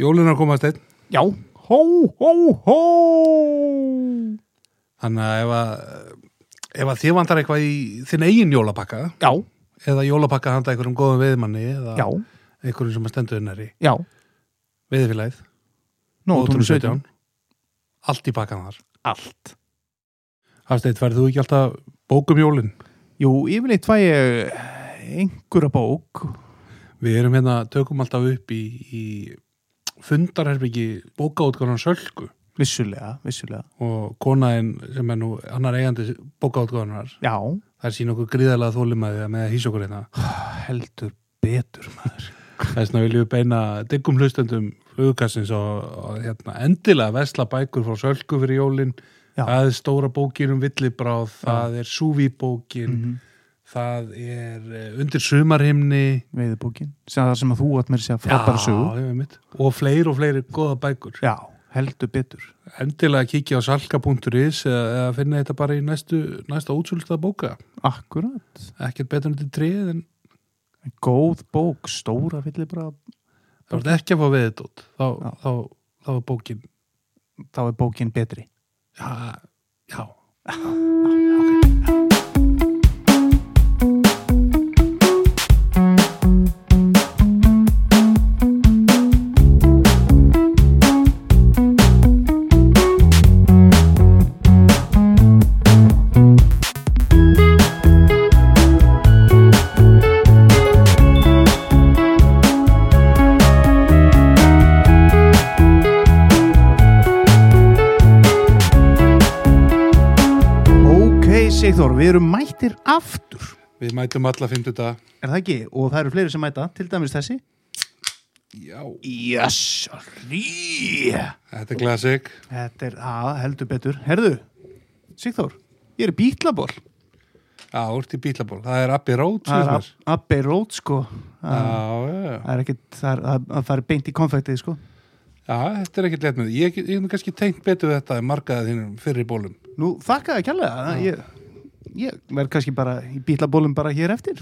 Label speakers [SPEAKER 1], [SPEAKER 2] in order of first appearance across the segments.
[SPEAKER 1] Jólunar komast einn
[SPEAKER 2] Já, hó, hó, hó
[SPEAKER 1] Þannig að ef að, ef að þið vantar eitthvað í þinn eigin jólapakka
[SPEAKER 2] Já,
[SPEAKER 1] eða jólapakka handa einhverjum góðum veðmanni eða
[SPEAKER 2] já,
[SPEAKER 1] einhverjum sem að stendur innari
[SPEAKER 2] já
[SPEAKER 1] veðfélagið,
[SPEAKER 2] Nú, tónu 17
[SPEAKER 1] allt í pakkan þar
[SPEAKER 2] Allt
[SPEAKER 1] Hafsteinn, færðu þú ekki alltaf bókum jólin?
[SPEAKER 2] Jú, yfirleitt fæ ég einhverja bók
[SPEAKER 1] Við erum hérna, tökum alltaf upp í, í fundarherbyggi bókaútgáðan Sölku
[SPEAKER 2] Vissulega, vissulega
[SPEAKER 1] og konaðin sem er nú annar eigandi bókaútgáðanar
[SPEAKER 2] Já,
[SPEAKER 1] þær sín okkur gríðarlega þólimaði með að hýsa okkur hérna
[SPEAKER 2] heldur betur maður
[SPEAKER 1] þess vegna viljum við beina diggum hlustendum flugkassins og, og hérna, endilega vesla bækur frá Sölku fyrir jólin
[SPEAKER 2] Já.
[SPEAKER 1] það er stóra bókin um villibráð það er súvíbókin
[SPEAKER 2] Mhm.
[SPEAKER 1] það er eh, undir sumarhimni
[SPEAKER 2] Veiðbókin, sem það sem að þú átt mér segja frábæra sögur
[SPEAKER 1] Já, ég veit. og fleiri og fleiri góða bækur
[SPEAKER 2] Já, heldur betur
[SPEAKER 1] endilega kíkja á salka.is eða, eða finna þetta bara í næstu, næsta útsölda bóka
[SPEAKER 2] Akkurat
[SPEAKER 1] ekkert betur en þetta trið en
[SPEAKER 2] Góð bók, stóra villi bara
[SPEAKER 1] það voru ekki að fá við þetta út þá,
[SPEAKER 2] Já.
[SPEAKER 1] þá, þá var bókin
[SPEAKER 2] þá er bókin betri
[SPEAKER 1] já, já
[SPEAKER 2] Ok, Sigþór, við erum mættir aftur
[SPEAKER 1] við mætum alla fimmtudag
[SPEAKER 2] Er það ekki? Og það eru fleiri sem mæta, til dæmis þessi
[SPEAKER 1] já,
[SPEAKER 2] Yes, hlý
[SPEAKER 1] þetta er classic
[SPEAKER 2] Þetta er, að, heldur betur Herðu, Sigþór, ég er í bítlaból
[SPEAKER 1] já, úrt í bílaból, það er Abbey Road
[SPEAKER 2] Það er
[SPEAKER 1] sem
[SPEAKER 2] Ab- Abbey Road, sko
[SPEAKER 1] Já,
[SPEAKER 2] Það
[SPEAKER 1] já, já.
[SPEAKER 2] það er ekkit, það er, það- það fari beint í konfektið, sko
[SPEAKER 1] já, þetta er ekkert létt með því. Ég ég hef nú kannski tengt betur við þetta en margaði þínum fyrir bólum.
[SPEAKER 2] Nú, þakka það kjærlega ég, ég verð kannski bara í bítlabólum bara hér eftir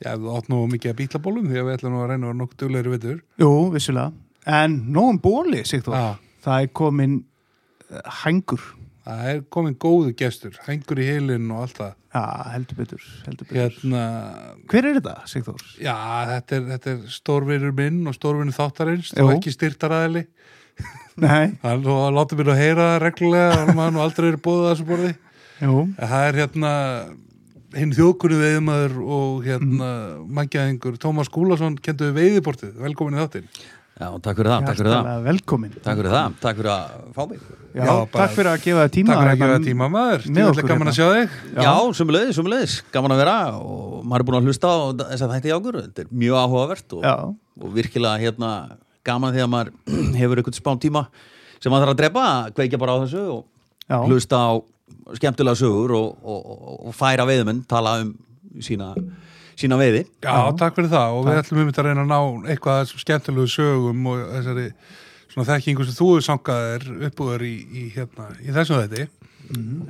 [SPEAKER 1] Já, þú átt nú mikið að bílabólum því að við ætlum nú að reyna að vera nokkuð duglegri vettur.
[SPEAKER 2] Jú, vissulega En nógum bóli, Sigþór
[SPEAKER 1] Já.
[SPEAKER 2] Það er komin eh, hængur
[SPEAKER 1] Það er komin góðu gestur, hengur í heilin og allt það.
[SPEAKER 2] Já, heldur betur, heldur betur.
[SPEAKER 1] Hérna,
[SPEAKER 2] Hver er þetta, Sigþór?
[SPEAKER 1] já, þetta er, þetta er stórvinur minn og stórvinur þáttarins,
[SPEAKER 2] Jú.
[SPEAKER 1] þú ekki styrtaræðili.
[SPEAKER 2] Nei,
[SPEAKER 1] Hann og hann láti mér að heyra það reglulega, hann maður nú aldrei verið búið að þessu borði.
[SPEAKER 2] jú,
[SPEAKER 1] En Það er hérna, hinn þjókunni veiðmaður og hérna, mm. manngjæðingur Tómas Gúlason kendur við veiðibortið, velkomin í þáttinn.
[SPEAKER 3] Já, takk fyrir það, takk fyrir það
[SPEAKER 2] Hjartanlega velkomin
[SPEAKER 3] Takk fyrir það, takk fyrir að fá mig
[SPEAKER 2] Já,
[SPEAKER 1] Já, bara-
[SPEAKER 2] Takk fyrir að gefa það tíma
[SPEAKER 1] Takk fyrir að gefa
[SPEAKER 2] Hérna,
[SPEAKER 1] tíma maður,
[SPEAKER 2] með
[SPEAKER 1] þetta
[SPEAKER 2] okkur hérna.
[SPEAKER 1] er gaman að sjá þig.
[SPEAKER 3] Já, sumulegis, sumulegis, gaman að vera og maður er búin að hlusta á þess að þætti í okkur þetta er mjög áhugavert og,
[SPEAKER 2] Já.
[SPEAKER 3] og virkilega hérna, gaman því að maður hefur eitthvað spán tíma sem maður þarf að drepa að kveikja bara á þessu og
[SPEAKER 2] Já.
[SPEAKER 3] hlusta á skemmtilega sögur og, og, og, og færa veiðumenn tala um sína, sína veiði
[SPEAKER 1] Já, takk fyrir það og við ætlum um að reyna að ná eitthvað af þessum skemmtilegu sögum og þessari svona þekkingu sem þú hefur sangaðir uppúður í, í, hérna, í þessum þetta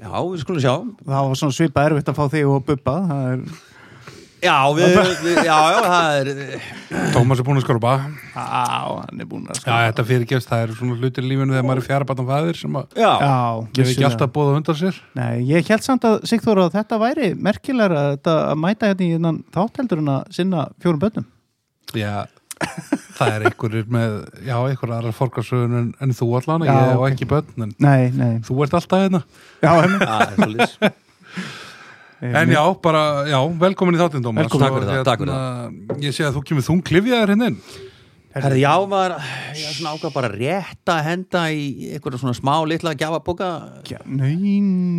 [SPEAKER 3] Já, við skulum sjá
[SPEAKER 2] Það var svona svipa erfitt að fá þig og bubba Það er,
[SPEAKER 3] Já, við, við, já, já, það er
[SPEAKER 1] Tómas er búin að skorpa
[SPEAKER 2] á, hann er búin að
[SPEAKER 1] Já, þetta fyrirgefst, það eru svona hlutir í lífinu þegar maður er fjarabatn fæðir sem að
[SPEAKER 3] Já,
[SPEAKER 2] Já,
[SPEAKER 1] gefa ekki
[SPEAKER 2] vissulega.
[SPEAKER 1] alltaf bóða undan sér
[SPEAKER 2] Nei, ég held samt að Sigþór að þetta væri merkilega að, þetta, að mæta hérna í innan þátteldur en að sinna fjórum bönnum
[SPEAKER 1] Já, það er einhverjir með já, einhverjar aðra forgarsögun en, en þú allan,
[SPEAKER 2] Já,
[SPEAKER 1] ég og
[SPEAKER 2] ok.
[SPEAKER 1] ekki börn en
[SPEAKER 2] Nei, nei
[SPEAKER 1] þú ert alltaf hérna
[SPEAKER 2] Já, einmitt.
[SPEAKER 3] það er svolítið
[SPEAKER 1] En já, bara, já, velkomin í þáttinn, Tómas
[SPEAKER 3] Velkomin. Takk
[SPEAKER 1] Og,
[SPEAKER 3] fyrir það, takk fyrir
[SPEAKER 1] hérna, Ég sé að þú kemur þunglifjaðar hinn inn
[SPEAKER 3] Herri, já, maður, ég er svona ákvað bara rétt að henda í einhverja svona smá litla gjafabóka
[SPEAKER 2] Já, Nei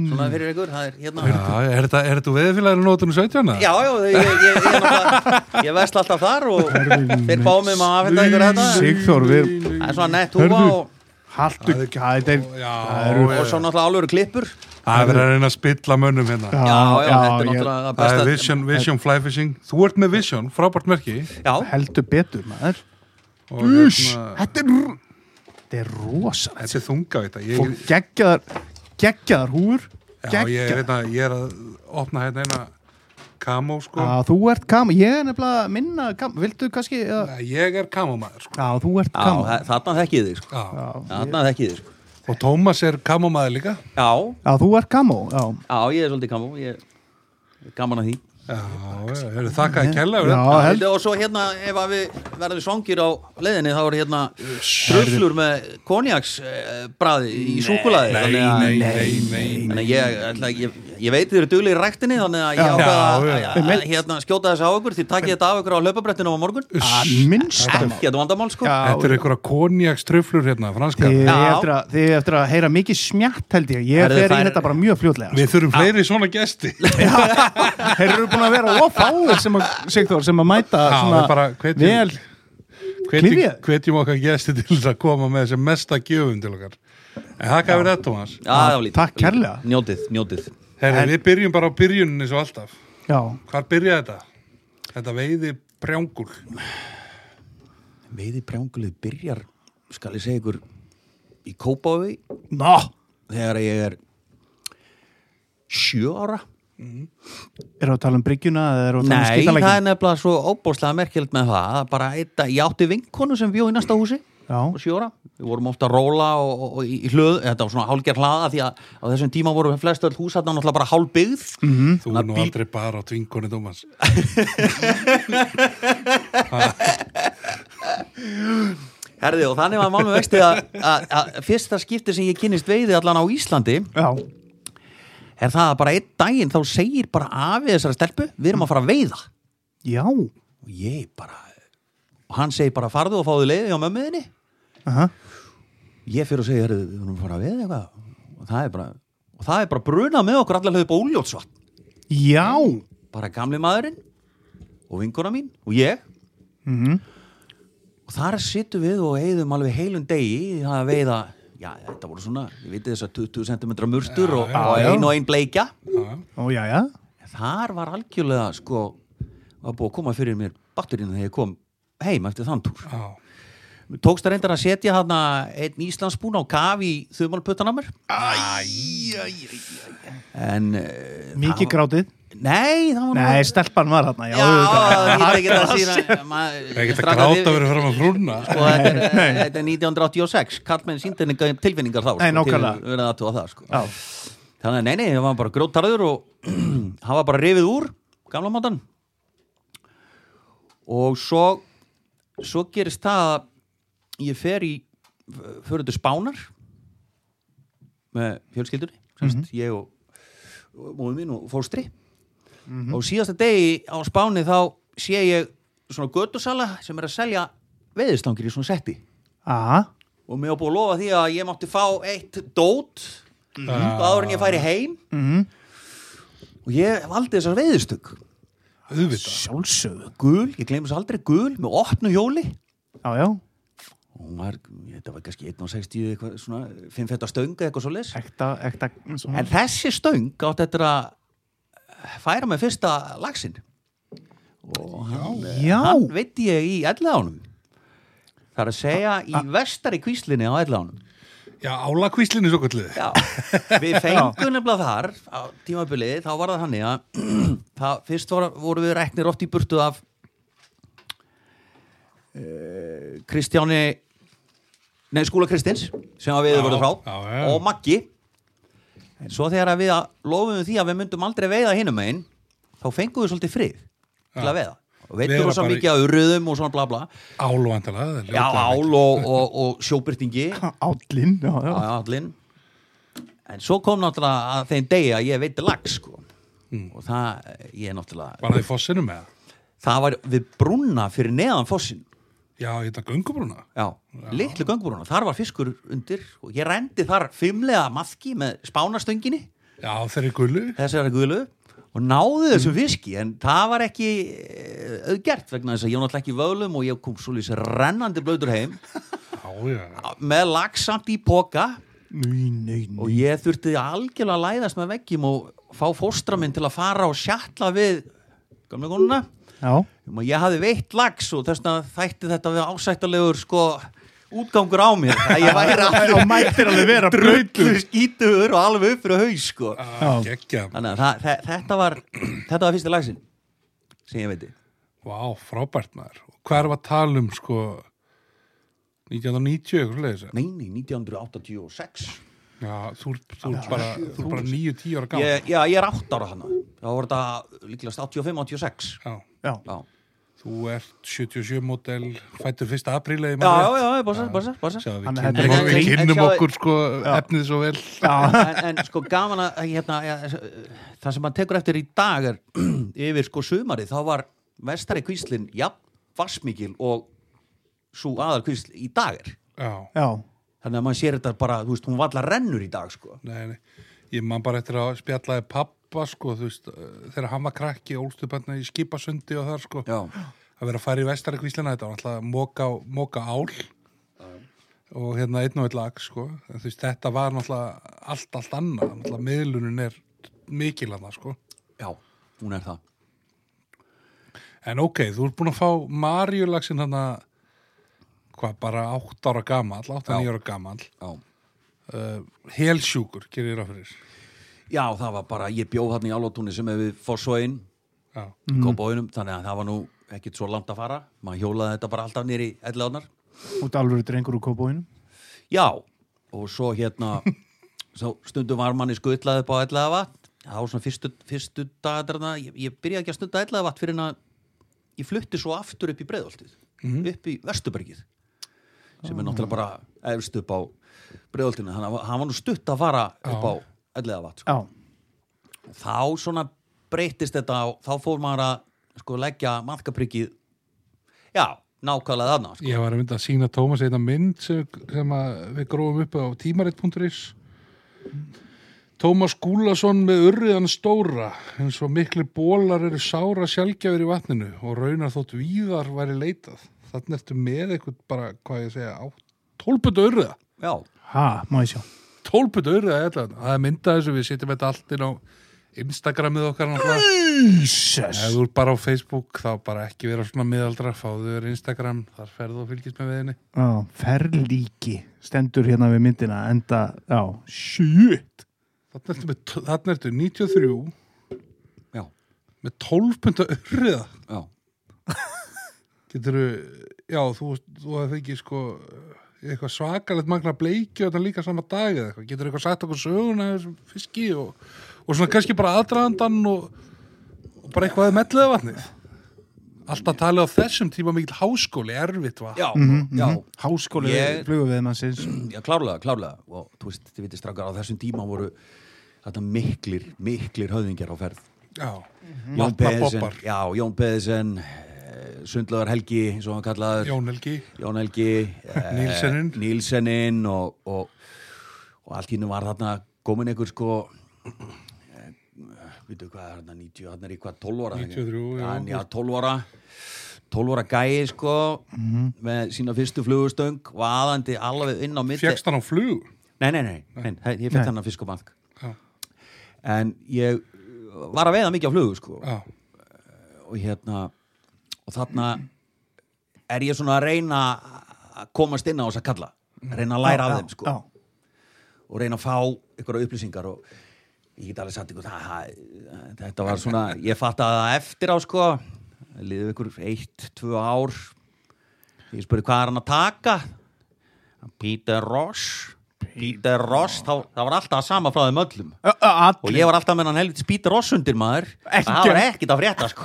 [SPEAKER 3] svona fyrir ykkur, það er hérna
[SPEAKER 1] Já, er þetta, er þetta veðfélaginu nótunum 17?
[SPEAKER 3] Já, já, ég, ég, ég, ég, náttúrulega- ég vesla alltaf þar og þeir báum mig um að afhenda ykkur þetta
[SPEAKER 2] Sigþór, við
[SPEAKER 3] Það er svona nett húfa
[SPEAKER 2] Herðu.
[SPEAKER 3] og,
[SPEAKER 2] Haltu, það er
[SPEAKER 1] Já,
[SPEAKER 3] og svo náttúrulega alvöru klippur
[SPEAKER 1] það er verið að reyna að spilla mönnum hérna
[SPEAKER 3] Já, já, þetta er
[SPEAKER 2] ég-
[SPEAKER 3] náttúrulega það
[SPEAKER 1] Það
[SPEAKER 3] besta
[SPEAKER 1] er Vision, Vision Fly Fishing Þú ert með Vision, frábært merki
[SPEAKER 3] Já,
[SPEAKER 2] heldur betur maður
[SPEAKER 1] og hérna,
[SPEAKER 2] þetta er þetta er rosa
[SPEAKER 1] þetta er þunga þetta ég,
[SPEAKER 2] og geggjaðar geggjaðar húur
[SPEAKER 1] já, ég,
[SPEAKER 2] geggjaðar
[SPEAKER 1] hérna, ég er að opna hérna eina kamó sko
[SPEAKER 2] Já, þú ert kam, ég er nefnilega minna kam, viltu kannski, já,
[SPEAKER 1] Nei, ég er kamómaður sko
[SPEAKER 2] já þú ert
[SPEAKER 3] Já,
[SPEAKER 2] kam
[SPEAKER 3] þa- þarna þekkið þig sko.
[SPEAKER 1] já.
[SPEAKER 3] Þarna þekkið þig sko.
[SPEAKER 1] og Tómas er kamómaður líka
[SPEAKER 3] Já,
[SPEAKER 2] Já, þú ert kamó, já
[SPEAKER 3] já, ég er svolítið kamú Ég er gaman að því
[SPEAKER 1] já, já, já, þakkaði kella
[SPEAKER 2] Já,
[SPEAKER 3] Já,
[SPEAKER 2] held,
[SPEAKER 3] held... Og svo hérna, ef að við verðum svangir á leiðinni, þá er hérna tröflur með konjaksbræði í súkulaði.
[SPEAKER 1] nei,
[SPEAKER 3] þannig að-
[SPEAKER 1] nei, nei, nei, nei.
[SPEAKER 3] Þannig að ég, ætla, að- ég, ég veit þið eru duglir í ræktinni, þannig að ég
[SPEAKER 1] Já,
[SPEAKER 3] ákvaða að,
[SPEAKER 1] já,
[SPEAKER 3] að, að hérna, skjóta þess á ykkur, því takkið þetta af ykkur á hlaupabrettinu á morgun.
[SPEAKER 2] að minnst
[SPEAKER 3] Ekkert vandamál, sko.
[SPEAKER 2] Já,
[SPEAKER 1] Þetta er einhverja konjakströflur hérna, franskar
[SPEAKER 2] Þið
[SPEAKER 3] Já.
[SPEAKER 2] eftir, að, þið eftir að heyra mikið smjatt held ég Ég
[SPEAKER 3] Herðu,
[SPEAKER 2] fer í
[SPEAKER 3] þær-
[SPEAKER 2] þetta bara mjög fljótlega sko.
[SPEAKER 1] Við þurfum fleiri svona gesti
[SPEAKER 2] Þeir eru búin að vera of fáir sem að, Sigþór, sem að mæta
[SPEAKER 1] Já,
[SPEAKER 2] svona
[SPEAKER 1] við bara hvetjum-
[SPEAKER 2] vel
[SPEAKER 1] Hvetjum
[SPEAKER 2] Klyfja.
[SPEAKER 1] hvetjum okkar gesti til þess að koma með þessi mesta gjöfum til okkar En þakka fyrir þetta, Thomas
[SPEAKER 3] Já, það var lítið.
[SPEAKER 2] Takk kærlega.
[SPEAKER 3] Njótið, njótið.
[SPEAKER 1] Herri, við byrjum bara á byrjuninni svo alltaf
[SPEAKER 2] Já,
[SPEAKER 1] Hvar byrjaði þetta? Þetta veiði prjángul
[SPEAKER 3] Veiði brjángulið byrjar, skal ég segja ykkur, í Kópaví
[SPEAKER 2] ná,
[SPEAKER 3] þegar ég er sjö ára.
[SPEAKER 2] eru að tala um bryggjuna eða eru að tala um
[SPEAKER 3] Nei, það er
[SPEAKER 2] skýtalækin
[SPEAKER 3] nefnilega svo óbóðslega merkjöld með það að bara eitt, ég átti vinkonu sem bjó í næsta húsi og
[SPEAKER 2] Já,
[SPEAKER 3] sjóra, við vorum ofta að róla og, og, og í hlöð, þetta var svona hálger hlaða því að á þessum tíma voru flest öll hús þarna náttúrulega bara hálbyggð mm -hmm.
[SPEAKER 1] Þú er nú aldrei bara á tvingunni, Thomas
[SPEAKER 3] herði og þannig var málum vexti að, að, að fyrsta skipti sem ég kynist veiði allan á Íslandi
[SPEAKER 2] já,
[SPEAKER 3] er það að bara einn daginn þá segir bara afi þessara stelpu, við erum að fara að veiða
[SPEAKER 2] já
[SPEAKER 3] og ég bara og hann segir bara farðu og fáðu leiði á mömmuðinni
[SPEAKER 2] aha.
[SPEAKER 3] ég fyrir að segja, herri, við erum að fara að veða eitthvað og það er bara, og það er bara brunað með okkur allar hljóði bóljótsvatn
[SPEAKER 2] Já
[SPEAKER 3] bara gamli maðurinn og vinkona mín og ég
[SPEAKER 2] Mhm.
[SPEAKER 3] og þar sittum við og eigðum alveg heilum degi í það að veiða já, þetta voru svona, ég veit þess að 20 cm murstur og,
[SPEAKER 1] Já,
[SPEAKER 3] og
[SPEAKER 2] já.
[SPEAKER 3] ein og ein bleikja
[SPEAKER 1] Já,
[SPEAKER 2] Ó, já, já
[SPEAKER 3] þar var algjörlega sko að búið að koma fyrir mér batturinn þegar ég kom heim eftir þann túr
[SPEAKER 1] já,
[SPEAKER 3] tókst að reyndar að setja þarna einn Íslandsbúna á kaf í þumalputtana mér en eh,
[SPEAKER 2] Mikið
[SPEAKER 3] það var-
[SPEAKER 2] grátið
[SPEAKER 3] nei, það var nú-
[SPEAKER 2] Nei, stelpan var hérna Já,
[SPEAKER 3] já,
[SPEAKER 2] auðvitað.
[SPEAKER 3] það er ekki það
[SPEAKER 1] Það er ekki
[SPEAKER 3] síðan
[SPEAKER 1] að gráta verið fyrir að hrúna
[SPEAKER 3] sko, þetta er, eh, þetta er 1986 kallmenn síndinninga tilfinningar þá
[SPEAKER 2] Nei,
[SPEAKER 3] sko, til
[SPEAKER 2] nákvæmlega.
[SPEAKER 3] verið að tóa það sko.
[SPEAKER 2] Já.
[SPEAKER 3] þannig að nei, nei, það var bara grótarður og hann var bara rifið úr gamla mátan og svo svo gerist það að ég fer í fyrir til Spánar með fjölskyldunni semst, ég og, og móðu mín og fóstri og síðasta degi á Spáni þá sé ég svona göttusala sem er að selja veðislangir í svona setti
[SPEAKER 2] Aha.
[SPEAKER 3] og mér var búið að lofa því að ég mátti fá eitt dót mm -hmm. áður en ég færi heim
[SPEAKER 2] Mhm.
[SPEAKER 3] og ég valdi þessar veiðistök
[SPEAKER 1] Auðvitað
[SPEAKER 2] Sjálfsögðu
[SPEAKER 3] gul, ég gleymur þess aldrei gul með opnu hjóli
[SPEAKER 2] Já, já
[SPEAKER 3] og hún var, þetta var kannski 1.60 eitthvað svona, 5 fætta stöng eða eitthvað svo leis
[SPEAKER 2] Ekta, ekta svona.
[SPEAKER 3] en þessi stöng átt þetta að eh, færa með fyrsta laxin og hann,
[SPEAKER 2] Já.
[SPEAKER 3] hann veit ég í ellaðanum það er að segja í vestari kvíslinni á ellaðanum
[SPEAKER 1] Já, álakvíslinni svo kvöldið
[SPEAKER 3] Já, við fengum nefnilega þar á tímabilið, þá var það hannig að það, fyrst var, voru við reknir oft í burtu af uh, Kristjáni nei, skúla Kristins sem að við
[SPEAKER 1] Já,
[SPEAKER 3] vorum frá
[SPEAKER 1] já, já.
[SPEAKER 3] og Maggi en svo þegar að við að lofum því að við myndum aldrei veiða hinum einn þá fengum við svolítið frið til að veiða og
[SPEAKER 1] Vera
[SPEAKER 3] veitur rosa
[SPEAKER 1] bara í-
[SPEAKER 3] mikið að urruðum og svona bla bla
[SPEAKER 1] Álvandala
[SPEAKER 3] já, ál og, og, og sjóbyrtingi
[SPEAKER 2] Állinn, já, já
[SPEAKER 3] á allin en svo kom náttúrulega að þeim degi að ég veiti lag sko og það, ég náttúrulega
[SPEAKER 1] Var það í fossinu með það?
[SPEAKER 3] það var við brúna fyrir neðan fossin
[SPEAKER 1] Já, þetta göngubrúna
[SPEAKER 3] já, litlu göngubrúna, þar var fiskur undir og ég rendi þar fimmlega maðki með spánastönginni
[SPEAKER 1] Já, þeir eru gullu
[SPEAKER 3] þessari guðlu og náði þessum fiski en það var ekki eh, auðgert vegna þess að ég var náttúrulega ekki í vöðlum og ég kom svo lýs rennandi blöður heim
[SPEAKER 1] Já, já
[SPEAKER 3] með lag samt í poka
[SPEAKER 2] Nei, nei, nei
[SPEAKER 3] og ég þurfti algjörlega að læðast með veggjum og fá fóstra minn til að fara og sjatla við gamla konuna
[SPEAKER 2] Já,
[SPEAKER 3] um að ég hafði veitt lags og þess vegna þætti þetta við ásættalegur sko útgangur á mér að ég væri
[SPEAKER 2] og
[SPEAKER 3] alveg
[SPEAKER 2] mættir alveg vera
[SPEAKER 3] drullu skítur og alveg upp fyrir haus sko
[SPEAKER 1] Já, geggja
[SPEAKER 3] þannig að það, þe- þetta var þetta var fyrsti lagsin sem ég veiti
[SPEAKER 1] Vá, frábært maður. Og Hvað er að tala um, sko, 1990, eitthvað leiðis?
[SPEAKER 3] Nei, nei, 1986
[SPEAKER 1] Já, þú ert, þú ert bara, þú ert bara 9-10 ára gammal.
[SPEAKER 3] ég, Já, ég er 8 ára hana Þá var þetta líklegast 85-86
[SPEAKER 1] Já,
[SPEAKER 2] já,
[SPEAKER 3] Já,
[SPEAKER 1] þú ert 77 model, fættur 1. apríla í
[SPEAKER 3] já, já, já, bara sér, bara sér, bara sér
[SPEAKER 1] Sjáðu,
[SPEAKER 2] Hann
[SPEAKER 1] við
[SPEAKER 2] er
[SPEAKER 1] kynnum, okkur,
[SPEAKER 2] heldur
[SPEAKER 3] ekki-
[SPEAKER 1] við
[SPEAKER 3] En
[SPEAKER 1] kynnum
[SPEAKER 3] sjáðu-
[SPEAKER 1] okkur, sko, efnið svo vel.
[SPEAKER 3] en, en sko gaman að hérna, ja, það sem maður tekur eftir í dag er yfir sko sumarið þá var vestari kvíslin jafn vassmikil og svo aðar kvísl í dag er
[SPEAKER 1] Já,
[SPEAKER 2] já,
[SPEAKER 3] þannig að maður sér þetta bara, þú veist, hún valla rennur í dag sko
[SPEAKER 1] nei, nei. Ég man bara eftir að spjallaði pappa, sko, þú veist, þegar hann var krakki, ólst upp hérna í skipasundi og þar, sko.
[SPEAKER 3] já,
[SPEAKER 1] að vera að fara í vestari kvíslina þetta var alltaf móka, móka ál og hérna einn og einn lag sko. En þú veist, þetta var náttúrulega allt, allt annað, náttúrulega miðlunin er mikil annað sko.
[SPEAKER 3] já, hún er það
[SPEAKER 1] en ok, þú ert búin að fá Marjulagsin hann að hvað, bara 8 ára gamall 8-9 ára gamall
[SPEAKER 3] já.
[SPEAKER 1] uh, helsjúkur, gerir ég ráð fyrir
[SPEAKER 3] já, það var bara, ég bjóð hann í álótúni sem hefur fórsóin
[SPEAKER 1] já,
[SPEAKER 3] mm. þannig að það var nú ekkit svo langt að fara maður hjólaði þetta bara alltaf nýri elláðnar
[SPEAKER 2] út alvöru drengur úr kópóinu
[SPEAKER 3] Já, og svo hérna svo stundum var manni skutlað upp á ætlaða vatn það var svona fyrstu, fyrstu dagarna ég, ég byrjaði ekki að stunda ætlaða vatn fyrir en að ég flutti svo aftur upp í breiðoltið upp í Vesturbergið sem er náttúrulega bara efst upp á breiðoltinu, þannig að hann var nú stutt að fara upp á ætlaða vatn sko.
[SPEAKER 2] já,
[SPEAKER 3] þá svona breytist þetta og þá fór maður að sko leggja maðkaprikið já, nákvæmlega þarna sko.
[SPEAKER 1] ég var að mynda að sína Tómas einna mynd sem, sem að við grófum upp á tímarit.is Tómas Gúlason með urriðan stóra eins og miklu bólar eru sára sjálfgjafir í vatninu og raunar þótt víðar væri leitað þannig ertu með eitthvað bara, hvað ég segja á tólputu urriða
[SPEAKER 3] já,
[SPEAKER 2] ha, má ég sjá
[SPEAKER 1] tólputu urriða, er þetta. það er mynda þessu við setjum þetta allt inn á Instagramið okkar náttúrulega
[SPEAKER 2] Jesus
[SPEAKER 1] Ef þú ert bara á Facebook þá bara ekki vera svona miðaldra, fáðu þér Instagram, þar ferðu og fylgist með veðinni.
[SPEAKER 2] já, ferlíki stendur hérna við myndina enda, já, shit
[SPEAKER 1] Þarna ertu, með, þarna ertu 93
[SPEAKER 3] já,
[SPEAKER 1] með 12 punta urriða.
[SPEAKER 3] já
[SPEAKER 1] Getur já, þú, þú hefði ekki sko eitthvað svakalegt magna bleikju og þannig líka sama dag eða eitthvað. Getur eitthvað sagt okkur söguna af þessum fiski og, og svona kannski bara aðdraðandan og, og bara eitthvað meðlega vatnið. Alltaf talið á þessum tíma mikill háskóli, erfitt vatn.
[SPEAKER 3] já, já
[SPEAKER 2] háskóli
[SPEAKER 3] Ég-
[SPEAKER 2] flugum við mannsins
[SPEAKER 3] Já, klárlega, klárlega og þú veist, þið vitið strakkar á þessum tíma voru þetta miklir, miklir höfðingjar á ferð
[SPEAKER 1] já. Mm.
[SPEAKER 3] Jón Beðisen,
[SPEAKER 1] Vatnabobbar.
[SPEAKER 3] já, Jón Beðisen Sundlaðar Helgi, svo hann kallaður
[SPEAKER 1] Jón Helgi.
[SPEAKER 3] Jón Helgi eh,
[SPEAKER 1] Nílseninn.
[SPEAKER 3] Nílseninn og, og, og allt hínu var þarna komin einhver sko eh, veitu hvað er þarna 90, þarna er í hvað 12 ára ekki?
[SPEAKER 1] 93, já.
[SPEAKER 3] já, já 12 ára 12 ára gæi sko
[SPEAKER 1] Mhm.
[SPEAKER 3] með sína fyrstu flugustöng og aðandi alveg inn á mitt
[SPEAKER 1] Fjekkst hann á flug.
[SPEAKER 3] Nei, nei, nei, nei. nei ég
[SPEAKER 2] Nei.
[SPEAKER 3] fekk hann að fisk og bank
[SPEAKER 1] Já.
[SPEAKER 3] En ég var að veiða mikið á flugu sko
[SPEAKER 1] Já.
[SPEAKER 3] og hérna og þarna er ég svona að reyna að komast inn á þess að kalla reyna að læra af þeim sko
[SPEAKER 2] Mm. já,
[SPEAKER 3] og reyna að fá einhverja upplýsingar og ég get alveg sagt ykkur það, það- þetta var svona, ég fatt að það eftir á sko liðið ykkur eitt, tvö ár ég spurði hvað er hann að taka Peter Ross Peter Ross, þá, það var alltaf að sama frá þeim öllum
[SPEAKER 2] Ö- ö-
[SPEAKER 3] og
[SPEAKER 2] allir
[SPEAKER 3] ég var alltaf með hann helvits Peter Ross undir maður
[SPEAKER 2] Ekki.
[SPEAKER 3] það var ekkit að frétta sko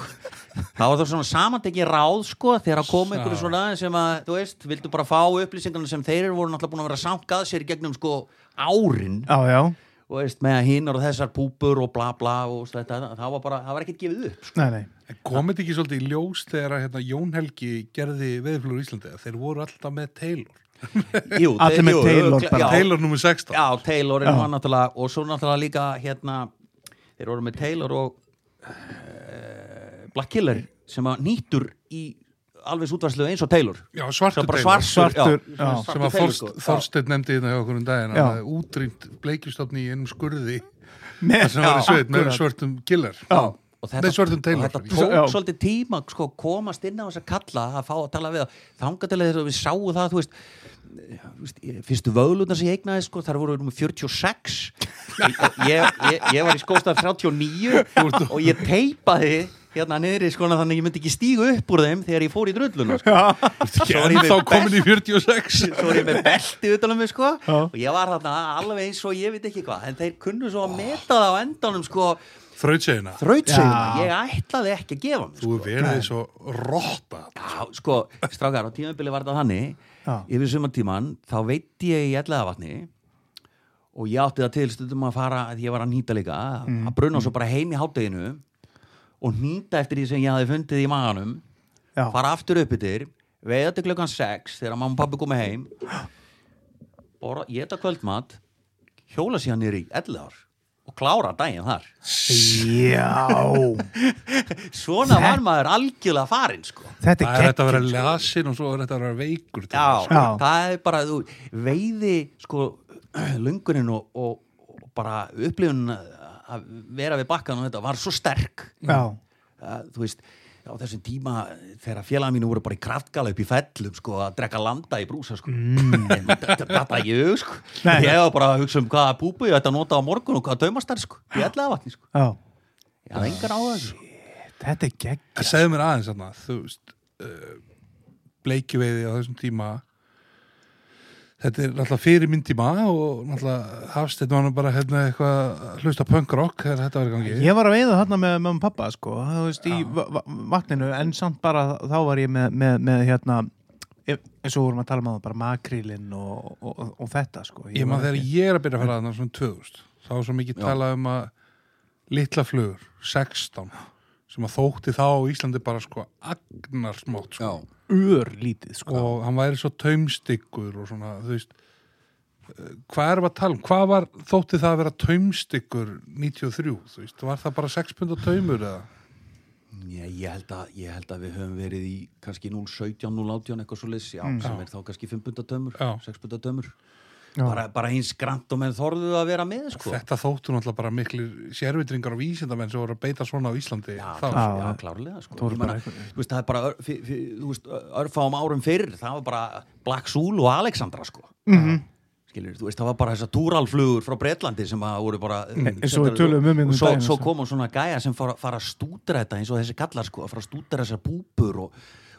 [SPEAKER 3] það var það svona samantekki ráð sko þegar að koma einhverju
[SPEAKER 1] Já.
[SPEAKER 3] svona sem að, þú veist, vildu bara fá upplýsingarna sem þeir eru voru náttúrulega búin að vera sankað sér í gegnum sko árin
[SPEAKER 2] já, já,
[SPEAKER 3] og veist, með að hinn og þessar púpur og bla bla og þetta, það var bara, það var ekkit gefið upp sko.
[SPEAKER 2] nei, nei
[SPEAKER 1] En komið þetta ekki svolítið í ljós þegar að hérna, Jón Helgi gerði veðflugur í Íslandi að þeir voru alltaf með Taylor.
[SPEAKER 3] Jú,
[SPEAKER 2] Allir
[SPEAKER 3] þeir-
[SPEAKER 2] með
[SPEAKER 3] jú,
[SPEAKER 2] Taylor
[SPEAKER 3] örugglega-
[SPEAKER 2] bara.
[SPEAKER 3] já,
[SPEAKER 1] Taylor nummer 16.
[SPEAKER 3] Já, Taylor er hann náttúrulega og svo náttúrulega líka hérna þeir voru með Taylor og uh, Black Killer sem að nýtur í alveg útvarslu eins og Taylor
[SPEAKER 1] Já, svartur
[SPEAKER 3] Svo bara
[SPEAKER 1] Taylor.
[SPEAKER 3] svars-
[SPEAKER 2] svartur,
[SPEAKER 3] Já.
[SPEAKER 2] já,
[SPEAKER 1] sem að
[SPEAKER 3] Svartur Taylor, sko.
[SPEAKER 1] Þorst, Þorsteinn nefndi hérna hjá okkur um daginn
[SPEAKER 2] Já.
[SPEAKER 1] að það er útrýmt bleikjustofni í einum skurði
[SPEAKER 2] Með-
[SPEAKER 1] sem var í
[SPEAKER 2] Já,
[SPEAKER 1] sveit með
[SPEAKER 2] akkurat.
[SPEAKER 1] svörtum killer.
[SPEAKER 2] Já.
[SPEAKER 3] og
[SPEAKER 1] Nei, svörtum
[SPEAKER 3] og
[SPEAKER 1] Taylor.
[SPEAKER 3] þetta
[SPEAKER 1] Já.
[SPEAKER 3] tók
[SPEAKER 2] Já.
[SPEAKER 3] svolítið tíma sko, komast inn á þess að kalla að fá að tala við þá þanga til þess að við sáum eh, það þú veist, já, þú veist ég- fyrstu vöðlunar sem ég eignaði sko, þar voru við 46 ég, ég, ég var í skóstað 39 og ég teipaði hérna niður í skona þannig að ég myndi ekki stíga upp úr þeim þegar ég fór í drulluna sko.
[SPEAKER 1] Ekki
[SPEAKER 3] var ég með
[SPEAKER 1] ennþá komin í
[SPEAKER 3] best-
[SPEAKER 1] 46
[SPEAKER 3] svo er ég með belti utanum mig sko
[SPEAKER 2] Já.
[SPEAKER 3] og ég var þarna alveg eins og ég veit ekki hvað en þeir kunnu svo að meta það á endanum sko
[SPEAKER 1] Þrautsegina
[SPEAKER 3] þrautsegjuna, ég ætlaði ekki að gefa mig sko.
[SPEAKER 1] Þú er verið svo rotta
[SPEAKER 3] Já, sko, strákar, á tímabili var þetta þannig
[SPEAKER 2] Já.
[SPEAKER 3] yfir sumartíman, þá veit ég í ellaðavatni og ég átti það til stundum að fara, að ég var að nýta líka
[SPEAKER 2] Mm,
[SPEAKER 3] að bruna svo bara heim í hátteginu og nýta eftir því sem ég hafi fundið í maganum
[SPEAKER 2] Já.
[SPEAKER 3] fara aftur upp yfir veiða til klukkan 6 þegar mamma og pabbi komi heim borða, geta kvöldmat hjóla síðan niður í 11 ár og klára daginn þar
[SPEAKER 2] Já
[SPEAKER 3] svona var maður algjörlega farinn sko
[SPEAKER 2] Þetta
[SPEAKER 1] Það er
[SPEAKER 2] er
[SPEAKER 1] þetta að vera lasin og svo er þetta að vera veikur til
[SPEAKER 3] já,
[SPEAKER 1] þess.
[SPEAKER 2] Já.
[SPEAKER 3] það er bara þú, veiði sko lungurinn og, og, og bara upplifun að vera við bakkan og þetta var svo sterk
[SPEAKER 2] gegn Já
[SPEAKER 3] að, þú veist á þessum tíma þegar félaga mínu voru bara í kraftgala upp í fellum sko að drekka landa í brúsa sko mm. þetta ég hug sko
[SPEAKER 2] Nei.
[SPEAKER 3] ég var bara að hugsa um hvaða búbu ég ætti að nota á morgun og hvaða daumastar sko í allega vatni sko
[SPEAKER 2] Já
[SPEAKER 3] ég hafði engar á þessu sko.
[SPEAKER 2] Þetta er gegn
[SPEAKER 1] En segðu mér aðeins þarna, þú veist, uh, bleikjuveiði á þessum tíma, þetta er náttúrulega fyrir minn tíma og náttúrulega hafsteinn var nú bara hérna eitthvað að hlusta punk-rock þegar þetta var í gangi.
[SPEAKER 2] Ég var að veiða þarna með mamma og pappa sko, þú veist, í va- va- vatninu en samt bara þá var ég með, með, með hérna, eins og vorum að tala um það bara makrílinn og, og, og, og þetta sko.
[SPEAKER 1] Ég maður
[SPEAKER 2] var
[SPEAKER 1] þegar
[SPEAKER 2] ekki-
[SPEAKER 1] ég er að byrja að fara þarna svona 2000, þá var svo mikið
[SPEAKER 3] Já.
[SPEAKER 1] talað um að litla flugur, 16, sem að þótti þá á Íslandi bara sko agnarsmátt sko.
[SPEAKER 2] örlítið sko.
[SPEAKER 1] og hann væri svo taumstykkur og svona, þú veist eh, hvað erum við að tala um? Hvað var þótti það að vera taumstykkur 93, þú veist? Var það bara 6 pund og taumur eða?
[SPEAKER 3] Ég, ég, held að, ég held að við höfum verið í kannski 017, 018 eitthvað svo leys já, sem er þá kannski 5 bunda tömur
[SPEAKER 1] Já.
[SPEAKER 3] 6 bunda tömur
[SPEAKER 2] Já.
[SPEAKER 3] bara, bara eins grant og menn þorðu að vera með sko.
[SPEAKER 1] Þetta þóttu náttúrulega bara miklir sérvitringar og vísindamenn sem voru að beita svona á Íslandi
[SPEAKER 3] Já,
[SPEAKER 1] þá.
[SPEAKER 3] klár,
[SPEAKER 2] Já,
[SPEAKER 3] já,
[SPEAKER 2] já.
[SPEAKER 3] klárlega sko.
[SPEAKER 2] Það voru
[SPEAKER 3] Ég meina,
[SPEAKER 2] bara
[SPEAKER 3] þú veist, það er bara ör, fyr, fyr, þú veist, örfáum árum fyrr það var bara Black Soul og Alexandra sko. mm
[SPEAKER 2] Mhm.
[SPEAKER 3] -hmm. skilur, þú veist, það var bara þessar túralflugur frá Bretlandi sem að voru bara mm,
[SPEAKER 2] eins og við töluðum um hérna um
[SPEAKER 3] og svo,
[SPEAKER 2] daginn,
[SPEAKER 3] svo
[SPEAKER 2] sko.
[SPEAKER 3] komum svona gæja sem fara, fara að stúdra þetta eins og þessi kallar sko, að fara að stúdra þessar búpur og,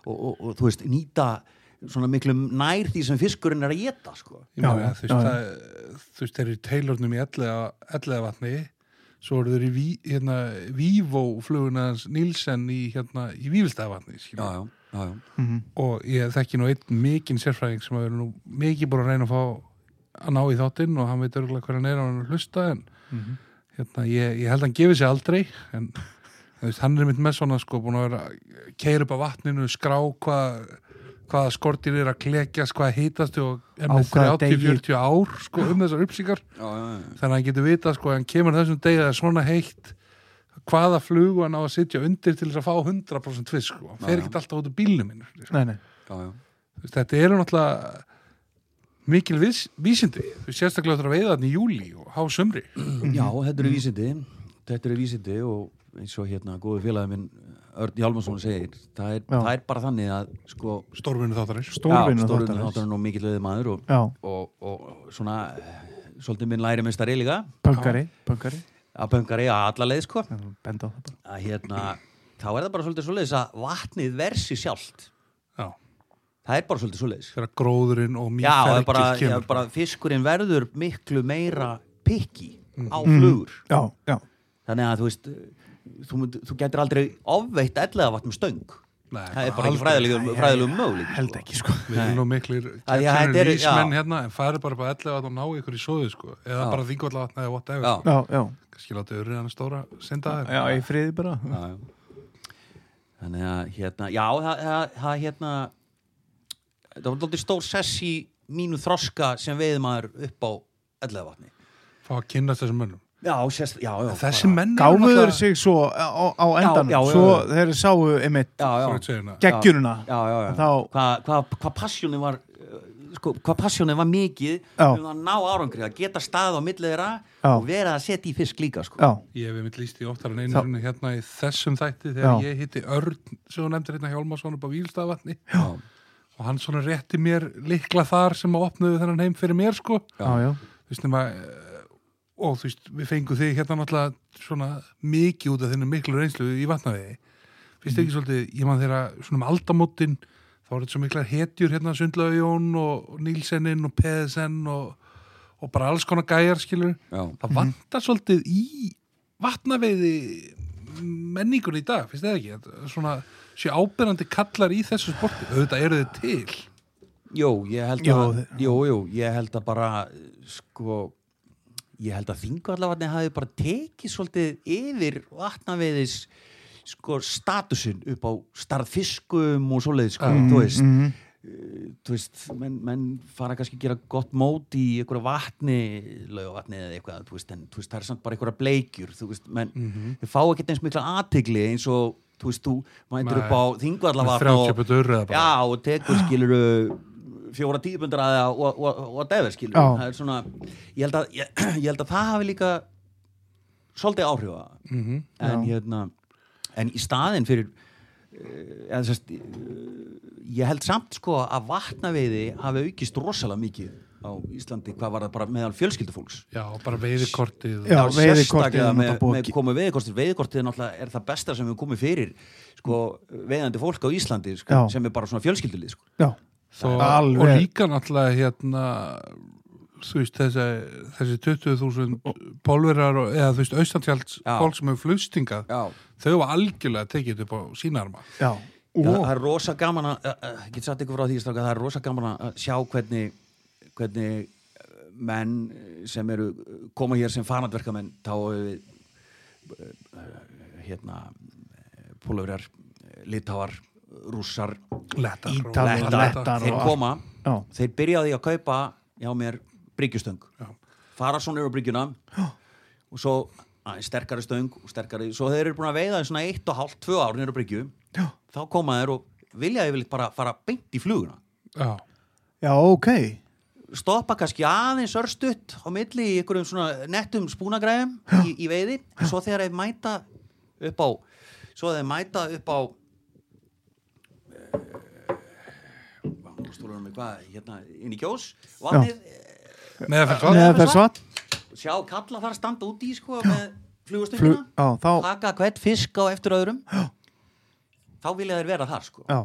[SPEAKER 3] og, og, og þú veist, nýta svona miklu nær því sem fiskurinn er að geta sko.
[SPEAKER 1] Ég meina,
[SPEAKER 2] Já,
[SPEAKER 1] þú
[SPEAKER 2] já,
[SPEAKER 1] veist, það, þú veist, þeir eru í tailornum í ellega vatni svo eru þeir í ví, hérna, Vivo fluguna hans Nilsen í, hérna, í Vífilstæðavatni
[SPEAKER 3] já, já, já
[SPEAKER 1] og ég þekki nú einn mikinn sérfræðing sem hefur nú mikið búin að reyna að fá að ná í þáttinn og hann veit örgulega hver hann er og hann er að hlusta en hérna, ég, ég held að hann gefið sér aldrei en þú veist, hann er mitt með svona sko búin að vera að keira upp á vatninu skrá hvað hvaða skortir er að klekjast, hvaða hitast og er
[SPEAKER 2] Á
[SPEAKER 1] með
[SPEAKER 2] hvaða
[SPEAKER 1] 30-40 ár sko um þessar uppsýkar
[SPEAKER 3] Já, já, já.
[SPEAKER 1] þannig að hann getur vita sko, hann kemur þessum degi að það er svona heitt hvaða flugu hann á að sitja undir til þess að fá 100% fisk sko. hann fer
[SPEAKER 3] Já, já.
[SPEAKER 1] ekkert alltaf út úr bílnum minn sko
[SPEAKER 2] Nei, nei.
[SPEAKER 3] Já, já.
[SPEAKER 1] þú veist, þetta eru náttúrulega mikil vís, vísindi þú veist, sérstaklega þetta að veiða þannig í júli og há sömri
[SPEAKER 3] Já, þetta eru vísindi þetta eru vísindi og eins og hérna góðu félagi minn Örn Hjálmarsson segir, það er,
[SPEAKER 2] Já.
[SPEAKER 3] það er bara þannig að sko,
[SPEAKER 1] storminu þáttarins
[SPEAKER 2] Stórvinna
[SPEAKER 3] já, stórvinna
[SPEAKER 2] þáttarins.
[SPEAKER 3] þáttarins og mikill veðið maður og,
[SPEAKER 2] Já.
[SPEAKER 3] og, og, svona eh, svolítið minn læri mestari líka
[SPEAKER 2] Pöngari, pöngari.
[SPEAKER 3] að pöngari að alla leið sko
[SPEAKER 2] Benda á það bara.
[SPEAKER 3] að hérna, þá er það bara svolítið svoleiðis að vatnið versi sjálft
[SPEAKER 1] já,
[SPEAKER 3] það er bara svolítið svoleiðis
[SPEAKER 1] þegar gróðurinn og
[SPEAKER 3] Já, það er bara,
[SPEAKER 1] mýfergið
[SPEAKER 3] já,
[SPEAKER 1] kemur
[SPEAKER 3] bara fiskurinn verður miklu meira pikki á flugur
[SPEAKER 2] Já, já.
[SPEAKER 3] þannig að þú veist þú, mynd, þú getur aldrei ofveitt ellega vatnum stöng
[SPEAKER 1] Nei,
[SPEAKER 3] það er
[SPEAKER 1] aldrei.
[SPEAKER 3] bara ekki fræðilegum, fræðilegum möguleik
[SPEAKER 2] Held ekki sko.
[SPEAKER 1] við erum nú miklir
[SPEAKER 3] Að því að þetta
[SPEAKER 1] kemur
[SPEAKER 3] eru-
[SPEAKER 1] vísmenn
[SPEAKER 3] já.
[SPEAKER 1] hérna en farið bara bara ellega að ná ykkur í sóðu sko. eða
[SPEAKER 3] Já.
[SPEAKER 1] bara þingvallavatna eða whatever
[SPEAKER 3] Já.
[SPEAKER 1] sko.
[SPEAKER 2] Já, já.
[SPEAKER 1] kannski láta öðru hann stóra senda
[SPEAKER 2] Já,
[SPEAKER 1] þér
[SPEAKER 2] ég friði bara.
[SPEAKER 3] Já, já. þannig að hérna já, það, það, það hérna það var dálítið stór sess í mínu þroska sem veið maður upp á ellega vatni
[SPEAKER 1] fá að kynast þessum mönnum
[SPEAKER 3] já, sérst, já, já
[SPEAKER 1] þessi menn eru
[SPEAKER 2] Gáfuður
[SPEAKER 1] náttúrulega-
[SPEAKER 2] sig svo á, á endan.
[SPEAKER 3] já, já,
[SPEAKER 2] Svo
[SPEAKER 3] já.
[SPEAKER 2] þeir sáu einmitt
[SPEAKER 3] já, já,
[SPEAKER 1] Þraut segina.
[SPEAKER 2] geggjuruna.
[SPEAKER 3] já, já, já.
[SPEAKER 2] Þá-
[SPEAKER 3] hvað hva, hva passjónin var uh, sko, hvað passjónin var mikið
[SPEAKER 2] Já.
[SPEAKER 3] um að ná árangri, að geta stað á millið þeirra
[SPEAKER 2] Já.
[SPEAKER 3] og vera að setja í fisk líka sko.
[SPEAKER 2] Já,
[SPEAKER 1] Ég hef einmitt líst í oftar en einu
[SPEAKER 2] Þá-
[SPEAKER 1] sinni hérna í þessum þætti þegar
[SPEAKER 2] Já.
[SPEAKER 1] ég hitti Örn sem hún nefndir hérna Hjálmarsson upp á Vílstaðavatni
[SPEAKER 3] já,
[SPEAKER 1] og hann svona rétti mér likla þar sem að opnaði þennan heim fyrir mér sko
[SPEAKER 2] já, já.
[SPEAKER 1] Þú veist nema eh, og þú veist, við fengum þig hérna náttúrulega svona mikið út af þennu miklu reynslu í vatnavegi finnst ekki svolítið, ég man þeirra svona um aldamótin þá var þetta svo miklar hetjur hérna Sundlaugjón og Nílsennin og Peðsen og, og bara alls konar gæjar skilur
[SPEAKER 3] já,
[SPEAKER 1] það vantar svolítið í vatnaveiði menningun í dag, finnst þið ekki Þetta er svona sé ábyrrandi kallar í þessu sporti auðvitað eru þið til
[SPEAKER 3] jú, ég held
[SPEAKER 2] Já,
[SPEAKER 3] að
[SPEAKER 2] þi-
[SPEAKER 3] jú, jú, ég held að bara sko, ég held að þingu allavega hafi bara tekið svolítið yfir vatnaveiðis sko statusin upp á starffiskum og svoleiðis sko,
[SPEAKER 1] Mm,
[SPEAKER 3] þú veist
[SPEAKER 2] Mhm.
[SPEAKER 3] Eh, þú veist, menn, menn fara kannski að gera gott mót í einhverja vatni laugavatni eða eitthvað, þú veist, en þú veist, það er samt bara einhverja bleikjur, þú veist, menn
[SPEAKER 1] Mhm.
[SPEAKER 3] þau fá ekki eins mikla aðtegli eins og þú veist, þú
[SPEAKER 1] Nei.
[SPEAKER 3] mætir upp á þingvallavatn
[SPEAKER 1] Með 30 puta urriða bara.
[SPEAKER 3] já, og tekur skilur fjóra típundar aðeða og, og, og, og defa skilur,
[SPEAKER 2] Já.
[SPEAKER 3] það er svona ég held að, ég, ég held að það hafi líka svolítið áhrifa mm
[SPEAKER 2] Mhm,
[SPEAKER 3] -hmm. en hérna en í staðin fyrir eh, eða sérst eh, ég held samt sko að vatnaveiði hafi aukist rosalega mikið á Íslandi hvað var það bara meðal fjölskyldufólks
[SPEAKER 1] já, bara veiðikortið
[SPEAKER 2] Já,
[SPEAKER 1] og-
[SPEAKER 2] veiðikortið
[SPEAKER 3] sérstaklega
[SPEAKER 2] er
[SPEAKER 3] með,
[SPEAKER 2] náttúrulega búið að
[SPEAKER 3] með
[SPEAKER 2] ge-
[SPEAKER 3] komu veiðikortir veiðikortið er náttúrulega er það besta sem við komið fyrir sko, veiðandi fólk á Íslandi sko,
[SPEAKER 2] Já.
[SPEAKER 3] sem er bara svona fjölskyldulið sko.
[SPEAKER 2] já,
[SPEAKER 1] Þó,
[SPEAKER 2] Alveg.
[SPEAKER 1] og líka náttúrulega hérna þú veist þessi, þessi 20.000 pólverar og, eða þú veist austantjalds
[SPEAKER 3] Já.
[SPEAKER 1] fólk sem hefur flustingað
[SPEAKER 3] Já.
[SPEAKER 1] þau var algjörlega tekið upp á sína arma
[SPEAKER 2] já og
[SPEAKER 3] Það, það er rosa gaman að eh, eh, ég get satt ykkur frá því strákar, það er rosa gaman að sjá hvernig, hvernig eh, menn sem eru koma hér sem fanatverkamenn þá eh, eh, hérna pólverjar, litáar rússar,
[SPEAKER 1] lettar og-
[SPEAKER 2] Ítalir, Lettar
[SPEAKER 3] þeir
[SPEAKER 2] og-
[SPEAKER 3] koma
[SPEAKER 2] já,
[SPEAKER 3] þeir byrjaði að kaupa hjá mér bryggjustöng fara svona yfir á bryggjuna og svo að, sterkari stöng og sterkari, svo þeir eru búin að veiða í svona eitt og hálft, tvö ár nýra bryggju
[SPEAKER 2] Já.
[SPEAKER 3] þá koma þeir og vilja yfirleitt bara fara beint í fluguna
[SPEAKER 1] já,
[SPEAKER 2] já, ok
[SPEAKER 3] stoppa kannski aðeins örstutt á milli í einhverjum svona nettum spúnagræðum í, í veiði, en svo þegar þeir mæta upp á svo þeir mæta upp á eh, stúlunum með hvað, hérna inn í kjós, vatnið
[SPEAKER 1] meðan fyrir
[SPEAKER 2] neða þess vatn
[SPEAKER 3] sjá kalla þar standa úti í sko með
[SPEAKER 2] flug,
[SPEAKER 3] flugustöngina
[SPEAKER 2] já, þá,
[SPEAKER 3] taka hvert fisk á eftir öðrum þá vilja þeir vera þar sko
[SPEAKER 2] já,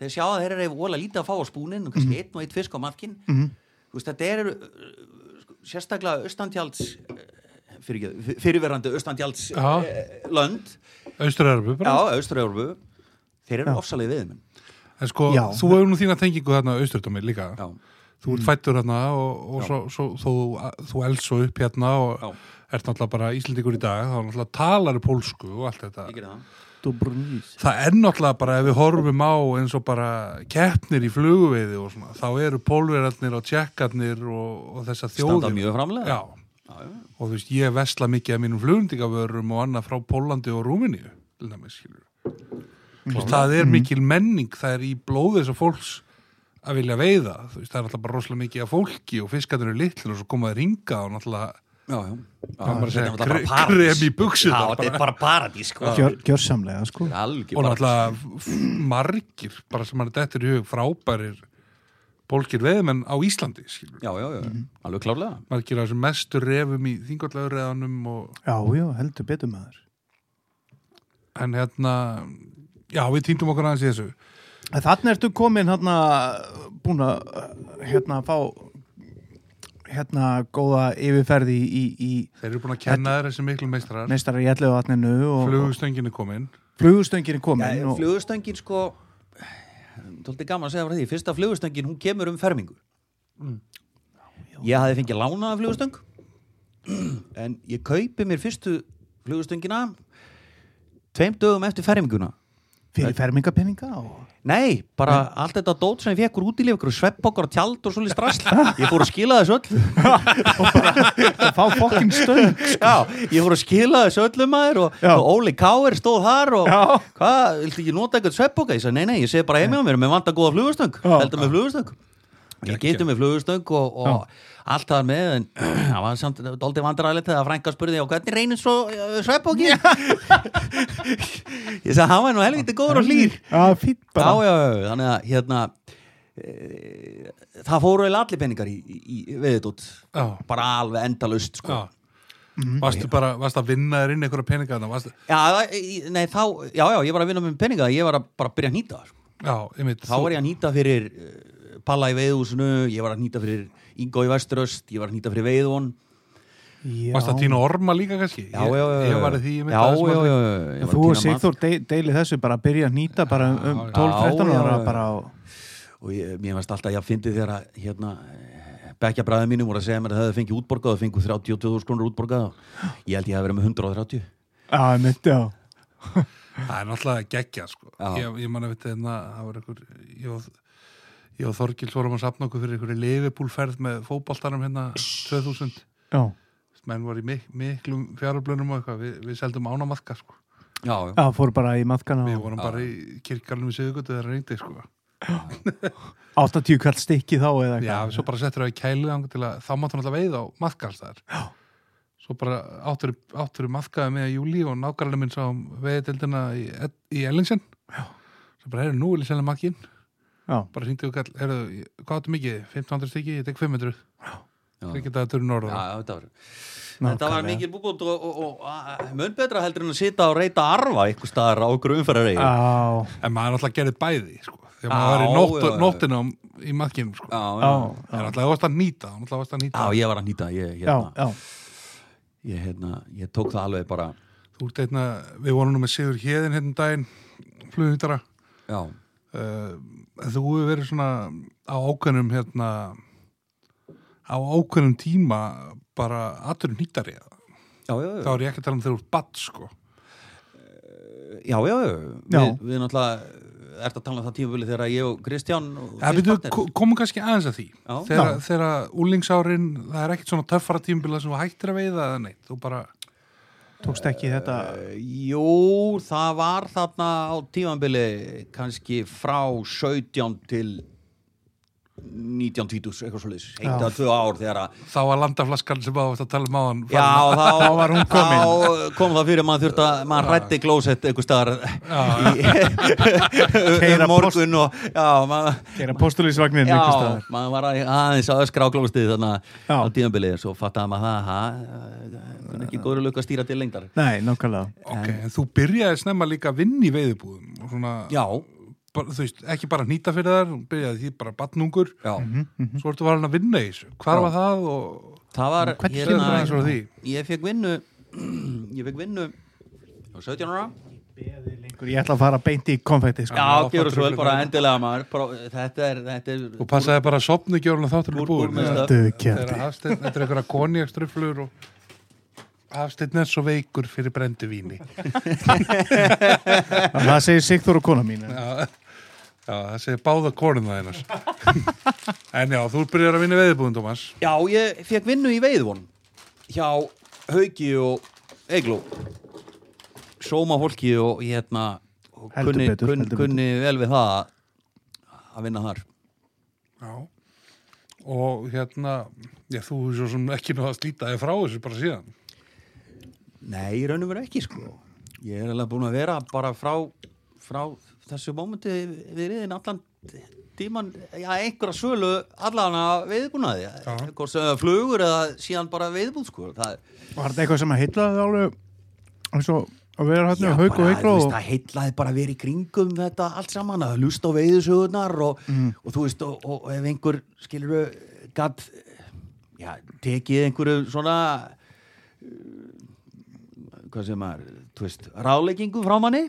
[SPEAKER 3] þeir sjá að þeir eru vola lítið að fá á spúnin og
[SPEAKER 1] Mhm.
[SPEAKER 3] kannski einn og eitt fisk á matkin mm. veist, þetta er uh, sko, sérstaklega austantjalds eh, fyrir, fyrirverandi austantjalds
[SPEAKER 1] Já.
[SPEAKER 3] eh, lönd
[SPEAKER 1] austur-erbu
[SPEAKER 3] já,
[SPEAKER 1] bara
[SPEAKER 3] austra-európu þeir eru ofsalegi viðmenn
[SPEAKER 1] en sko,
[SPEAKER 2] Já. Mm.
[SPEAKER 1] þú hefur nú þína tengingu þarna austur-dómi líka
[SPEAKER 3] já,
[SPEAKER 1] þú ert fættur hérna og, og svo, svo, þú, þú elst svo upp hérna og
[SPEAKER 3] Já.
[SPEAKER 1] ert náttúrulega bara Íslendingur í dag þá náttúrulega talar pólsku og allt þetta
[SPEAKER 3] ég gerir það
[SPEAKER 2] Dubrovnik.
[SPEAKER 1] það er náttúrulega bara ef við horfum á eins og bara keppnir í fluguveiði og svona, þá eru pólverarnir og tjekkarnir og, og þessa þjóðir
[SPEAKER 3] standa mjög framlega
[SPEAKER 1] Já. og þú veist, ég vesla mikið af mínum flugundingavörum og annað frá Pólandi og Rúminíu til dæmis, skilur og það er mikil menning, það er í blóði þess að fólks að vilja veiða þú veist, það er alltaf bara rosalega mikið af fólki og fiskarnir eru litlir og svo koma þeir ringa og náttúrulega
[SPEAKER 3] já, já. Já,
[SPEAKER 1] Hvað maður að
[SPEAKER 3] þetta
[SPEAKER 1] segja,
[SPEAKER 3] er náttúrulega
[SPEAKER 1] kre-
[SPEAKER 3] bara paradís.
[SPEAKER 1] krem í buxurnar
[SPEAKER 3] já, þetta er bara paradís sko.
[SPEAKER 2] Gjör, gjörsamlega sko
[SPEAKER 1] og
[SPEAKER 3] algjör paradís
[SPEAKER 1] náttúrulega f- margir bara sem hann er dettur í hug frábærir bólkir veiðmenn á Íslandi skilur.
[SPEAKER 3] já, já, já, alveg klárlega
[SPEAKER 1] margir af þessum mestu refum í þingvallaurreðanum og
[SPEAKER 2] já, já, heldur betur maður
[SPEAKER 1] en hérna já við týndum okkur aðeins í þessu
[SPEAKER 2] En Þarna ertu komin hérna búin að hérna fá hérna góða yfirferði í, í,
[SPEAKER 1] þeir eru búin að kenna þér þessi miklu
[SPEAKER 2] í
[SPEAKER 1] meistrar
[SPEAKER 2] meistara í ellu vatninu og
[SPEAKER 1] flugustöngin er komin
[SPEAKER 2] flugustöngin er komin
[SPEAKER 3] Já,
[SPEAKER 2] og,
[SPEAKER 3] flugustöngin sko tólti gaman að segja frá því fyrsta flugustöngin hún kemur um fermingu ég hafði fengið lánaða flugustöng en ég kaupi mér fyrstu flugustöngina tveim dögum eftir ferminguna
[SPEAKER 2] fyrir fermingapenninga og
[SPEAKER 3] nei, bara allt þetta dót sem ég fekk úr útilíf ykkur svepp okkar og tjald og svolítið strassl ég fór að skila þessu öll
[SPEAKER 2] og fá fokkin stöng
[SPEAKER 3] Já, ég fór að skila þessu öllum maður og,
[SPEAKER 2] Já.
[SPEAKER 3] og Óli Káir stóð þar og
[SPEAKER 2] Já.
[SPEAKER 3] hvað, viltu ekki nota eitthvað sveppoka? Ég sagði, nei, nei, ég segi bara heim hjá mér, mér vantar góða flugastöng,
[SPEAKER 2] Já.
[SPEAKER 3] heldur mér flugastöng Ég geti mér flugastöng og, og allt það með, en það var samt doldið vandrarlegt þegar frænka spurði og hvernig reynir svo uh, sveppoki? ég sagði, hann var nú helviti góður og hlýr
[SPEAKER 2] Já, fýtt
[SPEAKER 3] já,
[SPEAKER 2] bara
[SPEAKER 3] já, já, þannig að hérna e, það fóru eiginlega allir peningar í, í, í veðiðdótt
[SPEAKER 1] Já.
[SPEAKER 3] bara alveg endalaust sko.
[SPEAKER 1] Já. Varstu bara, varstu að vinna þér inn einhverja peninga þarna, varstu,
[SPEAKER 3] Já, það- nei, þá, já, já, ég var að vinna með peninga ég var að bara byrja að nýta það, sko.
[SPEAKER 1] já, einmitt,
[SPEAKER 3] þá var ég að nýta fyrir uh, Palla í veiðhúsinu, ég var að nýta fyrir Ingo í Vesturöst, ég var að nýta fyrir veiðvon
[SPEAKER 2] Já.
[SPEAKER 1] varstu að tína orma líka kannski?
[SPEAKER 3] Já, já, já, já,
[SPEAKER 1] Ég, ég var að því, ég
[SPEAKER 3] já, já, já, já,
[SPEAKER 1] um
[SPEAKER 3] ég var
[SPEAKER 2] Þú og
[SPEAKER 3] að tína
[SPEAKER 2] Sigþór de deili þessu bara að byrja að nýta bara um
[SPEAKER 1] Já,
[SPEAKER 2] 12-13
[SPEAKER 3] já,
[SPEAKER 2] ára
[SPEAKER 3] já.
[SPEAKER 2] bara á...
[SPEAKER 3] mat og ég, mér varst alltaf, ég fyndi þegar að hérna, bekja bræðið mínum voru að segja mér að það hefði fengið útborgað og fengið 32.000 krónur útborgað og ég held ég hefði verið með 130
[SPEAKER 2] Já, mitt, já.
[SPEAKER 1] Það er náttúrulega geggja, sko.
[SPEAKER 3] Já.
[SPEAKER 1] Ég, ég man að veit hérna, það var einhver, ég og, ég og Þorgils vorum að safna okkur fyrir einhverju leifibúlferð með fótboltanum hérna 2000.
[SPEAKER 2] Já,
[SPEAKER 1] Menn voru í mik miklum fjáröflunum og eitthvað, við, við seldum ánamaðka, sko.
[SPEAKER 3] já, já,
[SPEAKER 2] já fór bara í maðkana
[SPEAKER 1] Við
[SPEAKER 2] og
[SPEAKER 1] vorum bara í kirkarnum í Sigurgötu þegar reyndi, sko.
[SPEAKER 2] 80 kall stikki þá eða
[SPEAKER 1] Já,
[SPEAKER 2] eitthvað.
[SPEAKER 1] svo bara settur það í kælið þangað til að þá máttu náttúrulega veið á maðka alls þar. Já. Svo bara áttur, áttur maðkaði með júli og nákvæmlega minn sá um veiðeldina í, í Ellingsson. Já. Svo bara, heyrðu, nú er ég selja maðkinn.
[SPEAKER 2] Já,
[SPEAKER 1] bara hringdi og kall, heyrðu, hvað áttu mikið? 1500 stykki, ég tek 500
[SPEAKER 3] já.
[SPEAKER 1] ekki þetta að turn
[SPEAKER 3] Já,
[SPEAKER 1] orða
[SPEAKER 3] já, þetta var, þetta var
[SPEAKER 2] nákvæmlega.
[SPEAKER 3] mikil búbót og, og, og, og mun betra heldur en að sita og reyta arfa eitthvað staðar á okkur umferðaregi
[SPEAKER 2] Já,
[SPEAKER 1] en maður alltaf gerði bæði sko. þegar
[SPEAKER 3] Já,
[SPEAKER 1] maður var í nótt,
[SPEAKER 3] já, já.
[SPEAKER 1] nóttina í maðkinum sko.
[SPEAKER 3] já,
[SPEAKER 2] já,
[SPEAKER 1] en alltaf varst að nýta alltaf varst að nýta
[SPEAKER 3] Já, ég var að nýta, ég,
[SPEAKER 2] já,
[SPEAKER 3] hérna,
[SPEAKER 2] já.
[SPEAKER 3] ég, hérna, ég tók það alveg bara,
[SPEAKER 1] Þú ert einna, við vorum nú með Sigur Hjeðin hérna um daginn flughyndara
[SPEAKER 3] já,
[SPEAKER 1] uh, þú hefur verið svona á ákveðnum hérna á ákveðnum tíma bara aður nýtari
[SPEAKER 3] já, já, já,
[SPEAKER 1] þá er ég ekki að tala um þegar úr badd sko.
[SPEAKER 3] já, já, já.
[SPEAKER 2] Já.
[SPEAKER 3] Við, við náttúrulega ert að tala um það tímabili þegar ég og Kristján og
[SPEAKER 1] Ja,
[SPEAKER 3] þinn
[SPEAKER 1] byrju,
[SPEAKER 3] partner-
[SPEAKER 1] ko- komum kannski aðeins að því
[SPEAKER 3] Já.
[SPEAKER 1] þegar,
[SPEAKER 2] Já.
[SPEAKER 1] þegar úlingsárin, það er ekkert svona töffara tímbila sem þú hættir að veiða eða neitt þú bara,
[SPEAKER 2] Tókst ekki þetta...
[SPEAKER 3] Jú, það var þarna á tímabili kannski frá 17 til 1920, eitthvað svo leiðis, eitt að tvö ár þegar að
[SPEAKER 1] þá var landaflaskan sem ávægt að tala um á hann
[SPEAKER 3] Já, þá,
[SPEAKER 2] var hún komin.
[SPEAKER 3] þá kom það fyrir að maður þurft að maður hrætti glósett einhver staðar
[SPEAKER 2] Keyra
[SPEAKER 3] í um morgun og já, maður
[SPEAKER 2] Gera postulísvagnin einhvers
[SPEAKER 3] Já,
[SPEAKER 2] staðar.
[SPEAKER 3] maður var að- aðeins að öskra á glófustið þannig
[SPEAKER 2] Já.
[SPEAKER 3] á tíðanbilið svo fattaði maður það ha, það er ekki góður að lukka að stýra til lengdar
[SPEAKER 2] Nei, nákvæmlega.
[SPEAKER 1] ok, en þú byrjaði snemma líka að vinna í veiðubúðum og svona,
[SPEAKER 3] Já,
[SPEAKER 1] bara, þú veist, ekki bara nýta fyrir þar þú byrjaði því bara badnungur
[SPEAKER 3] já
[SPEAKER 1] svo ertu varan að vinna í þessu, hvar var það og
[SPEAKER 3] Það var hérna-
[SPEAKER 2] Hvernig
[SPEAKER 1] kemur það eins og því?
[SPEAKER 3] Ég fekk vinnu Ég fekk vinnu á 17 ára
[SPEAKER 2] Ég ætla að fara beint í konfekti, sko.
[SPEAKER 3] Já,
[SPEAKER 1] það
[SPEAKER 3] gefur svo vel
[SPEAKER 1] truflar
[SPEAKER 3] bara
[SPEAKER 1] mig.
[SPEAKER 3] endilega maður bara- Þetta er, þetta er
[SPEAKER 1] og passaði bara að sopna ekki orðan þáttur í
[SPEAKER 3] Úr- úr
[SPEAKER 1] búðum
[SPEAKER 3] með
[SPEAKER 1] þegar
[SPEAKER 3] stöf.
[SPEAKER 2] Döðkjandi.
[SPEAKER 1] þegar Hafsteinn, þetta er einhverja konjakstruflur og Hafsteinn er svo veikur fyrir brendu víni
[SPEAKER 2] Það segir Sigþór og kona mín. en-
[SPEAKER 1] Já, já það segir báða konum það einars. en já, þú byrjar að vinna veðibúðum, Thomas.
[SPEAKER 3] Já, ég fekk vinnu í veiðvon hjá Hauki og Egló Sóma fólki og ég hérna og
[SPEAKER 2] Heldur
[SPEAKER 3] kunni,
[SPEAKER 2] betur,
[SPEAKER 3] kunni,
[SPEAKER 2] heldur betur.
[SPEAKER 3] kunni vel við það að- að vinna þar
[SPEAKER 1] Já. Og hérna, já, þú er svo sem ekki náða að slíta þig frá þessu bara síðan.
[SPEAKER 3] Nei, í raunum verið ekki sko Ég er alveg búin að vera bara frá, frá þessu mómenti við reyðin allan tíman já, einhverja sölu allan að veiðbúnaði hvort sem það flugur eða síðan bara veiðbúð sko það er
[SPEAKER 2] Var þetta eitthvað sem að heitla það alveg? eins og að vera hérna haug og
[SPEAKER 3] bara,
[SPEAKER 2] heikló
[SPEAKER 3] þú veist,
[SPEAKER 2] og...
[SPEAKER 3] það heitlaði bara að vera í kringum þetta allt saman, að lusta á veiðisögunar og,
[SPEAKER 2] Mm.
[SPEAKER 3] og þú veist, og, og ef einhver skilur gatt já, tekið einhverju svona eh, hvað sem maður, þú veist, ráleggingum frá manni,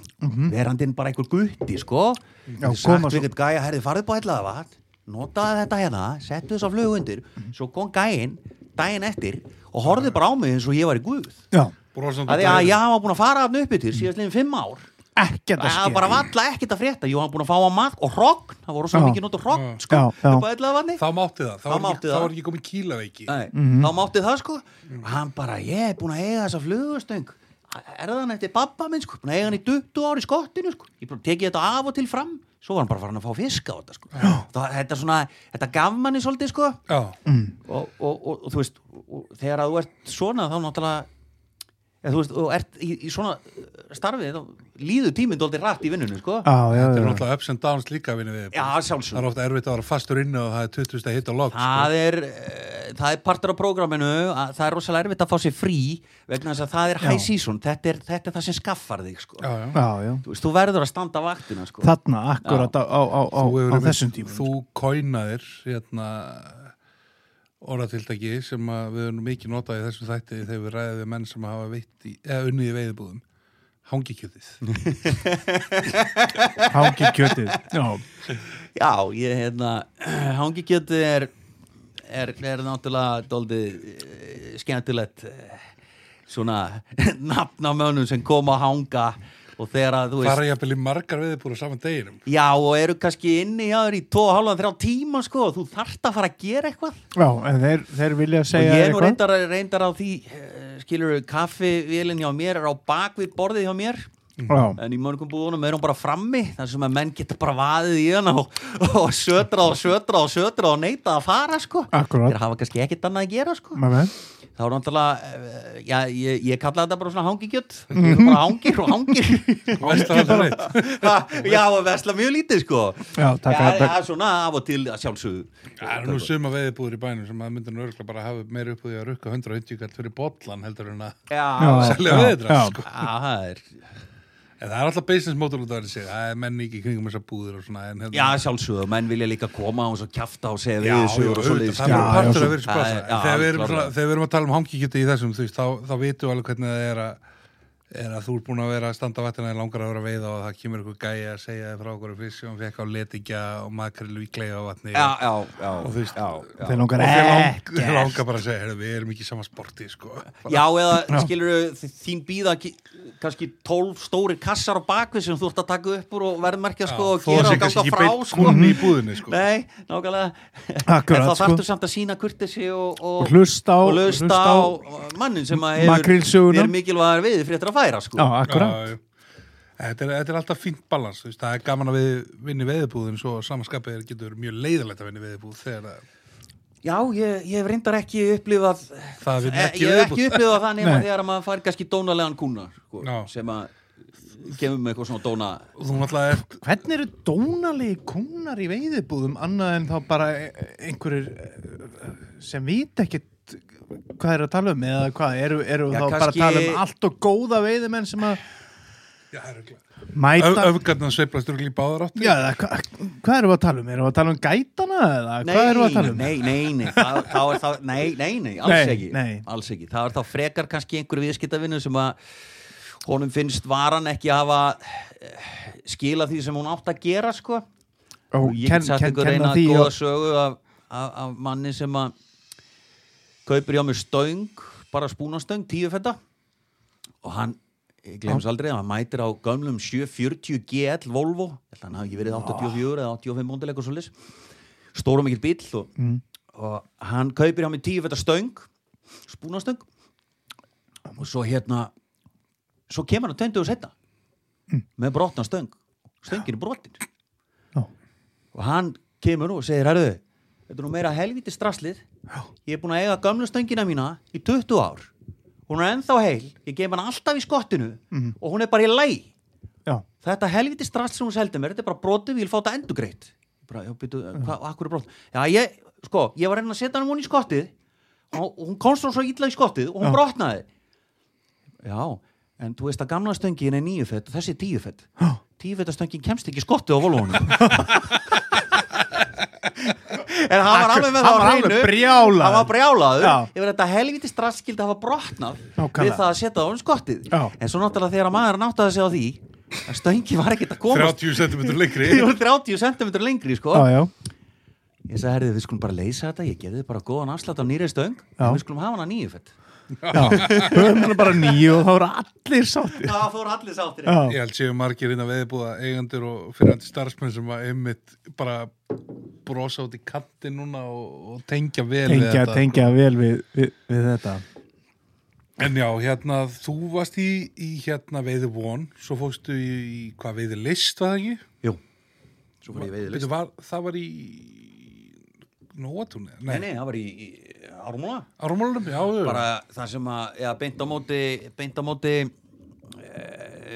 [SPEAKER 3] verandinn bara einhver gutti, sko,
[SPEAKER 2] Mhm. Já,
[SPEAKER 3] Þú
[SPEAKER 2] koma
[SPEAKER 3] sagt
[SPEAKER 2] svo-
[SPEAKER 3] við eitthvað gæja, herði farið búið ætlaði vatn notaði þetta hérna, settu þess að flugu undir
[SPEAKER 2] Mhm.
[SPEAKER 3] svo kom gæinn, daginn eftir og horfði bara á mig eins og ég var í guð
[SPEAKER 2] Já,
[SPEAKER 1] Brosandi
[SPEAKER 3] að, að ég hafa búin að fara afn uppi til síðast liðin fimm ár
[SPEAKER 2] ekkert að
[SPEAKER 3] það var
[SPEAKER 2] skilja.
[SPEAKER 3] bara valla ekkert að frétta ég hafa búin að fá að mat og hrogn það voru svo
[SPEAKER 2] Já.
[SPEAKER 3] mikið nót og hrogn sko,
[SPEAKER 2] Já, já.
[SPEAKER 3] upp að ætlaða vatni
[SPEAKER 1] Þá mátti það. Þá,
[SPEAKER 3] Þá
[SPEAKER 1] var
[SPEAKER 3] mátti
[SPEAKER 1] ekki,
[SPEAKER 3] það.
[SPEAKER 1] Þá var ekki komið kílaveiki.
[SPEAKER 3] Nei,
[SPEAKER 2] Mhm.
[SPEAKER 3] þá mátti það sko og hann bara, ég er búin að eiga þessa flugustöng er það hann eftir babba minn sko búin að eiga hann í 20 ár í skottinu sko ég bara tekið þetta af og til fram svo var hann bara farin að fá fiska á þetta sko það, þetta, er svona, þetta gaf manni svolítið sko
[SPEAKER 1] Já.
[SPEAKER 2] Mm.
[SPEAKER 3] og, og, og, og þú veist og, og, þegar að þú ert svona þá náttúrulega eða, þú veist, og ert í, í svona uh, starfi þá líður tíminn dóldi rætt í vinnunni sko.
[SPEAKER 2] Já, já,
[SPEAKER 1] þetta er
[SPEAKER 2] já.
[SPEAKER 1] náttúrulega ups and downs líka vinni við
[SPEAKER 3] já,
[SPEAKER 1] það
[SPEAKER 3] sjálfsög
[SPEAKER 1] er ofta erfitt að vera fastur inni og það er 20.000 að hitta logg sko.
[SPEAKER 3] það er, eh, það er partur á prógraminu að það er rosalega erfitt að fá sér frí vegna þess að það er high season þetta er, þetta er það sem skaffar þig sko.
[SPEAKER 1] já, já.
[SPEAKER 2] já, já.
[SPEAKER 3] þú, veist, þú verður að standa vaktina sko.
[SPEAKER 2] Þarna, akkurat á, á, á, á,
[SPEAKER 1] Þú hefur
[SPEAKER 2] á
[SPEAKER 1] einmitt-
[SPEAKER 2] þessum sko. tímum
[SPEAKER 1] þú kóinaðir hérna orðatildagi sem að við höfum mikið notað í þessum þætti þegar við ræðum við menn sem hafa veitt í, eða unnið í veiðbúðum hangikjötið
[SPEAKER 2] Hangi kjötið Já,
[SPEAKER 3] já, ég hérna hangi getur er, er, er náttúrulega dóldi skemmtilegt eh, svona nafn á mönum sem koma að hanga og þegar að þú veist
[SPEAKER 1] fara ég að byrja margar veiðbúður á saman deginum
[SPEAKER 3] Já, og eru kannski inni hjá þér í 2,5-3 tíma, sko, og þú þarft að fara að gera eitthvað.
[SPEAKER 2] já en þeir, þeir vilja segja
[SPEAKER 3] og ég
[SPEAKER 2] þér
[SPEAKER 3] er nú reyndar, reyndar á því, eh, skilur við, kaffivélinn hjá mér er á bakvið borðið hjá mér,
[SPEAKER 2] Já,
[SPEAKER 3] en í mörgum búðunum er hún bara frammi, þar sem að menn geta bara vaðið í hana og, og sötra og sötra og sötra og neita að fara, sko.
[SPEAKER 2] Akkurat.
[SPEAKER 3] Þeir hafa kannski ekkert annað að gera, sko.
[SPEAKER 2] maður með
[SPEAKER 3] Þá er náttúrulega, eh, já, ég, ég kalla þetta bara svona hangikjött, ég er bara hangir og hangir.
[SPEAKER 1] Veist það alveg neitt?
[SPEAKER 3] Ha, já, að vesla mjög lítið sko
[SPEAKER 2] Já, takk,
[SPEAKER 3] já,
[SPEAKER 2] takk.
[SPEAKER 3] já, svona af og til að sjálfsögðu
[SPEAKER 1] Það eru nú suma veiðbúður í bænum sem að myndir nú örgulega bara hafa meira upp á því að rukka 150 kall fyrir bollan heldur en að
[SPEAKER 3] já, já,
[SPEAKER 1] selja
[SPEAKER 2] já,
[SPEAKER 1] veiðdra
[SPEAKER 2] já.
[SPEAKER 1] sko.
[SPEAKER 3] það er
[SPEAKER 1] En það er alltaf business model út af þessi það er menn ekki í kringum þessar búður og svona en hérna-
[SPEAKER 3] já, sjálfsögðu, menn vilja líka koma og svo kjafta og segja
[SPEAKER 1] Já,
[SPEAKER 3] við
[SPEAKER 1] já,
[SPEAKER 3] þessu og svo
[SPEAKER 1] auðvitað, það
[SPEAKER 2] Já,
[SPEAKER 1] verður partur að
[SPEAKER 2] já,
[SPEAKER 1] vera spasa
[SPEAKER 3] svo- Já, já,
[SPEAKER 1] þegar, við erum
[SPEAKER 3] klárlega.
[SPEAKER 1] svona- þegar við erum að tala um hangikjöti í þessum þú veist, þá, þá vitum við alveg hvernig það er að, er að þú ert búin að vera að standa vatnina í langar að vera að veiða og það kemur ykkur gæja að segja þér frá okkur um fisk sem hann fekk á letikja og makrilu í kleiða vatni
[SPEAKER 3] já,
[SPEAKER 1] og
[SPEAKER 3] já, já, já, já.
[SPEAKER 2] Þeir langar
[SPEAKER 1] þér lang-
[SPEAKER 2] ekki
[SPEAKER 1] þér langar bara að segja "Heyrðu, við erum ekki í sama sporti sko.
[SPEAKER 3] já, eða skilur þín býða ki- kannski 12 stóri kassar á bakvið sem þú ert að taka upp úr og verðmerkja sko og
[SPEAKER 1] þó að sé
[SPEAKER 3] gera og
[SPEAKER 1] kannski
[SPEAKER 3] ganga
[SPEAKER 1] ekki
[SPEAKER 3] frá
[SPEAKER 1] beint
[SPEAKER 3] sko
[SPEAKER 1] kúnni í búðinni sko.
[SPEAKER 3] Nei, nákvæmlega En
[SPEAKER 2] Akkurat,
[SPEAKER 3] þá
[SPEAKER 2] sko.
[SPEAKER 3] þarftu samt að sína kurtesi og,
[SPEAKER 2] Og hlusta á-
[SPEAKER 3] og hlusta
[SPEAKER 2] hlusta
[SPEAKER 3] á
[SPEAKER 2] á-
[SPEAKER 3] mannin sem að
[SPEAKER 2] Makrílsöguna.
[SPEAKER 3] er mikilvæðar við fréttir að færa sko
[SPEAKER 2] Já, akkurat
[SPEAKER 1] Já, já. Þetta er, þetta er alltaf fínt balans, þú veist, það er gaman að við vinni veiðbúðin svo samanskapið getur mjög leiðilegt að vinni veiðbúð þegar það
[SPEAKER 3] Já, ég, ég hef reyndar ekki upplifað
[SPEAKER 1] Það vill
[SPEAKER 3] Eh,
[SPEAKER 1] ekki
[SPEAKER 3] Ég hef ekki
[SPEAKER 1] viðbúð.
[SPEAKER 3] upplifað það nema
[SPEAKER 2] Nei.
[SPEAKER 3] þegar að maður fær kannski dónalegan kúna sko,
[SPEAKER 1] Já.
[SPEAKER 3] sem að kemur með eitthvað svona dóna
[SPEAKER 1] og þú náttúrulega ert
[SPEAKER 2] Hvernig eru dónalegi kúnar í veiðibúðum annað en þá bara e- e- einhverjir e, sem vita ekkert hvað er að tala um eða hvað, eru, eru
[SPEAKER 3] Já,
[SPEAKER 2] þá bara að
[SPEAKER 3] kannski-
[SPEAKER 2] tala um allt og góða veiðimenn sem að
[SPEAKER 1] Já, það er örugglega.
[SPEAKER 2] mæta
[SPEAKER 1] Öf- Öfgarnar sveiflast örugglega í báðar átti
[SPEAKER 2] Já, eða, hva, hvað erum við að tala um? Erum við að tala um gætana eða hvað erum við að tala um?
[SPEAKER 3] nei, nei, nei, það, þá er það, nei, nei, nei, alls
[SPEAKER 2] Nei,
[SPEAKER 3] ekki
[SPEAKER 2] nei.
[SPEAKER 3] alls ekki, það er þá frekar kannski einhver viðskiptavinnu sem að honum finnst varan ekki hafa eh, skilað því sem hún átt að gera sko
[SPEAKER 2] Ó,
[SPEAKER 3] og ég
[SPEAKER 2] ken-
[SPEAKER 3] get sagt
[SPEAKER 2] ken-
[SPEAKER 3] ykkur
[SPEAKER 2] kenna
[SPEAKER 3] eina
[SPEAKER 2] því
[SPEAKER 3] góða
[SPEAKER 2] og-
[SPEAKER 3] sögu af, af, af manni sem að kaupir hjá mér stöng bara spúnastöng, tíu fetta og hann, ég glems aldrei hann mætir á gömlum 740 GL Volvo, ég held að hann hafi ekki verið 84 eða 85 múndal eitthvað svoleiðis stóra mikill bíll og,
[SPEAKER 2] Mm.
[SPEAKER 3] og hann kaupir hjá mér tíu fetta stöng spúnastöng og svo hérna svo kemur hann 20 og setna
[SPEAKER 2] Mm.
[SPEAKER 3] með brotna stöng stöngin er brotin
[SPEAKER 2] Já.
[SPEAKER 3] og hann kemur nú og segir herðu, þetta er nú meira helviti straslið ég er búin að eiga gamlu stöngina mína í 20 ár hún er ennþá heil, ég gem hann alltaf í skottinu og hún er bara í læg
[SPEAKER 2] Já,
[SPEAKER 3] þetta helviti strass sem hún seldi mér þetta er bara brotum, ég vil fá þetta endugreitt Ég bara, já, byrju, hvað, akkur er brot já, ég, sko, ég var að reyna að setja hann hún í skottið og og hún komst hún svo illa í skottið og hún
[SPEAKER 2] Já.
[SPEAKER 3] brotnaði já, en þú veist að gamla stöngin er níu fett og þessi er tíu fett tíu fett stöngin kemst ekki í skottið á volvónu en hann var alveg
[SPEAKER 2] Hann
[SPEAKER 3] með það á
[SPEAKER 2] var alveg
[SPEAKER 3] hreinu.
[SPEAKER 2] brjálaður.
[SPEAKER 3] hann var brjálaður
[SPEAKER 2] Já.
[SPEAKER 3] yfir þetta helviti strass skildi hafa brotnað
[SPEAKER 2] Nákvæmlega.
[SPEAKER 3] við það að setja það á hún skottið
[SPEAKER 2] Já.
[SPEAKER 3] en svo náttúrulega þegar maður náttaði sig á því að stöngi var ekkert að komast
[SPEAKER 1] 30 cm lengri
[SPEAKER 3] því voru 30 cm lengri sko.
[SPEAKER 2] já, já
[SPEAKER 3] ég sagði herrið við skulum bara leysa þetta ég geði bara góðan afslátt á nýri stöng
[SPEAKER 2] Já.
[SPEAKER 3] en við skulum hafa hana nýju fett
[SPEAKER 2] Já, höfum hann bara nýju og þá eru allir sáttir
[SPEAKER 3] það fór allir sáttir
[SPEAKER 2] Já,
[SPEAKER 1] Ég held séu margir innan veiðbúða eigendur og fyrirandi starfsmenn sem að einmitt bara brosa út í kanti núna og, og tengja vel við
[SPEAKER 2] tengja,
[SPEAKER 1] þetta
[SPEAKER 2] tengja vel við, við, við þetta
[SPEAKER 1] En já, hérna, þú varst í, í hérna veiði von svo fórstu í, í hvað veiði list var það ekki?
[SPEAKER 3] jú svo fór ég veiðið
[SPEAKER 1] Bíddu, var, það var í Nóatúni?
[SPEAKER 3] nei, nei, það var í, í ármúla
[SPEAKER 1] Ármálunum, já, já.
[SPEAKER 3] bara það sem að já, beint á móti, beint á móti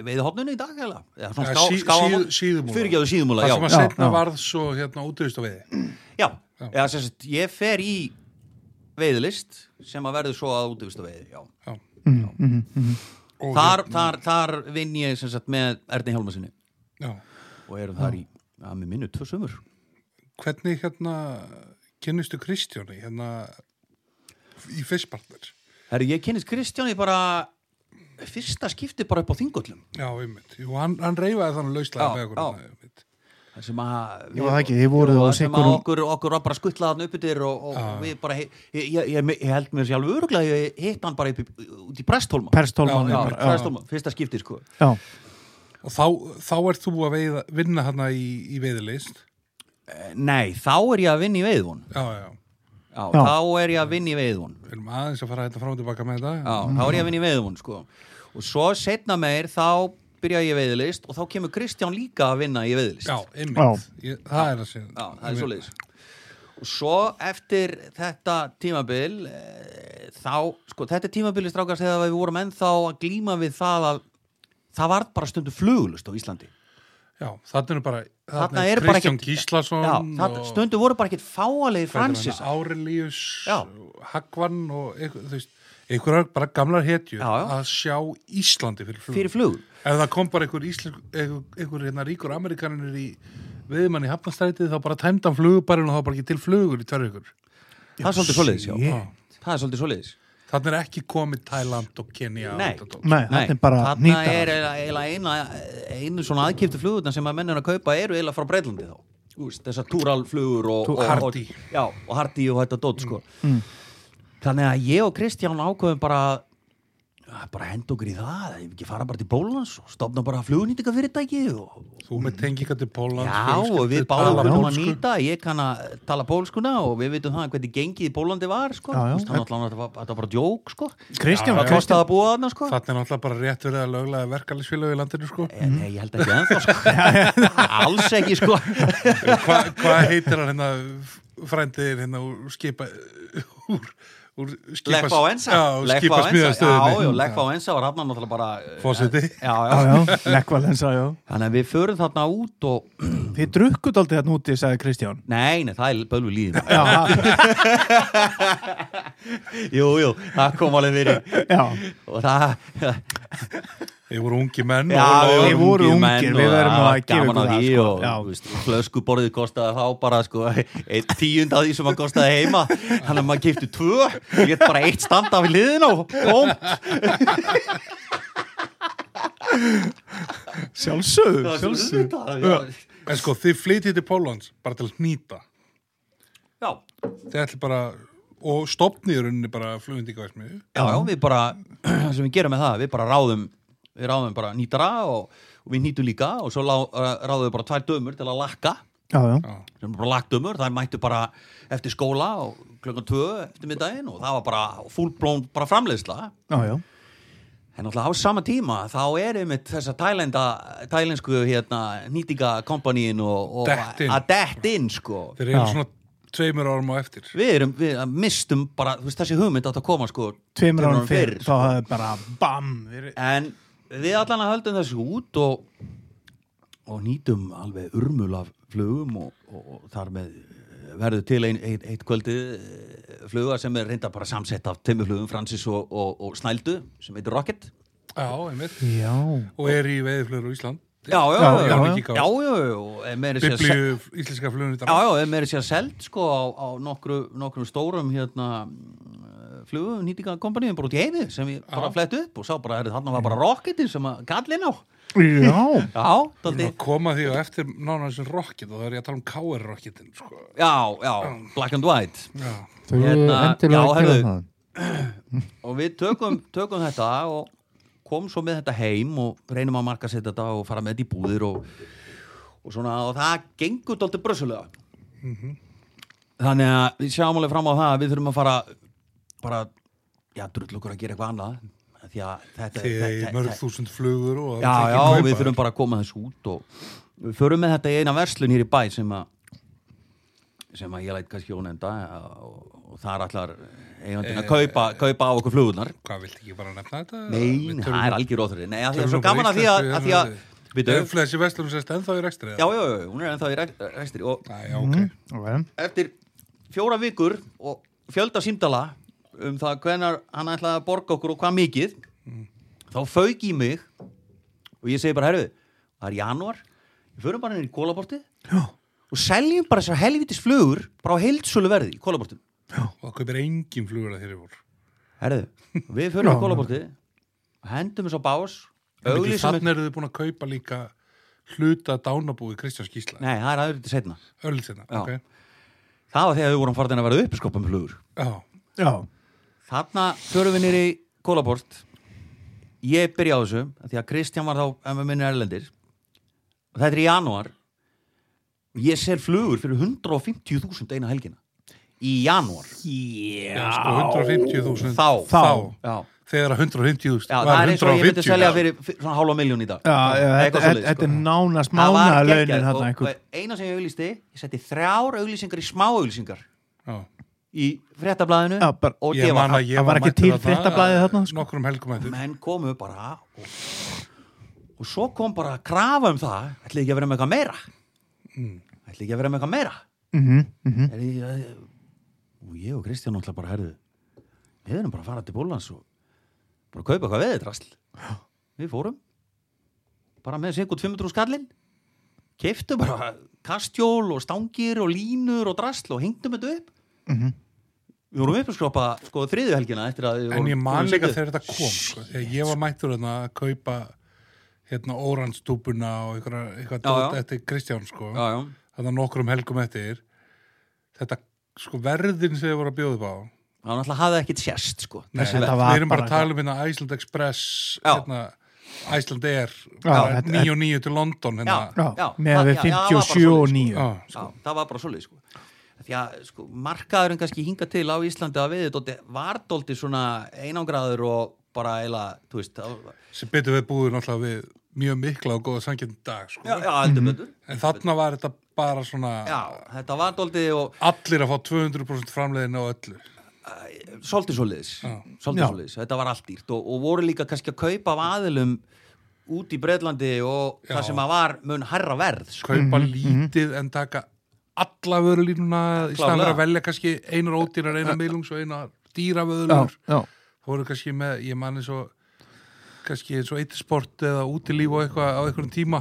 [SPEAKER 3] veiðhófnunni í dag eða, eða
[SPEAKER 1] Ja,
[SPEAKER 3] svona ská,
[SPEAKER 1] sí-
[SPEAKER 3] skáamóla
[SPEAKER 1] síð- síðumúla.
[SPEAKER 3] fyrirgjáðu síðumúla,
[SPEAKER 1] það
[SPEAKER 3] já,
[SPEAKER 1] sem að
[SPEAKER 2] já,
[SPEAKER 1] setna
[SPEAKER 2] já.
[SPEAKER 1] varð svo hérna útvist á veiði
[SPEAKER 3] já. Eða, sem sagt, ég fer í veiðlist sem að verður svo að útivistu veiði já.
[SPEAKER 1] Já. Og
[SPEAKER 3] Þar, þar, þar vinn ég sem sagt með Erni Hjálmarsinni
[SPEAKER 1] Já.
[SPEAKER 3] og erum þar í, að mér minnu, tvö sömur
[SPEAKER 1] Hvernig hérna kynnistu Kristjáni hérna í fyrstpartner?
[SPEAKER 3] Herri, ég kynnist Kristjáni bara fyrsta skipti bara upp á þingullum
[SPEAKER 1] Já, einmitt. Jú, hann, hann reyfaði þannig lauslega
[SPEAKER 3] Já,
[SPEAKER 1] með okkur.
[SPEAKER 3] já.
[SPEAKER 1] hérna, einmitt.
[SPEAKER 3] Það sem að
[SPEAKER 2] Jú, það ekki, þið voruð á
[SPEAKER 3] það sem að
[SPEAKER 2] sikkurum-
[SPEAKER 3] okkur, okkur var bara skuttlaðan uppbyttir og, og við bara he- ég, ég, ég, ég held mér sjálf öruglega ég hitt hann bara upp, í- út í Prestólma
[SPEAKER 2] Prestholman
[SPEAKER 3] já,
[SPEAKER 2] bara,
[SPEAKER 3] Prestólma, fyrsta skipti sko
[SPEAKER 2] já,
[SPEAKER 1] Og þá, þá ert þú að veiða, vinna hérna í, í veiðilist.
[SPEAKER 3] Eh, Nei, þá er ég að vinna í veiðvon
[SPEAKER 1] Já, já.
[SPEAKER 3] já,
[SPEAKER 2] Já.
[SPEAKER 3] þá er ég að vinna í veiðvon
[SPEAKER 1] Við erum aðeins að fara hérna frá og tilbaka með þetta.
[SPEAKER 3] Já, þá er ég að vinna í veiðvon sko og svo setna meir þá byrja ég í veiðlist og þá kemur Kristján líka að vinna í veiðlist
[SPEAKER 1] einmitt. Ég, það er að segja.
[SPEAKER 3] Já, það er svoleiðis Og svo eftir þetta tímabil eh, þá, sko, þetta tímabili strákast þegar við vorum ennþá að glíma við það að það varð bara stundu flugulust á Íslandi
[SPEAKER 1] Já, þarna er bara,
[SPEAKER 3] Þarna
[SPEAKER 1] þarna
[SPEAKER 3] er
[SPEAKER 1] er
[SPEAKER 3] bara
[SPEAKER 1] Kristján
[SPEAKER 3] ekkert-
[SPEAKER 1] Gíslason
[SPEAKER 3] Já, það,
[SPEAKER 1] og-
[SPEAKER 3] stundu voru bara ekkert fáalegi Francis Já,
[SPEAKER 1] Árelius,
[SPEAKER 3] Já.
[SPEAKER 1] Hagvan og eitthvað, þú veist, einhverjar bara gamlar hetjur
[SPEAKER 3] Já, já.
[SPEAKER 1] að sjá Íslandi fyrir flug.
[SPEAKER 3] Fyrir flugvél.
[SPEAKER 1] Ef það kom bara einhver, íslensk, einhver, einhver hérna, ríkur amerikanir í viðmann í hafnastrætið þá bara tæmdan flugubarinn og þá bara ekki til flugur í tverju ykkur.
[SPEAKER 3] það er svolítið svoleiðis já.
[SPEAKER 2] shit.
[SPEAKER 3] Það er svolítið svoleiðis
[SPEAKER 1] Þannig er ekki komið Tæland og Kenya
[SPEAKER 3] Nei.
[SPEAKER 1] og þetta.
[SPEAKER 2] nei, þetta er bara
[SPEAKER 3] þarna
[SPEAKER 2] nýta
[SPEAKER 3] er eiginlega- eiginlega eina, einu svona aðkipti flugurna sem að mennir að kaupa eru eiginlega frá Breitlandi þá Úst, þessar túralflugur og,
[SPEAKER 1] Tú-
[SPEAKER 3] og,
[SPEAKER 1] Hardy.
[SPEAKER 3] og, já, og Hardy og þetta dót sko.
[SPEAKER 2] Mm.
[SPEAKER 3] þannig að ég og Kristján ákveðum bara að bara henda okkur í það ég vil ekki fara bara til Bólans og stopna bara flugunýtinga fyrirtæki og,
[SPEAKER 1] Þú með tengingar til Pólands.
[SPEAKER 3] já
[SPEAKER 1] þú
[SPEAKER 3] og
[SPEAKER 1] skalt
[SPEAKER 3] við
[SPEAKER 1] tala
[SPEAKER 3] báðum við búin að
[SPEAKER 1] pólsku.
[SPEAKER 3] nýta ég kann að tala pólskuna og við vitum það hvernig gengið í Bólandi var sko.
[SPEAKER 2] Já, já.
[SPEAKER 3] Úst, hann allan að þetta var- þetta var bara djók sko.
[SPEAKER 2] Kristján,
[SPEAKER 3] það
[SPEAKER 2] Kristján
[SPEAKER 3] kostaði að búa þarna sko.
[SPEAKER 1] Þarna er náttúrulega bara rétt verið að löglega verkefælisfélög í landinu sko.
[SPEAKER 3] Eh, Nei, ég held ekki ennþá sko. Alls ekki sko
[SPEAKER 1] Hva- Hvað heitir hann hérna frændiðin hérna úr skipa úr, úr skipa
[SPEAKER 3] Legg á ensa
[SPEAKER 1] Já, úr
[SPEAKER 3] Legg á
[SPEAKER 1] skipa
[SPEAKER 3] ensa Já, já,
[SPEAKER 1] smiðastöðinni
[SPEAKER 3] legg á ensa var hann náttúrulega bara eh,
[SPEAKER 1] Forseti.
[SPEAKER 3] Já, já,
[SPEAKER 2] já, já, leggvalensa, já
[SPEAKER 3] Þannig að við förum þarna út og
[SPEAKER 2] Þið drukkut aldrei þarna úti, sagði Kristján
[SPEAKER 3] Nei, nei, það er bölvi líðin
[SPEAKER 2] Já, það-
[SPEAKER 3] Jú, jú, það kom alveg fyrir
[SPEAKER 2] já,
[SPEAKER 3] Og það
[SPEAKER 1] Við voru ungi menn
[SPEAKER 3] Já,
[SPEAKER 1] og-
[SPEAKER 2] við
[SPEAKER 3] ungir
[SPEAKER 2] voru ungir,
[SPEAKER 3] menn
[SPEAKER 2] við
[SPEAKER 3] og
[SPEAKER 2] verðum að
[SPEAKER 3] það var
[SPEAKER 2] gefa
[SPEAKER 3] gaman
[SPEAKER 2] ykkur
[SPEAKER 3] að
[SPEAKER 2] það,
[SPEAKER 3] því
[SPEAKER 2] sko, já.
[SPEAKER 3] og veist, flöskuborðið kostaði þá bara sko, einn tíund af því sem að kostaði heima þannig að maður kipti tvö ég bara eitt standa af liðin og bóm
[SPEAKER 2] sjálfsögðu sjálfsögðu.
[SPEAKER 3] sjálfsög
[SPEAKER 1] En sko, þið flytjið til Pólans bara til að hnýta
[SPEAKER 3] já,
[SPEAKER 1] Þið ætli bara og stopnið í rauninni bara flugindíkavæsmið
[SPEAKER 3] já, já, við bara það sem við gerum með það, við bara ráðum við ráðum bara nýtara og, og við nýtum líka og svo lá, ráðum við bara tvær dömur til að lakka
[SPEAKER 2] Já, já,
[SPEAKER 3] sem er bara lagdömur, það mættu bara eftir skóla og klukkan tvö eftir middaginn og það var bara fullblón bara framleiðsla
[SPEAKER 2] já, já
[SPEAKER 3] En náttúrulega á sama tíma þá er einmitt þessa tælenda, tælensku hérna nýtingakompaníin og, og
[SPEAKER 1] Dett inn.
[SPEAKER 3] að dett inn sko.
[SPEAKER 1] Þeir eru
[SPEAKER 2] Já.
[SPEAKER 1] svona tveimur árum á eftir
[SPEAKER 3] Við erum, við mistum bara, þú veist þessi hugmynd átt að koma sko.
[SPEAKER 2] Tveimur árum fyrr,
[SPEAKER 3] fyrr,
[SPEAKER 2] þá hafði bara bam verið-
[SPEAKER 3] En við allan að höldum þessu út og, og nýtum alveg urmul af flugum og, og, og þar með eh, verður til ein, ein, eitt kvöldi eh, fluga sem er reynda bara samsett af tveimur flugum, Francis og, og, og Snældu sem heitir Rocket.
[SPEAKER 1] Já, einmitt
[SPEAKER 2] Já,
[SPEAKER 1] Og er í veiðflugur á Ísland
[SPEAKER 3] Já,
[SPEAKER 2] Já,
[SPEAKER 3] já, já, já,
[SPEAKER 2] já,
[SPEAKER 3] já,
[SPEAKER 1] já.
[SPEAKER 3] já, já, og er meira að segja se-
[SPEAKER 1] Biblíu íslenska flugindíka
[SPEAKER 3] Já, já, við erum meira að segja seld sko á, á nokkru, nokkrum stórum hérna flugu nýtingakompaníum bara út í heimi sem ég bara flett upp og sá bara, herri, þarna var bara rocketin sem að gallin á
[SPEAKER 2] já
[SPEAKER 3] Já, daldi,
[SPEAKER 1] Að koma því á eftir nána þessum rocket og það er ég að tala um KR rocketin sko.
[SPEAKER 3] já, já, black and white
[SPEAKER 1] Já,
[SPEAKER 4] Þau eru
[SPEAKER 3] Hérna,
[SPEAKER 4] endilega
[SPEAKER 3] já,
[SPEAKER 4] að gera
[SPEAKER 3] heyrðu.
[SPEAKER 4] það.
[SPEAKER 3] og við tökum, tökum þetta og kom svo með þetta heim og reynum að marka setja þetta og fara með þetta í búðir og, og svona og það gengur dálítið brössulega
[SPEAKER 1] Mhm.
[SPEAKER 3] þannig að við sjáum alveg fram á það að við þurfum að fara bara, já, drull okkur að gera eitthvað annað af því að þetta
[SPEAKER 1] Þið er
[SPEAKER 3] þetta-
[SPEAKER 1] mörg
[SPEAKER 3] þetta-
[SPEAKER 1] þúsund flugur og það
[SPEAKER 3] já,
[SPEAKER 1] er ekki
[SPEAKER 3] já,
[SPEAKER 1] kaupaðar.
[SPEAKER 3] við þurfum bara að koma þessu út og við förum með þetta í eina verslun hér í bæ sem að sem að ég læt kannski ónenda og, og þar allar eigandinn að kaupa, kaupa á okkur flugurnar
[SPEAKER 1] Hvað, viltu ekki bara nefna þetta? um-
[SPEAKER 3] Nei, það er algjör óþurri Nei, að því að það er svo
[SPEAKER 1] tölum bara
[SPEAKER 3] gaman að því að,
[SPEAKER 1] íslensku
[SPEAKER 3] að, því að,
[SPEAKER 1] hérna,
[SPEAKER 3] að,
[SPEAKER 1] Það er fleðis í vestlunum sérst ennþá í rekstri
[SPEAKER 3] já, já, já, hún er ennþá í rek- rekstri og
[SPEAKER 1] Já, já, ok
[SPEAKER 2] Mm. Ok.
[SPEAKER 3] eftir fjóra vikur og fjölda símdala um það hvenar hann ætlaði að borga okkur og hvað mikið þá fauk í mig og ég segi bara, herru, það er janúar við förum bara inn í kólabortið
[SPEAKER 2] Já.
[SPEAKER 3] og seljum bara þessar helvitis flugur bara á heildsölu verði í kólabortinu
[SPEAKER 1] Og það kaupir engin flugur að þeirri voru
[SPEAKER 3] herru, við förum í kólabortið hendum þess á bás auglýsum
[SPEAKER 1] Þannig eru þið búin að kaupa líka hluta dánabúi Kristjáns Gísla
[SPEAKER 3] Nei, það er aðrið til setna.
[SPEAKER 1] Öllsina,
[SPEAKER 3] Já.
[SPEAKER 1] ok
[SPEAKER 3] Það var þegar við vorum farin að vera upp í skopum flugur.
[SPEAKER 1] Já,
[SPEAKER 2] Já.
[SPEAKER 3] Þarna förum við nýri kólabort. Ég byrja á þessu, af því að Kristján var þá en við minni erlendir. Og þetta er í janúar. Ég sel flugur fyrir 150.000 eina helgina. Í janúar.
[SPEAKER 1] já sko 150.000
[SPEAKER 3] Þá.
[SPEAKER 1] Þá
[SPEAKER 3] Já.
[SPEAKER 1] Þegar að 150.000
[SPEAKER 3] Já, það
[SPEAKER 1] var
[SPEAKER 3] er eins og ég myndi
[SPEAKER 1] 150.
[SPEAKER 3] selja fyrir, fyrir svona hálfa miljón í dag.
[SPEAKER 2] Já, já, þetta,
[SPEAKER 3] Eitthvað svoleiðis, sko.
[SPEAKER 2] þetta er nánast
[SPEAKER 3] Það var
[SPEAKER 2] mánalaunin
[SPEAKER 3] geggjað sko.
[SPEAKER 2] hérna
[SPEAKER 3] og-
[SPEAKER 2] einhver.
[SPEAKER 3] og Eina sem ég auglýsti, ég setti þrjár auglýsingar í smá auglýsingar
[SPEAKER 1] Já.
[SPEAKER 3] í fréttablaðinu
[SPEAKER 2] Já, bara-
[SPEAKER 3] og
[SPEAKER 1] Ég man
[SPEAKER 3] DVH.
[SPEAKER 1] að ég
[SPEAKER 2] það var ekki
[SPEAKER 1] mættur
[SPEAKER 2] til
[SPEAKER 1] þarna,
[SPEAKER 2] fréttablaðið
[SPEAKER 1] eh,
[SPEAKER 2] þarna, sko.
[SPEAKER 1] Nokkrum helgum eftir
[SPEAKER 3] menn komu bara og, og svo kom bara að krafa um það ætli ekki að vera með eitthvað meira
[SPEAKER 1] Mm.
[SPEAKER 3] ætli ekki að vera með eitthvað meira
[SPEAKER 2] Mhm, mhm.
[SPEAKER 3] er, ég, og ég og Kristján náttúrulega bara herðu við erum bara að fara til Bólans og bara kaupa eitthvað veðið drasl við fórum bara með sig út 500 skallin keiftu bara kastjól og stangir og línur og drasl og hengdum þetta upp
[SPEAKER 2] Mhm.
[SPEAKER 3] við vorum upp að skrópa sko þriðju helgina eftir að við
[SPEAKER 1] En
[SPEAKER 3] vorum-
[SPEAKER 1] ég man
[SPEAKER 3] vorum
[SPEAKER 1] líka
[SPEAKER 3] sýndu.
[SPEAKER 1] þegar þetta kom sko. Þegar ég var mættur þarna að kaupa hérna óranstúpuna og einhverja- eitthvað
[SPEAKER 3] Já, já.
[SPEAKER 1] dót eftir Kristján sko
[SPEAKER 3] já, já.
[SPEAKER 1] Þetta nokkrum helgum eftir Þetta sko verðin sem þið voru að bjóða upp á
[SPEAKER 3] Það var náttúrulega hafði ekkit sérst sko
[SPEAKER 1] Nei,
[SPEAKER 3] Þessi
[SPEAKER 1] þetta
[SPEAKER 3] verð.
[SPEAKER 2] var
[SPEAKER 1] við erum bara að
[SPEAKER 2] bara
[SPEAKER 1] tala um hérna Iceland Express
[SPEAKER 3] Já.
[SPEAKER 1] hérna, Iceland Air
[SPEAKER 2] Já,
[SPEAKER 1] bara
[SPEAKER 2] þetta-
[SPEAKER 1] 9 og 9 til London hérna.
[SPEAKER 3] Já,
[SPEAKER 2] Já,
[SPEAKER 3] já, það-
[SPEAKER 2] með við
[SPEAKER 3] já, já, það var bara
[SPEAKER 2] 57 og
[SPEAKER 3] svoleiðis,
[SPEAKER 2] 9.
[SPEAKER 1] Já, sko.
[SPEAKER 3] Já, það var bara svolítið sko Því að sko, markaðurinn kannski hinga til á Íslandi að við dótti, var dólti svona einangraður og bara eila, þú veist á,
[SPEAKER 1] sem betur við búið náttúrulega við mjög mikla og góða sangjönd dag sko.
[SPEAKER 3] Já, já, heldur betur
[SPEAKER 1] en þarna var þetta bara svona
[SPEAKER 3] Já, þetta var dólti og
[SPEAKER 1] allir að fá 200% framleiðinu og öllu
[SPEAKER 3] svolítið svolíðis Svolítið
[SPEAKER 2] Já.
[SPEAKER 3] svolíðis, þetta var allt dýrt og, og voru líka kannski að kaupa af aðilum út í Breitlandi og
[SPEAKER 1] Já.
[SPEAKER 3] það sem að var mun herra verð sko.
[SPEAKER 1] kaupa
[SPEAKER 2] Mhm,
[SPEAKER 1] lítið en taka alla vörulínuna í staðan
[SPEAKER 3] Klárlega.
[SPEAKER 1] fyrir að velja kannski einar ódýrar, einar miðlungs og einar
[SPEAKER 2] Já,
[SPEAKER 1] dýravöðlur
[SPEAKER 2] já.
[SPEAKER 1] voru kannski með, ég man eins og kannski eins og eittisport eða útilíf og eitthvað á einhverjum tíma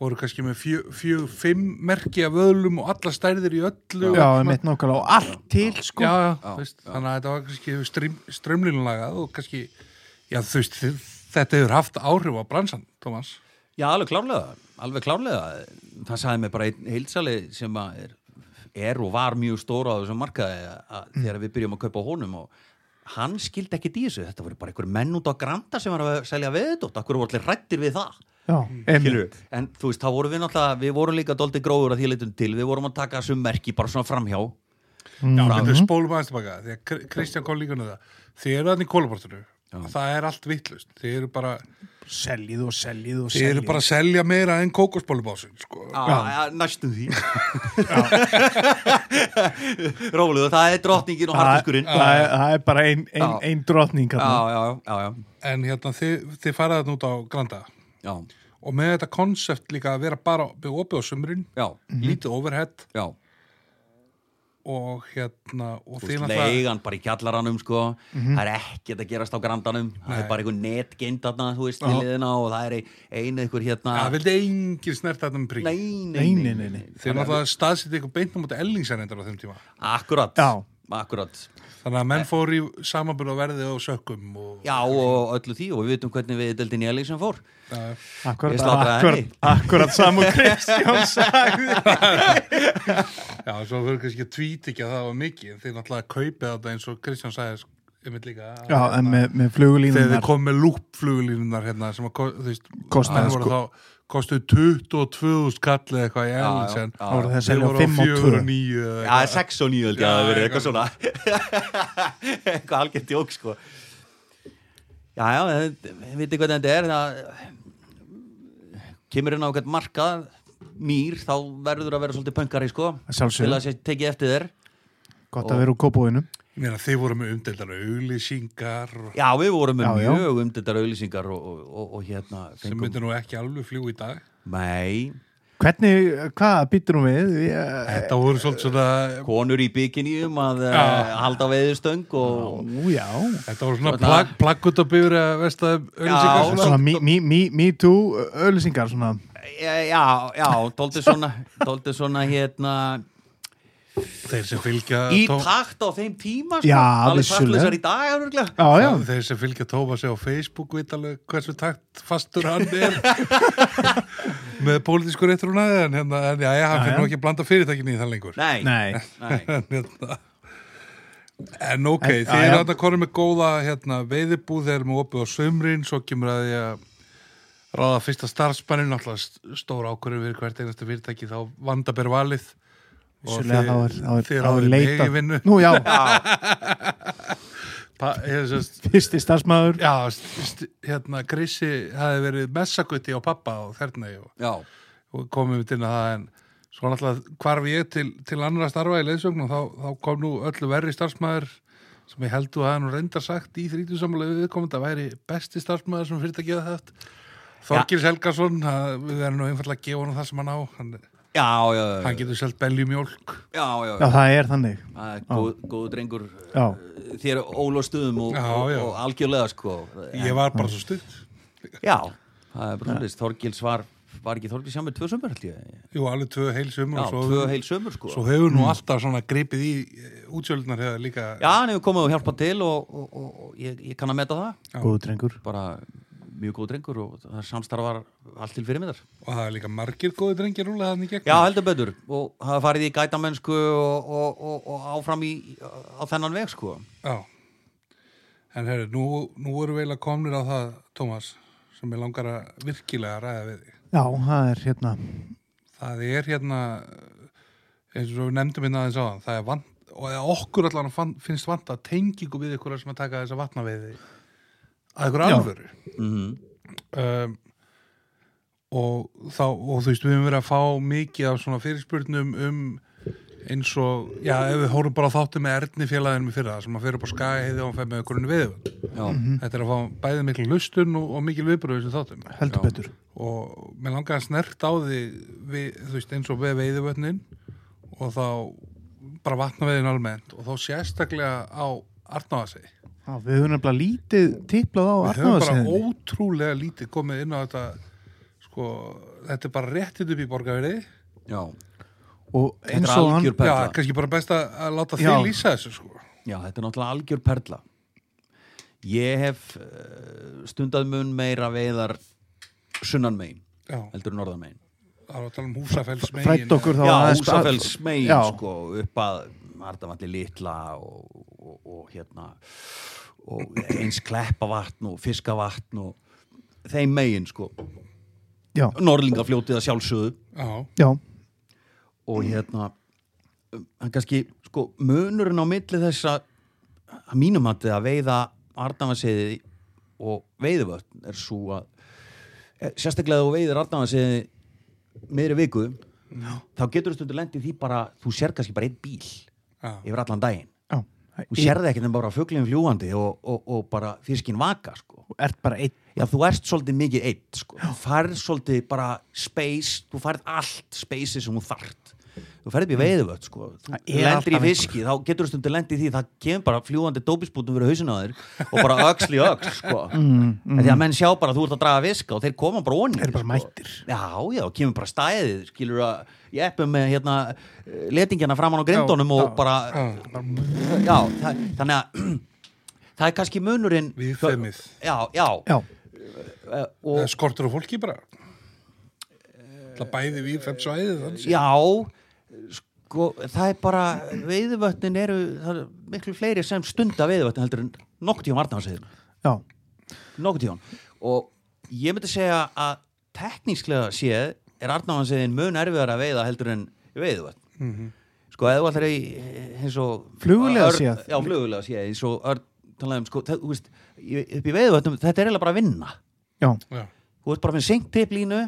[SPEAKER 1] voru kannski með fjö, fjö, fimm merki af vöðlum og alla stærðir í öllu
[SPEAKER 2] Já,
[SPEAKER 1] og,
[SPEAKER 2] ég mitt nokkala og allt til, sko.
[SPEAKER 1] já, já, já, veist, þannig að þetta var kannski strym, strömlínulagað og kannski já, þú veist, þetta hefur haft áhrif á bransan, Tómas
[SPEAKER 3] Já, alveg klárlega, alveg klárlega. Það sagði mér bara einn heilsali sem að er, er og var mjög stóra á þessum markaði að, að þegar við byrjum að kaupa á honum og hann skildi ekki í þessu. Þetta voru bara einhver menn út á Granda sem var að selja veðdótt. Akkur voru allir rættir við það.
[SPEAKER 2] Já, einmitt.
[SPEAKER 3] Skilurðu? En þú veist, þá vorum við náttúrulega, við vorum líka dóldi gróður að því leitum til. Við vorum að taka þessum merki bara svona framhjá.
[SPEAKER 1] Já, þetta er spólum aðeins tilbaka því að Kr- Kristján kom líka með það þið eru þannig í kólabortinu það er allt vittlust, þið eru bara
[SPEAKER 2] Seljið og seljið og
[SPEAKER 1] þið eru bara að selja meira en kókosbólubásin sko.
[SPEAKER 3] Já, já, næstum því. Róluðu, það er drottningin og
[SPEAKER 2] Það
[SPEAKER 3] hardiskurinn.
[SPEAKER 2] það er það er bara ein, ein,
[SPEAKER 3] Já.
[SPEAKER 2] ein drotning
[SPEAKER 3] Já,
[SPEAKER 2] hérna.
[SPEAKER 3] já, já, já.
[SPEAKER 1] en hérna, þið, þið faraði þetta út á Granda
[SPEAKER 3] Já,
[SPEAKER 1] og með þetta konsept líka að vera bara opið á sumrin,
[SPEAKER 3] já,
[SPEAKER 1] lítið overhead
[SPEAKER 3] já.
[SPEAKER 1] og hérna og
[SPEAKER 3] Þú
[SPEAKER 1] þið
[SPEAKER 3] veist,
[SPEAKER 1] náttúrulega
[SPEAKER 3] leigan bara í kjallaranum sko. það er ekkert að gerast á grandanum það er bara einhver netgeind þarna þú veist, í liðina og það er ein- einu einhver hérna
[SPEAKER 1] það vildi engin snert þetta með prík
[SPEAKER 3] nei,
[SPEAKER 2] Nei,
[SPEAKER 3] nei,
[SPEAKER 2] nei, nei, nei.
[SPEAKER 1] þið náttúrulega staðsitt ykkur beint á móti ellingsarendar á þeim tíma
[SPEAKER 3] akkurat,
[SPEAKER 2] Já.
[SPEAKER 3] akkurat
[SPEAKER 1] þannig að menn fór í samanbyrð og verði og sökkum og
[SPEAKER 3] já og öllu því og við veitum hvernig við deldin í Elín sem fór
[SPEAKER 1] Já.
[SPEAKER 2] Akkurat,
[SPEAKER 3] Ég slátraði
[SPEAKER 2] akkurat,
[SPEAKER 3] henni.
[SPEAKER 2] akkurat saman Kristján sagði.
[SPEAKER 1] Já, svo verður kannski að tvíti ekki að það var mikið en þið náttúrulega kaupið þetta eins og Kristján sagði einmitt líka að-
[SPEAKER 2] Já, en með, með
[SPEAKER 1] þegar þið
[SPEAKER 2] flugulínunar.
[SPEAKER 1] kom með lúpflugulínunar hérna sem að, ko- þú veist,
[SPEAKER 2] Kostaði,
[SPEAKER 1] menn voru
[SPEAKER 2] sko.
[SPEAKER 1] þá kostuðu 22.000 kallið eitthvað í Ellingsen
[SPEAKER 3] já,
[SPEAKER 2] Það voru þess
[SPEAKER 1] Þeir
[SPEAKER 2] að selja á
[SPEAKER 1] voru á
[SPEAKER 2] 5 og 2.
[SPEAKER 1] 4.9 eða
[SPEAKER 3] já,
[SPEAKER 1] eitthvað.
[SPEAKER 3] 6 og 9 held ég
[SPEAKER 1] Já,
[SPEAKER 3] að það verið
[SPEAKER 1] eitthvað
[SPEAKER 3] eitthvað svona eitthvað algjört jók sko já, já, við veitum hvernig þetta er það kemur inn á eitthvað markað mýr, þá verður að vera svolítið pöngari sko
[SPEAKER 2] Að sjálfsögðu.
[SPEAKER 3] til að sé- tekið eftir þér
[SPEAKER 2] Gott að vera úr kópúinu.
[SPEAKER 1] Ég meina, þeir voru með umdeldar auglýsingar og-
[SPEAKER 3] Já, við vorum með
[SPEAKER 2] Já, já.
[SPEAKER 3] mjög umdildar auðlýsingar og, og, og, og hérna
[SPEAKER 1] sem
[SPEAKER 3] fengum,
[SPEAKER 1] myndir nú ekki alveg fljú í dag.
[SPEAKER 3] mei,
[SPEAKER 2] Hvernig, hvað býtur hún við? Ég,
[SPEAKER 1] Þetta voru svolítið svona,
[SPEAKER 3] konur í bikiníum að já. halda veiðustöng og
[SPEAKER 2] Ú, já.
[SPEAKER 1] þetta voru svona
[SPEAKER 3] Svona-
[SPEAKER 1] plagg, plaggut á bifur að vestaði
[SPEAKER 3] Já,
[SPEAKER 1] auglýsingar.
[SPEAKER 2] Svona me, me, me, me too öllisingar svona.
[SPEAKER 3] já, já, já tóldi svona, tóldi svona hérna
[SPEAKER 1] Þeir sem fylgja...
[SPEAKER 3] í
[SPEAKER 1] Tó-
[SPEAKER 3] takt á þeim tíma sko.
[SPEAKER 2] Já,
[SPEAKER 3] alveg
[SPEAKER 2] vissulega.
[SPEAKER 3] taktlausar í dag örugglega.
[SPEAKER 2] Já, já.
[SPEAKER 1] Þeir sem fylgja Tómasi á Facebook veit alveg hversu takt fastur hann er með pólitísku réttruna en, hérna, en já, já, hann fyrir nú ekki að blanda fyrirtækinni í það lengur
[SPEAKER 3] Nei,
[SPEAKER 2] Nei.
[SPEAKER 3] nei.
[SPEAKER 1] en, hérna. en ok,
[SPEAKER 2] En-
[SPEAKER 1] en,
[SPEAKER 2] já,
[SPEAKER 1] þeir
[SPEAKER 2] já.
[SPEAKER 1] eru að konum með góða hérna, veiðibúð, þeir eru með opið á sömrin svo kemur að því að ráða fyrsta starfsmannin, náttúrulega st- stór ákvörðu við hvert einasta fyrirtæki þá vanda ber valið og
[SPEAKER 2] Vissulega, þá er- þá er-
[SPEAKER 1] þeir
[SPEAKER 2] þá er
[SPEAKER 1] ráðið
[SPEAKER 2] leitað.
[SPEAKER 1] mig í vinnu
[SPEAKER 2] Nú, já.
[SPEAKER 1] pa, ég, sest,
[SPEAKER 2] Fyrsti starfsmæður.
[SPEAKER 1] Já, st- st- hérna, Krissi hafi verið messagutti á pappa og þernei og,
[SPEAKER 3] Já,
[SPEAKER 1] og komið mitt inn að það en svo náttúrulega hvarf ég til, til annara starfa í leðsögn og þá, þá kom nú öllu verri starfsmæður sem ég held að hann reyndar sagt í þrítusamlega viðkomandi að væri besti starfsmæður sem fyrirtækið hafði haft Þorgils Helgason, að við erum nú einfallega að gefa hann það sem hann á hann,
[SPEAKER 3] já, já, já,
[SPEAKER 1] hann getur selt beljumjólk
[SPEAKER 3] já, já,
[SPEAKER 2] Já, það er þannig.
[SPEAKER 3] Það er góð, góð drengur eh,
[SPEAKER 2] Já.
[SPEAKER 3] þér ólostuðum og,
[SPEAKER 1] Já,
[SPEAKER 3] og,
[SPEAKER 1] já.
[SPEAKER 3] og algjörlega sko
[SPEAKER 1] Ég var bara
[SPEAKER 3] Mm.
[SPEAKER 1] svo stutt
[SPEAKER 3] Já, það er bara svolítið Þorgils var, var ekki Þorgils hjá með tvö sömur held ég
[SPEAKER 1] Jú, alveg tvö heil sömur
[SPEAKER 3] Já,
[SPEAKER 1] og svo,
[SPEAKER 3] tvö heil sömur sko
[SPEAKER 1] svo hefur nú alltaf svona gripið í útsjöldnar hefur líka
[SPEAKER 3] Já, hann hefur komið og hjálpað til og, og, og, og ég, ég kann að meta það
[SPEAKER 1] Já.
[SPEAKER 2] Góðu drengur.
[SPEAKER 3] bara mjög góð drengur og það samstarfar allt til fyrirmyndar
[SPEAKER 1] Og það er líka margir góði drengir rúlega þannig gegn.
[SPEAKER 3] Já, heldur betur og það er farið í gætamennsku og, og, og, og áfram í, á þennan veg sko
[SPEAKER 1] Já. En herru, nú, nú erum við eiginlega komnir á það, Tómas, sem ég langar að virkilega ræða við þig.
[SPEAKER 2] Já, það er hérna.
[SPEAKER 1] Það er hérna, eins og við nefndum hérna aðeins á það, það er vant, og eða okkur allan fann, finnst vanta tengingu við ykkur sem að taka þess að vatna við þig. Að ykkur
[SPEAKER 2] Já.
[SPEAKER 1] alvöru.
[SPEAKER 3] mm
[SPEAKER 2] Mhm.
[SPEAKER 3] -hmm.
[SPEAKER 1] um, og þá og þú veist við höfum verið að fá mikið af svona fyrirspurnum um eins og, já, ef við hórum bara þáttum með erðni félaginu fyrra, sem að fyrir upp á skaga heiði og hann fæði með okkur unni viðvöld
[SPEAKER 3] Já,
[SPEAKER 2] Mhm.
[SPEAKER 1] þetta er að fá bæði mikil hlustun og, og mikil viðbröðu sem þáttum
[SPEAKER 2] Heldur
[SPEAKER 3] Já.
[SPEAKER 2] betur.
[SPEAKER 1] og mér langar að snert á því við, þú veist, eins og við veiðuvötnin og þá bara vatna veiðin almennt og þá sérstaklega á Arnáðasegi
[SPEAKER 2] Já, við höfum nefnilega lítið tiplað á
[SPEAKER 1] Við höfum bara
[SPEAKER 2] Arnáðarsiðinni.
[SPEAKER 1] ótrúlega lítið komið inn á þetta sko, þetta er bara réttið upp í borgarverði
[SPEAKER 3] já,
[SPEAKER 2] Og eins
[SPEAKER 3] þetta er
[SPEAKER 2] og hann,
[SPEAKER 3] algjör
[SPEAKER 1] Já,
[SPEAKER 3] perla
[SPEAKER 1] kannski bara best að, að láta
[SPEAKER 2] Já.
[SPEAKER 1] þig lýsa þessu sko
[SPEAKER 3] Já, þetta er náttúrulega algjör perla Ég hef uh, stundað mun meira veiðar sunnan megin,
[SPEAKER 1] Já,
[SPEAKER 3] heldur en norðan megin
[SPEAKER 1] það var að tala um húsafells megin
[SPEAKER 2] frætt okkur þá
[SPEAKER 3] Já,
[SPEAKER 2] aðeins-
[SPEAKER 3] Húsafells megin
[SPEAKER 2] Já.
[SPEAKER 3] sko, upp að Ardavalli litla og, og, og hérna og eins kleppavatn og fiskavatn og þeim megin sko
[SPEAKER 2] Já,
[SPEAKER 3] Norlingafljótið að sjálfsögðu
[SPEAKER 1] Já,
[SPEAKER 2] já,
[SPEAKER 3] og hérna um, hann kannski sko munurinn á milli þess að að mínum hattu að veiða Arnavanseiði og veiðuvötn er svo að eh, sérstaklega þú veiðir Arnavanseiði meðri viku þá getur þú stundur lendið því bara þú sér kannski bara einn bíl
[SPEAKER 1] já,
[SPEAKER 3] yfir allan daginn
[SPEAKER 2] já.
[SPEAKER 3] þú sérði ekkert en bara fuglinn fljúandi og, og, og bara fiskin vaka sko
[SPEAKER 2] Þú ert bara einn.
[SPEAKER 3] Já, þú ert svolítið mikið eitt, sko. Þú færð svolítið bara space, þú færð allt spaceið sem þú þart. Þú færð upp í veiðuvöld, sko. Þú
[SPEAKER 2] Mm. Það er
[SPEAKER 3] lendir í
[SPEAKER 2] alltaf
[SPEAKER 3] viski, þá getur þú stundir lendið í því, það kemur bara fljúandi dópispútum verið hausin á þér og bara öxl í öxl, sko. Mm, Því að menn sjá bara að þú ert að draga viska og þeir koma bara onni.
[SPEAKER 2] Þeir eru bara
[SPEAKER 3] sko.
[SPEAKER 2] mættir.
[SPEAKER 3] Já, já, og kemur bara stæðið, skilur að ég eppum með hérna letingina framan á grindunum og bara,
[SPEAKER 1] já.
[SPEAKER 3] já, það, þannig að það er kannski munurinn.
[SPEAKER 1] Viðfemið.
[SPEAKER 3] Já, já,
[SPEAKER 2] Já,
[SPEAKER 3] eh, og,
[SPEAKER 1] Það er skortur á fólki bara Það bæði við fem svæðið þannig séð.
[SPEAKER 3] Já, sko, það er bara, veiðvötnin eru, það eru miklu fleiri sem stunda veiðvötnin heldur en nokkuð tíum vartnáðsæðin,
[SPEAKER 2] já,
[SPEAKER 3] nokkuð tíum. Og ég myndi segja að tekníslega séð er artnáðsæðin mun erfiðar að veiða heldur en veiðvötn.
[SPEAKER 1] Mhm,
[SPEAKER 3] Sko, eða þú allir í, eins og...
[SPEAKER 2] Flugulega
[SPEAKER 3] Örn-
[SPEAKER 2] séð.
[SPEAKER 3] Já, flugulega séð, eins og, örn talaði um, sko, það, þú veist, í- upp í veiðvötnum, þetta er eiginlega bara að vinna
[SPEAKER 2] já.
[SPEAKER 1] Já,
[SPEAKER 3] þú ert bara með sengt tipplínu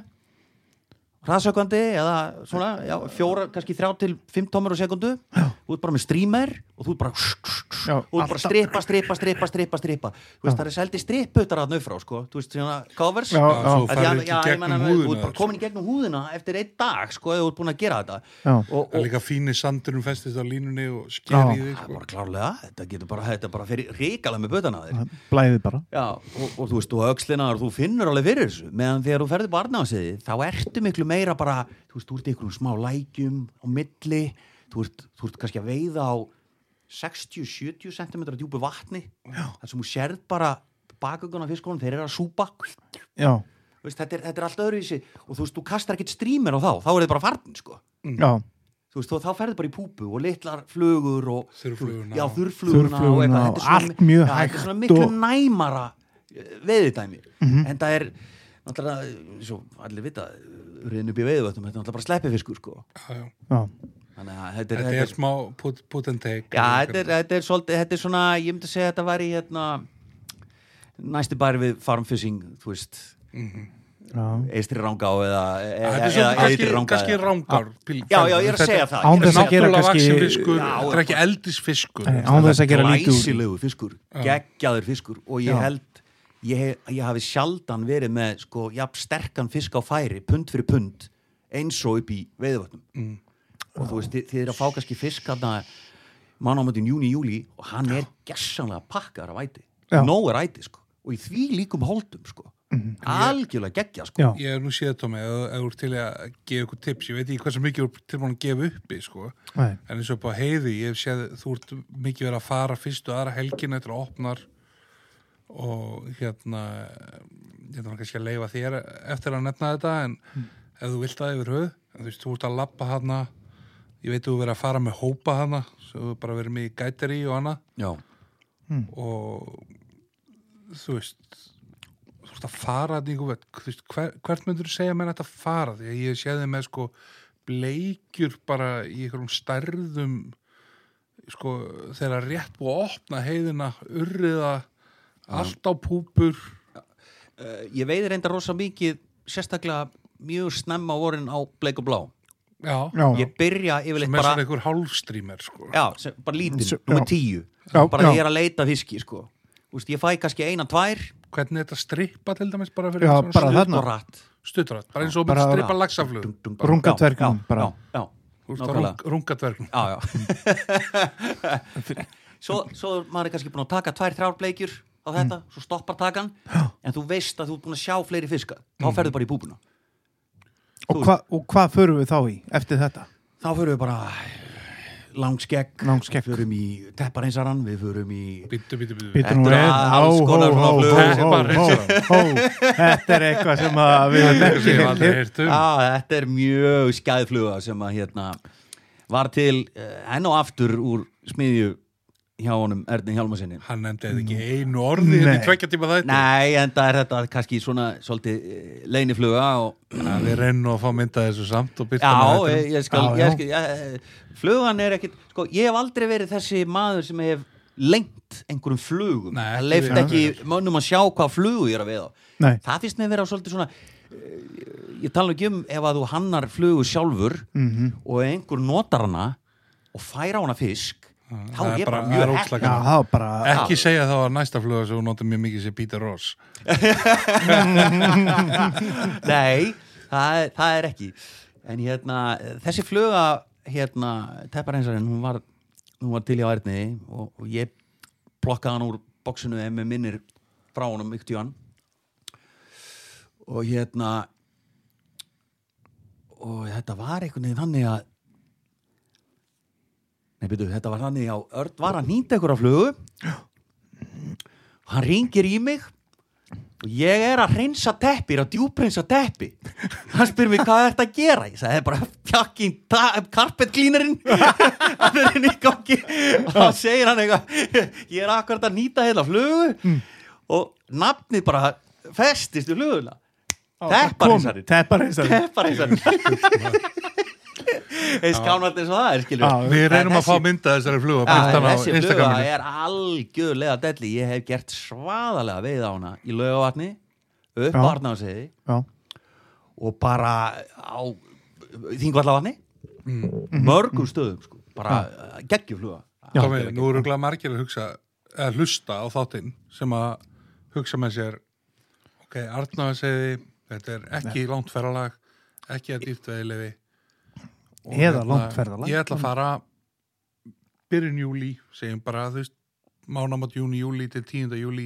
[SPEAKER 3] hraðsökvandi eða svona, já, fjóra, kannski þrjá til fimm tómur á sekundu já. þú ert bara með streamer og þú ert bara já, og þú ert bara
[SPEAKER 2] alltaf-
[SPEAKER 3] stripa, stripa, stripa, stripa, stripa þú veist, það er seldi striputar að nöfra sko, þú veist, svona covers
[SPEAKER 2] Já,
[SPEAKER 3] Af
[SPEAKER 2] já.
[SPEAKER 1] svo
[SPEAKER 3] því
[SPEAKER 1] farið
[SPEAKER 3] að-
[SPEAKER 1] ekki
[SPEAKER 3] já, ég
[SPEAKER 1] gegnum
[SPEAKER 3] meina, þú ert
[SPEAKER 1] húðina sko.
[SPEAKER 3] bara komin í gegnum húðina eftir einn dag, sko, ef þú ert búin að gera þetta
[SPEAKER 2] Já.
[SPEAKER 3] og,
[SPEAKER 1] Það er
[SPEAKER 3] og
[SPEAKER 1] líka fínir sandurum festist á línunni og sker
[SPEAKER 2] Já.
[SPEAKER 1] í þig
[SPEAKER 3] það er
[SPEAKER 1] sko.
[SPEAKER 3] bara klárlega, þetta getur bara þetta bara fyrir ríkala með bötana þér
[SPEAKER 2] blæði bara
[SPEAKER 3] Já, og, og þú veist, þú öxlinar, þú finnur alveg fyrir þessu, meðan þegar þú ferði barnásiði, þá ertu miklu meira bara, þú veist, þú ert í einhverjum smá lækjum á milli, þú ert, þú ert kannski að veiða á 60-70 cm djúpu vatni, þar sem þú sérð bara bakuguna fiskunum, þeir eru að súpa, þú
[SPEAKER 2] já,
[SPEAKER 3] veist, þetta er, þetta er allt öðruvísi og þú veist, þú kastar ekkert strímir á þá, þá er þetta bara farn, sko.
[SPEAKER 2] já,
[SPEAKER 3] Þú veist, þá- þá ferði bara í púpu og litlar flugur og...
[SPEAKER 1] Þurrfluguna.
[SPEAKER 3] Já, þurrfluguna og
[SPEAKER 2] Þurrfluguna og
[SPEAKER 3] eitthvað. Þetta er svona-
[SPEAKER 2] allt mjög
[SPEAKER 3] já, Þetta er
[SPEAKER 2] hægt
[SPEAKER 3] svona miklu
[SPEAKER 2] og- Mhm.
[SPEAKER 3] næmara veðidæmi. En það er, náttúrulega, eh, eins og allir vita, reyðin upp í veiðvötnum, þetta er náttúrulega bara sleppifiskur, sko.
[SPEAKER 1] Já, já.
[SPEAKER 2] já,
[SPEAKER 3] Þannig að þetta er...
[SPEAKER 1] Þetta er smá put, put and take
[SPEAKER 3] Já, þetta er, þetta er svolítið, þetta er svona, ég myndi segja að þetta var í, hérna, næstu bæri við farmfishing, þú veist,
[SPEAKER 2] já.
[SPEAKER 3] eistri rangá eða...
[SPEAKER 1] Þetta
[SPEAKER 3] eða-
[SPEAKER 1] er svona
[SPEAKER 3] eða
[SPEAKER 1] kannski,
[SPEAKER 3] Ytri Rangá
[SPEAKER 1] kannski
[SPEAKER 3] eða-
[SPEAKER 1] rangar
[SPEAKER 3] Já, já, ég er að segja það.
[SPEAKER 2] Án
[SPEAKER 3] ég er að
[SPEAKER 2] þess að
[SPEAKER 3] segja-
[SPEAKER 2] gera
[SPEAKER 1] Náttúrulega
[SPEAKER 2] kannski-
[SPEAKER 1] vaksin fiskur,
[SPEAKER 3] Já,
[SPEAKER 1] þetta er ekki eldisfiskur
[SPEAKER 2] Nei, án þess að gera lítið úr
[SPEAKER 3] glæsilegu fiskur, geggjaður fiskur og ég
[SPEAKER 2] Já.
[SPEAKER 3] held ég, hef- ég hafi sjaldan verið með sko, jafn sterkan fisk á færi, pund fyrir pund eins og upp í veiðvötnum
[SPEAKER 2] Mm.
[SPEAKER 3] og þú veist, þið, þið er að fá kannski fisk þarna mannámöndin júni, júli og hann er gessanlega pakkar af æti,
[SPEAKER 2] Já. Mhm.
[SPEAKER 3] nóg er æti sko. og í því líkum holdum sko. algjörlega geggja sko.
[SPEAKER 2] Já.
[SPEAKER 1] Ég er nú séð Tómi, ef ef þú ert til í að gefa ykkur tips, ég veit ekki hversu mikið þú ert tilbúin að gefa uppi, sko
[SPEAKER 2] Nei.
[SPEAKER 1] en eins og bara heiði, ég hef séð þú ert mikið verið að fara fyrstu aðra helgin eftir að opnar og hérna ég þarf kannski að leifa þér eftir að nefna þetta en
[SPEAKER 2] Hmm.
[SPEAKER 1] ef þú vilt það yfir höð en þú veist, þú ert að labba hana ég veit þú verið að fara með hópa hana svo þú bara verið með gæteri og annað
[SPEAKER 3] Já.
[SPEAKER 1] og þú veist þú veist að fara þarna í einhver vötn, þú veist, hver, hvert myndur þú segja menn að þetta fara því að ég séði með sko bleikjur bara í einhverjum stærðum sko þegar rétt búið að opna heiðina urriða allt á púpur
[SPEAKER 3] Eh, ég veiði reynda rosa mikið sérstaklega mjög snemma á vorin á bleik og blá
[SPEAKER 1] já,
[SPEAKER 2] já,
[SPEAKER 3] ég byrja yfirleitt
[SPEAKER 1] sem er
[SPEAKER 3] bara
[SPEAKER 1] svona einhver hálfstrímer sko
[SPEAKER 3] já, sem, bara lítinn,
[SPEAKER 2] Já.
[SPEAKER 3] nummer tíu
[SPEAKER 2] Já,
[SPEAKER 3] bara
[SPEAKER 2] já.
[SPEAKER 3] ég er að leita fiski sko. Úst, ég fæ kannski eina, tvær
[SPEAKER 1] hvernig þetta strippa til dæmis bara
[SPEAKER 2] Já,
[SPEAKER 1] fyrir
[SPEAKER 2] bara
[SPEAKER 3] stutt
[SPEAKER 2] þarna.
[SPEAKER 3] og rætt
[SPEAKER 1] stutturat, bara eins og
[SPEAKER 2] Bara-
[SPEAKER 1] bara strippa lagsaflug
[SPEAKER 3] Dung, dung,
[SPEAKER 2] Runga
[SPEAKER 3] já,
[SPEAKER 2] dvergnum,
[SPEAKER 3] já,
[SPEAKER 2] bara.
[SPEAKER 3] já, já, nákvæmlega.
[SPEAKER 1] rungatverknum
[SPEAKER 3] já, já. svo, svo maður er kannski búin að taka tvær, þrjár bleikjur á þetta, svo stoppar takan en þú veist að þú ert búin að sjá fleiri fiska þá ferðu bara í búbuna
[SPEAKER 2] og, hva, og hvað förum við þá í eftir þetta
[SPEAKER 3] þá förum við bara langskegg,
[SPEAKER 2] Langskegg.
[SPEAKER 3] við förum í teppareinsarann, við förum í
[SPEAKER 1] býttu, býttu, býttu
[SPEAKER 2] Bíddu nú
[SPEAKER 3] Þetta er
[SPEAKER 2] við.
[SPEAKER 3] alls
[SPEAKER 2] Hó,
[SPEAKER 3] konar
[SPEAKER 2] hó,
[SPEAKER 3] svona
[SPEAKER 2] hó, hó,
[SPEAKER 3] flug.
[SPEAKER 1] Þetta er bara-
[SPEAKER 2] hó, hó. þetta er eitthvað sem að við höfum
[SPEAKER 1] þetta
[SPEAKER 2] ekki
[SPEAKER 1] sem ég hef aldrei
[SPEAKER 2] heyrt.
[SPEAKER 1] heyrt um
[SPEAKER 3] Já, þetta er mjög skæðfluga sem að hérna var til eh, enn og aftur úr smiðju hjá honum Erni Hjálmarsinni.
[SPEAKER 1] Hann nefndi ekki einu orði hérna í
[SPEAKER 2] Nei.
[SPEAKER 1] tvekja tíma þætti.
[SPEAKER 3] Nei, en það er þetta kannski svona svolítið eh, leynifluga og
[SPEAKER 1] Þannig að Við reynum að fá mynda þessu samt og byrta
[SPEAKER 3] Já, ég, ég skal,
[SPEAKER 2] Já, já.
[SPEAKER 3] ég skal ég, flugan er ekkit, sko, ég hef aldrei verið þessi maður sem hef lengt einhverjum flugum,
[SPEAKER 1] Nei,
[SPEAKER 3] það
[SPEAKER 1] ekki
[SPEAKER 3] leift
[SPEAKER 1] við.
[SPEAKER 3] ekki mönnum að sjá hvað flugu ég er að veiða
[SPEAKER 2] Nei.
[SPEAKER 3] það finnst mér vera svolítið svona eh, ég tala nú ekki um ef að þú hannar flugu sjálfur -hmm. og einhver notar hana og fær á hana fisk þá
[SPEAKER 1] það
[SPEAKER 3] er
[SPEAKER 1] er
[SPEAKER 3] ég
[SPEAKER 1] bara-
[SPEAKER 3] bara
[SPEAKER 1] það er
[SPEAKER 3] mjög
[SPEAKER 1] ógeðslega
[SPEAKER 2] já,
[SPEAKER 3] heppin
[SPEAKER 2] það var bara
[SPEAKER 1] Ekki segja þá að næsta fluga sem hún notar mjög mikið sem Peter Ross.
[SPEAKER 3] Nei, það, er- það er ekki En hérna, þessi fluga hérna, tepparheinsarinn hún var, hún var til í ærni og, og ég plokkaði hann úr boksinu ef með minnir frá honum ykti hann og hérna og þetta var einhvern veginn þannig að Nei, byrju, þetta var þannig að Örn var að nýta ykkur á flugu hann ringir í mig og ég er að hreinsa teppi, er að djúprinsa teppi hann spyr mig hvað er þetta að gera ég sagði "Það er bara fjakkin carpet cleanerinn hann er inn í gangi og þá segir hann eitthvað ég er akkurat að nýta heila flugu og nafnið bara festist í fluguna tepparinsarinn
[SPEAKER 2] tepparinsarinn
[SPEAKER 3] tepparinsarinn eins kánvart eins og það er skilur
[SPEAKER 2] Já,
[SPEAKER 1] Við reynum
[SPEAKER 3] En
[SPEAKER 1] að fá
[SPEAKER 3] þessi-
[SPEAKER 1] mynda þessari fluga
[SPEAKER 3] Já,
[SPEAKER 1] byrta hana á
[SPEAKER 3] þessi fluga
[SPEAKER 1] Instagraminu.
[SPEAKER 3] er algjörlega delli ég hef gert svaðalega veið á hana í laugavatni, upp
[SPEAKER 2] Já.
[SPEAKER 3] Arnáðseiði
[SPEAKER 2] já,
[SPEAKER 3] og bara á þingvallavatni Mhm. mörgum stöðum sko. bara geggjufluga
[SPEAKER 1] Já, Tómi, nú eru glæð margir að hugsa að hlusta á þáttinn sem að hugsa með sér ok, Arnáði segði þetta er ekki langt ferralag ekki að dýrt veðilefi
[SPEAKER 2] Eða langt ferðalag.
[SPEAKER 1] hérna, Ég ætla að fara byrjun júli, segjum bara þú veist, mánamat júni, júli til 10. júli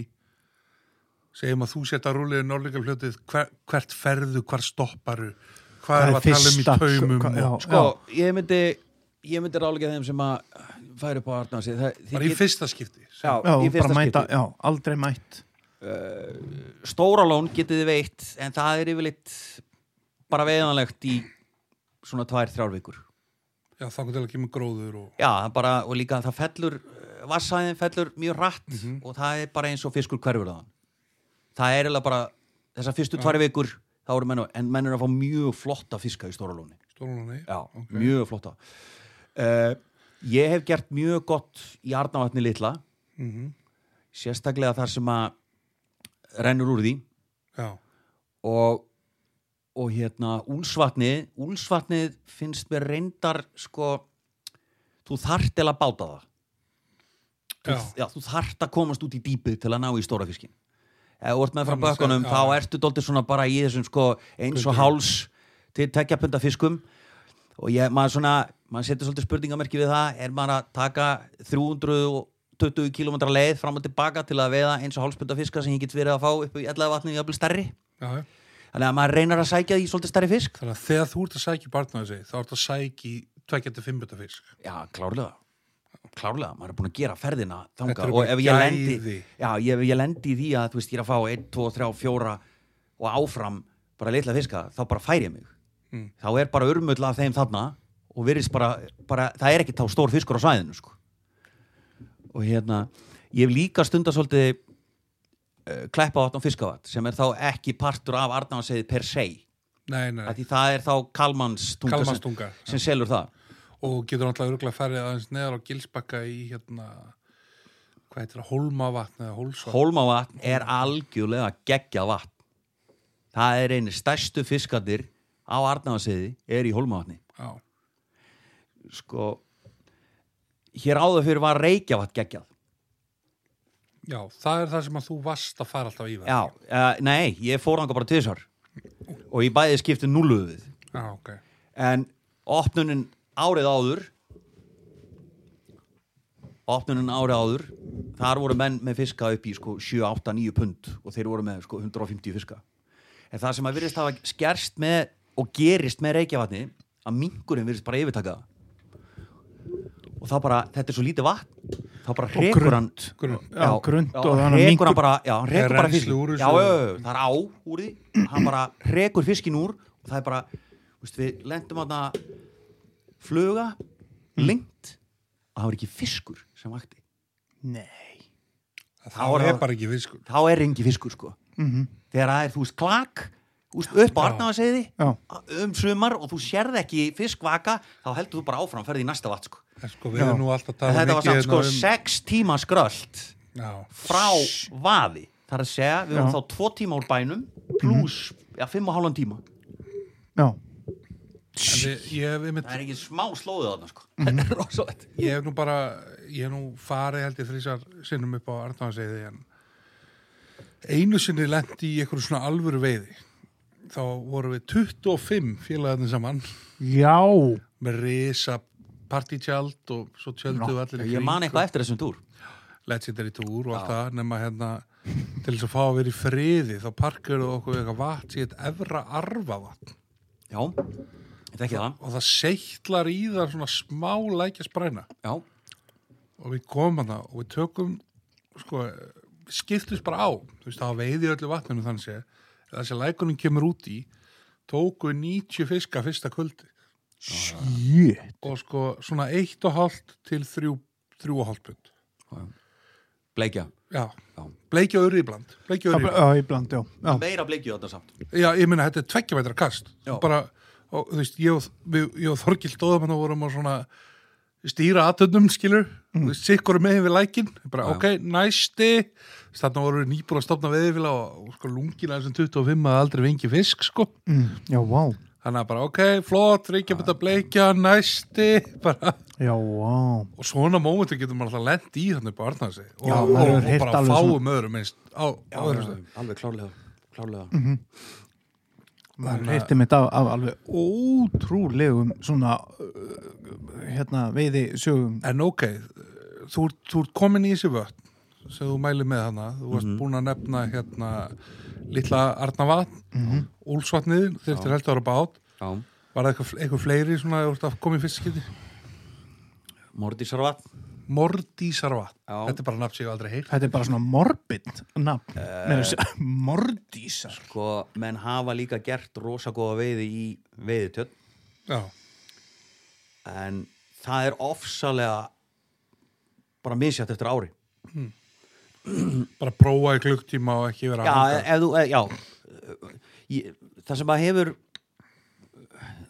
[SPEAKER 1] segjum að þú setja rúlið norðleika fljótið hver, hvert ferðu, hvert stopparu hvað
[SPEAKER 2] Hvað
[SPEAKER 1] er
[SPEAKER 2] er
[SPEAKER 1] að tala um í
[SPEAKER 2] fyrsta?
[SPEAKER 1] taumum
[SPEAKER 2] Hva-
[SPEAKER 1] og,
[SPEAKER 2] já.
[SPEAKER 3] sko, ég myndi ég myndi ráleika þeim sem að færi upp á Arnasi það, þið
[SPEAKER 1] bara í
[SPEAKER 3] get-
[SPEAKER 1] fyrsta skipti
[SPEAKER 3] já,
[SPEAKER 2] Já,
[SPEAKER 3] í
[SPEAKER 2] bara
[SPEAKER 3] fyrsta
[SPEAKER 2] mæta,
[SPEAKER 3] skipti
[SPEAKER 2] já, aldrei mætt
[SPEAKER 3] stóra lón getið þið veitt en það er yfirleitt bara veðanlegt í svona tvær, þrjár vikur
[SPEAKER 1] já, þá kom til að kemur gróður og
[SPEAKER 3] já, það bara, og líka það fellur vassæðin fellur mjög rætt og það er bara eins og fiskur hverfur þaðan það er eiginlega bara þessar fyrstu tvær vikur þá eru menn, en menn eru að fá mjög flotta fiska í stóra lóni
[SPEAKER 1] stólunni
[SPEAKER 3] já, mjög flotta uh, ég hef gert mjög gott í Arnavatni litla sérstaklega þar sem að rennur úr því
[SPEAKER 1] já.
[SPEAKER 3] og, og hérna úlsvatnið, úlsvatnið finnst mér reyndar sko þú þart til að báta það
[SPEAKER 1] Já,
[SPEAKER 3] já, þú þart að komast út í dýpið til að ná í stóra fiskin ef þú ert með
[SPEAKER 1] Þannig
[SPEAKER 3] frá
[SPEAKER 1] að
[SPEAKER 3] bökkunum
[SPEAKER 1] segja,
[SPEAKER 3] þá
[SPEAKER 1] sko, já.
[SPEAKER 3] ertu dóltið svona bara í þessum sko eins og
[SPEAKER 1] Pundum.
[SPEAKER 3] háls til tekja punda fiskum og ég, maður svona, maður setur svolítið spurningamerki við það, er maður að taka 320 km leið fram og tilbaka til að veiða eins og hálspunda fiska sem ég get verið að fá upp í allavega vatnið jafnvel stærri,
[SPEAKER 1] já, já.
[SPEAKER 3] þannig að maður reynar að sækja í svolítið stærri fisk
[SPEAKER 1] Þannig að þegar þú ert að sækja barnaði sig, þá ert að sækja í 2-5 bita fisk.
[SPEAKER 3] Já, klárlega klárlega, maður er búin að gera ferðina
[SPEAKER 1] Þetta
[SPEAKER 3] þanga
[SPEAKER 1] eru
[SPEAKER 3] og
[SPEAKER 1] bara
[SPEAKER 3] ef ég
[SPEAKER 1] gæði.
[SPEAKER 3] lendi já, ég- ef ég lendi í því að þú veist, ég er að fá 1, 2, 3, 4 og áfram bara litla fiska, þá bara færi ég mig
[SPEAKER 1] Mm.
[SPEAKER 3] þá er bara urmull af þeim þarna og virðist bara, bara það er ekki þá stór fiskur á svæðinu sko. og hérna ég hef líka stunda svolítið uh, kleppavatn og fiskavatn sem er þá ekki partur af Arnánsið per se,
[SPEAKER 1] Nei, nei,
[SPEAKER 3] af því það er þá Kalmanstunga,
[SPEAKER 1] kalmastunga.
[SPEAKER 3] sem, sem selur það
[SPEAKER 1] Og getur náttúrulega örgulega að ferja aðeins neðar á gilsbakka í hérna, hvað heitir það, holmavatn eða hólsvatn.
[SPEAKER 3] Hólmavatn er algjörlega geggjað vatn Það er einu stærstu fiskarnir á Arnaðanseiði er í Hólmavatni
[SPEAKER 1] Já,
[SPEAKER 3] sko hér áður fyrir var Reykjavatn geggjað
[SPEAKER 1] já, það er það sem að þú vast að fara alltaf í það.
[SPEAKER 3] Já, uh, nei, ég fór hann bara tvisar og ég bæði skipti núluðu við
[SPEAKER 1] Já, ok.
[SPEAKER 3] en opnunin árið áður opnunin árið áður þar voru menn með fiska upp í sko 7, 8, 9 pund og þeir voru með sko 150 fiska en það sem að virðist hafa skerst með og gerist með reykjavatni að minkurinn virðist bara yfirtaka það. og þá bara, þetta er svo lítið vatn þá bara hrekur hann
[SPEAKER 1] Grunn.
[SPEAKER 2] Já, grunnt
[SPEAKER 3] já,
[SPEAKER 2] og þannig að
[SPEAKER 3] hann rekur
[SPEAKER 2] minkur-
[SPEAKER 3] hann bara, já, hann
[SPEAKER 1] Það
[SPEAKER 3] rekur
[SPEAKER 1] er
[SPEAKER 3] bara
[SPEAKER 1] rennsli
[SPEAKER 3] fiskin
[SPEAKER 1] úr þessu.
[SPEAKER 3] já, já, já, já, það er á úr því hann bara rekur fiskin úr og það er bara, veist, við lendum hann að fluga
[SPEAKER 1] Mm.
[SPEAKER 3] lengt og það var ekki fiskur sem vakti
[SPEAKER 2] Nei
[SPEAKER 1] Það
[SPEAKER 3] er
[SPEAKER 1] er
[SPEAKER 3] það-
[SPEAKER 1] bara ekki fiskur.
[SPEAKER 3] þá er engi fiskur sko
[SPEAKER 1] Mhm.
[SPEAKER 3] -hmm. þegar það er, þú veist, klak þú veist, upp á Arnáðasegiði
[SPEAKER 2] Já.
[SPEAKER 3] um sumar og þú sérð ekki fiskvaka þá heldur þú bara áfram, ferði í næsta vatn sko
[SPEAKER 1] En sko, við erum nú alltaf að tala
[SPEAKER 3] þetta var samt
[SPEAKER 1] mikið
[SPEAKER 3] sko
[SPEAKER 1] hérna
[SPEAKER 3] sex tíma skrölt
[SPEAKER 1] Já,
[SPEAKER 3] frá vaði þar að segja, við
[SPEAKER 2] Já.
[SPEAKER 3] vorum þá tvo tíma úr bænum pluss, já, fimm og hálfan tíma
[SPEAKER 2] Já,
[SPEAKER 1] en við, ég hef einmitt
[SPEAKER 3] það er ekki smá slóðið þarna sko þetta er rosalegt
[SPEAKER 1] Ég hef nú bara, ég hef nú farið held ég þrísar sinnum upp á Arnáðseiði en einu sinni lendi í einhverju svona alvöru veiði þá vorum við 25 félagarnir saman
[SPEAKER 2] já,
[SPEAKER 1] með risa partítjald og svo tjöldu við allir í
[SPEAKER 3] ég man eitthvað eftir þessum túr
[SPEAKER 1] og legendary tour og allt það nema hérna til þess að fá að vera í friði þá parkurðu okkur við eitthvað vatn sem heit efra arfa vatn
[SPEAKER 3] já, þetta er ekki það
[SPEAKER 1] og það seittlar í það svona smá lækja spræna
[SPEAKER 3] já,
[SPEAKER 1] og við komum hana og við tökum sko, við skiptist bara á þú veist, það veiði öllu vatninu þannig sé eða þessi lækunum kemur út í tóku 90 fiska fyrsta kvöldi
[SPEAKER 2] shit
[SPEAKER 1] og sko svona 1,5 til 3, 3,5 pund
[SPEAKER 3] bleikja
[SPEAKER 1] já,
[SPEAKER 3] Já.
[SPEAKER 1] bleikja öru í bland bleikja öru í bland
[SPEAKER 2] Já, í bland, já, já.
[SPEAKER 3] meira bleikju þarna samt
[SPEAKER 1] já, ég meina þetta er tveggja metra kast
[SPEAKER 3] Já.
[SPEAKER 1] bara, og þú veist, ég og, við, ég og Þorgill Dóðamann og vorum á svona stýra aðtöndum, skilur mm. sikkur megin við lækin, bara
[SPEAKER 3] Já.
[SPEAKER 1] ok, næsti þarna voru við nýbúin að stopna veðifila og, og sko lungina þessum 25 að aldrei vengi fisk, sko
[SPEAKER 2] Mm, já, vá
[SPEAKER 1] Þannig Þannig að bara, ok, flott, ríkja byrja að bleikja, næsti, bara,
[SPEAKER 2] Já, vá.
[SPEAKER 1] og svona mómentu getur maður alltaf lent í þannig barna sig og,
[SPEAKER 2] Já,
[SPEAKER 1] og,
[SPEAKER 2] maður hefur
[SPEAKER 1] og,
[SPEAKER 2] heyrt
[SPEAKER 1] bara
[SPEAKER 2] alveg
[SPEAKER 1] fáum
[SPEAKER 2] svona-
[SPEAKER 1] öðrum eins á, á öðrum stað.
[SPEAKER 3] alveg klárlega, klárlega.
[SPEAKER 2] maður heyrti mitt af, af alveg ótrúlegum svona uh, hérna veiði sögum
[SPEAKER 1] En ok, þú, ert- þú ert komin í þessi vötn sem þú mælir með hana, þú varst búin að nefna hérna litla Arnavatn, mm -hmm. Úlsvatnið, þurftir heldur ára bát,
[SPEAKER 3] Já,
[SPEAKER 1] var það eitthvað, eitthvað fleiri svona, þú ert að koma í fiskiti,
[SPEAKER 3] Mordísarvatn
[SPEAKER 1] Mordísarvatn,
[SPEAKER 3] Já.
[SPEAKER 1] þetta er bara nafn sem ég hef aldrei heyrt.
[SPEAKER 2] þetta er bara svona morbid nafn
[SPEAKER 3] Eh.
[SPEAKER 2] uh, mordísar
[SPEAKER 3] sko, menn hafa líka gert rosa góða veiði í veiðitöð
[SPEAKER 1] Já,
[SPEAKER 3] en það er ofsalega bara misjátt eftir ári
[SPEAKER 1] bara prófa í klukktíma og ekki vera að
[SPEAKER 3] já,
[SPEAKER 1] hanga.
[SPEAKER 3] ef þú, e, já ég, það sem að hefur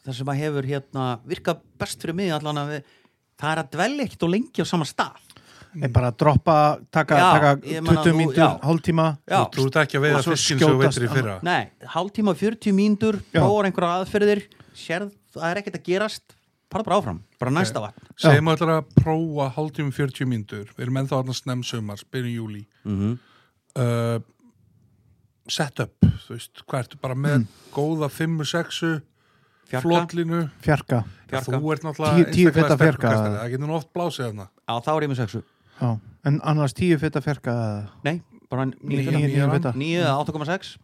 [SPEAKER 3] það sem að hefur hérna, virka best fyrir mig allan að við, það er að dvelja ekkert og lengi á sama stað
[SPEAKER 2] er bara að droppa, taka,
[SPEAKER 3] Mm. Já,
[SPEAKER 2] taka
[SPEAKER 3] ég meina,
[SPEAKER 2] 20
[SPEAKER 3] þú-
[SPEAKER 2] mínútur,
[SPEAKER 3] já.
[SPEAKER 2] hálftíma
[SPEAKER 3] já,
[SPEAKER 1] Þú ert ekki að veiða
[SPEAKER 2] Og svo
[SPEAKER 1] fiskin sem þú
[SPEAKER 2] skjótast
[SPEAKER 1] veitir í
[SPEAKER 2] hann-
[SPEAKER 1] fyrra.
[SPEAKER 3] nei, hálftíma 40 mínútur
[SPEAKER 2] Já.
[SPEAKER 3] prófar einhverja aðferðir sérð, það er ekkert að gerast farð bara áfram, bara næsta vatn
[SPEAKER 1] Segjum allir að prófa hálftíma 40 mínútur, við erum ennþá annars nefnsumars, byrjum júli. Mm -hmm.
[SPEAKER 2] Mhm.
[SPEAKER 1] uh, set up, þú veist, hvað ertu bara með
[SPEAKER 2] Mm.
[SPEAKER 1] góða 5-6
[SPEAKER 3] fjarka,
[SPEAKER 1] flotlínu,
[SPEAKER 2] fjarka
[SPEAKER 3] fjarka,
[SPEAKER 1] þú ert
[SPEAKER 2] Tíu-
[SPEAKER 1] náttúrulega
[SPEAKER 2] tíu feta
[SPEAKER 1] einstaklega sterkur
[SPEAKER 2] fjarka.
[SPEAKER 1] kastari, það getur nú oft blásið hérna. þarna.
[SPEAKER 3] á þá er ég með sexu
[SPEAKER 2] já. en annars 10 feta fjarka eða-
[SPEAKER 3] Nei, bara
[SPEAKER 2] Níu-
[SPEAKER 3] 9
[SPEAKER 2] níu feta.
[SPEAKER 3] 9 eða 8,6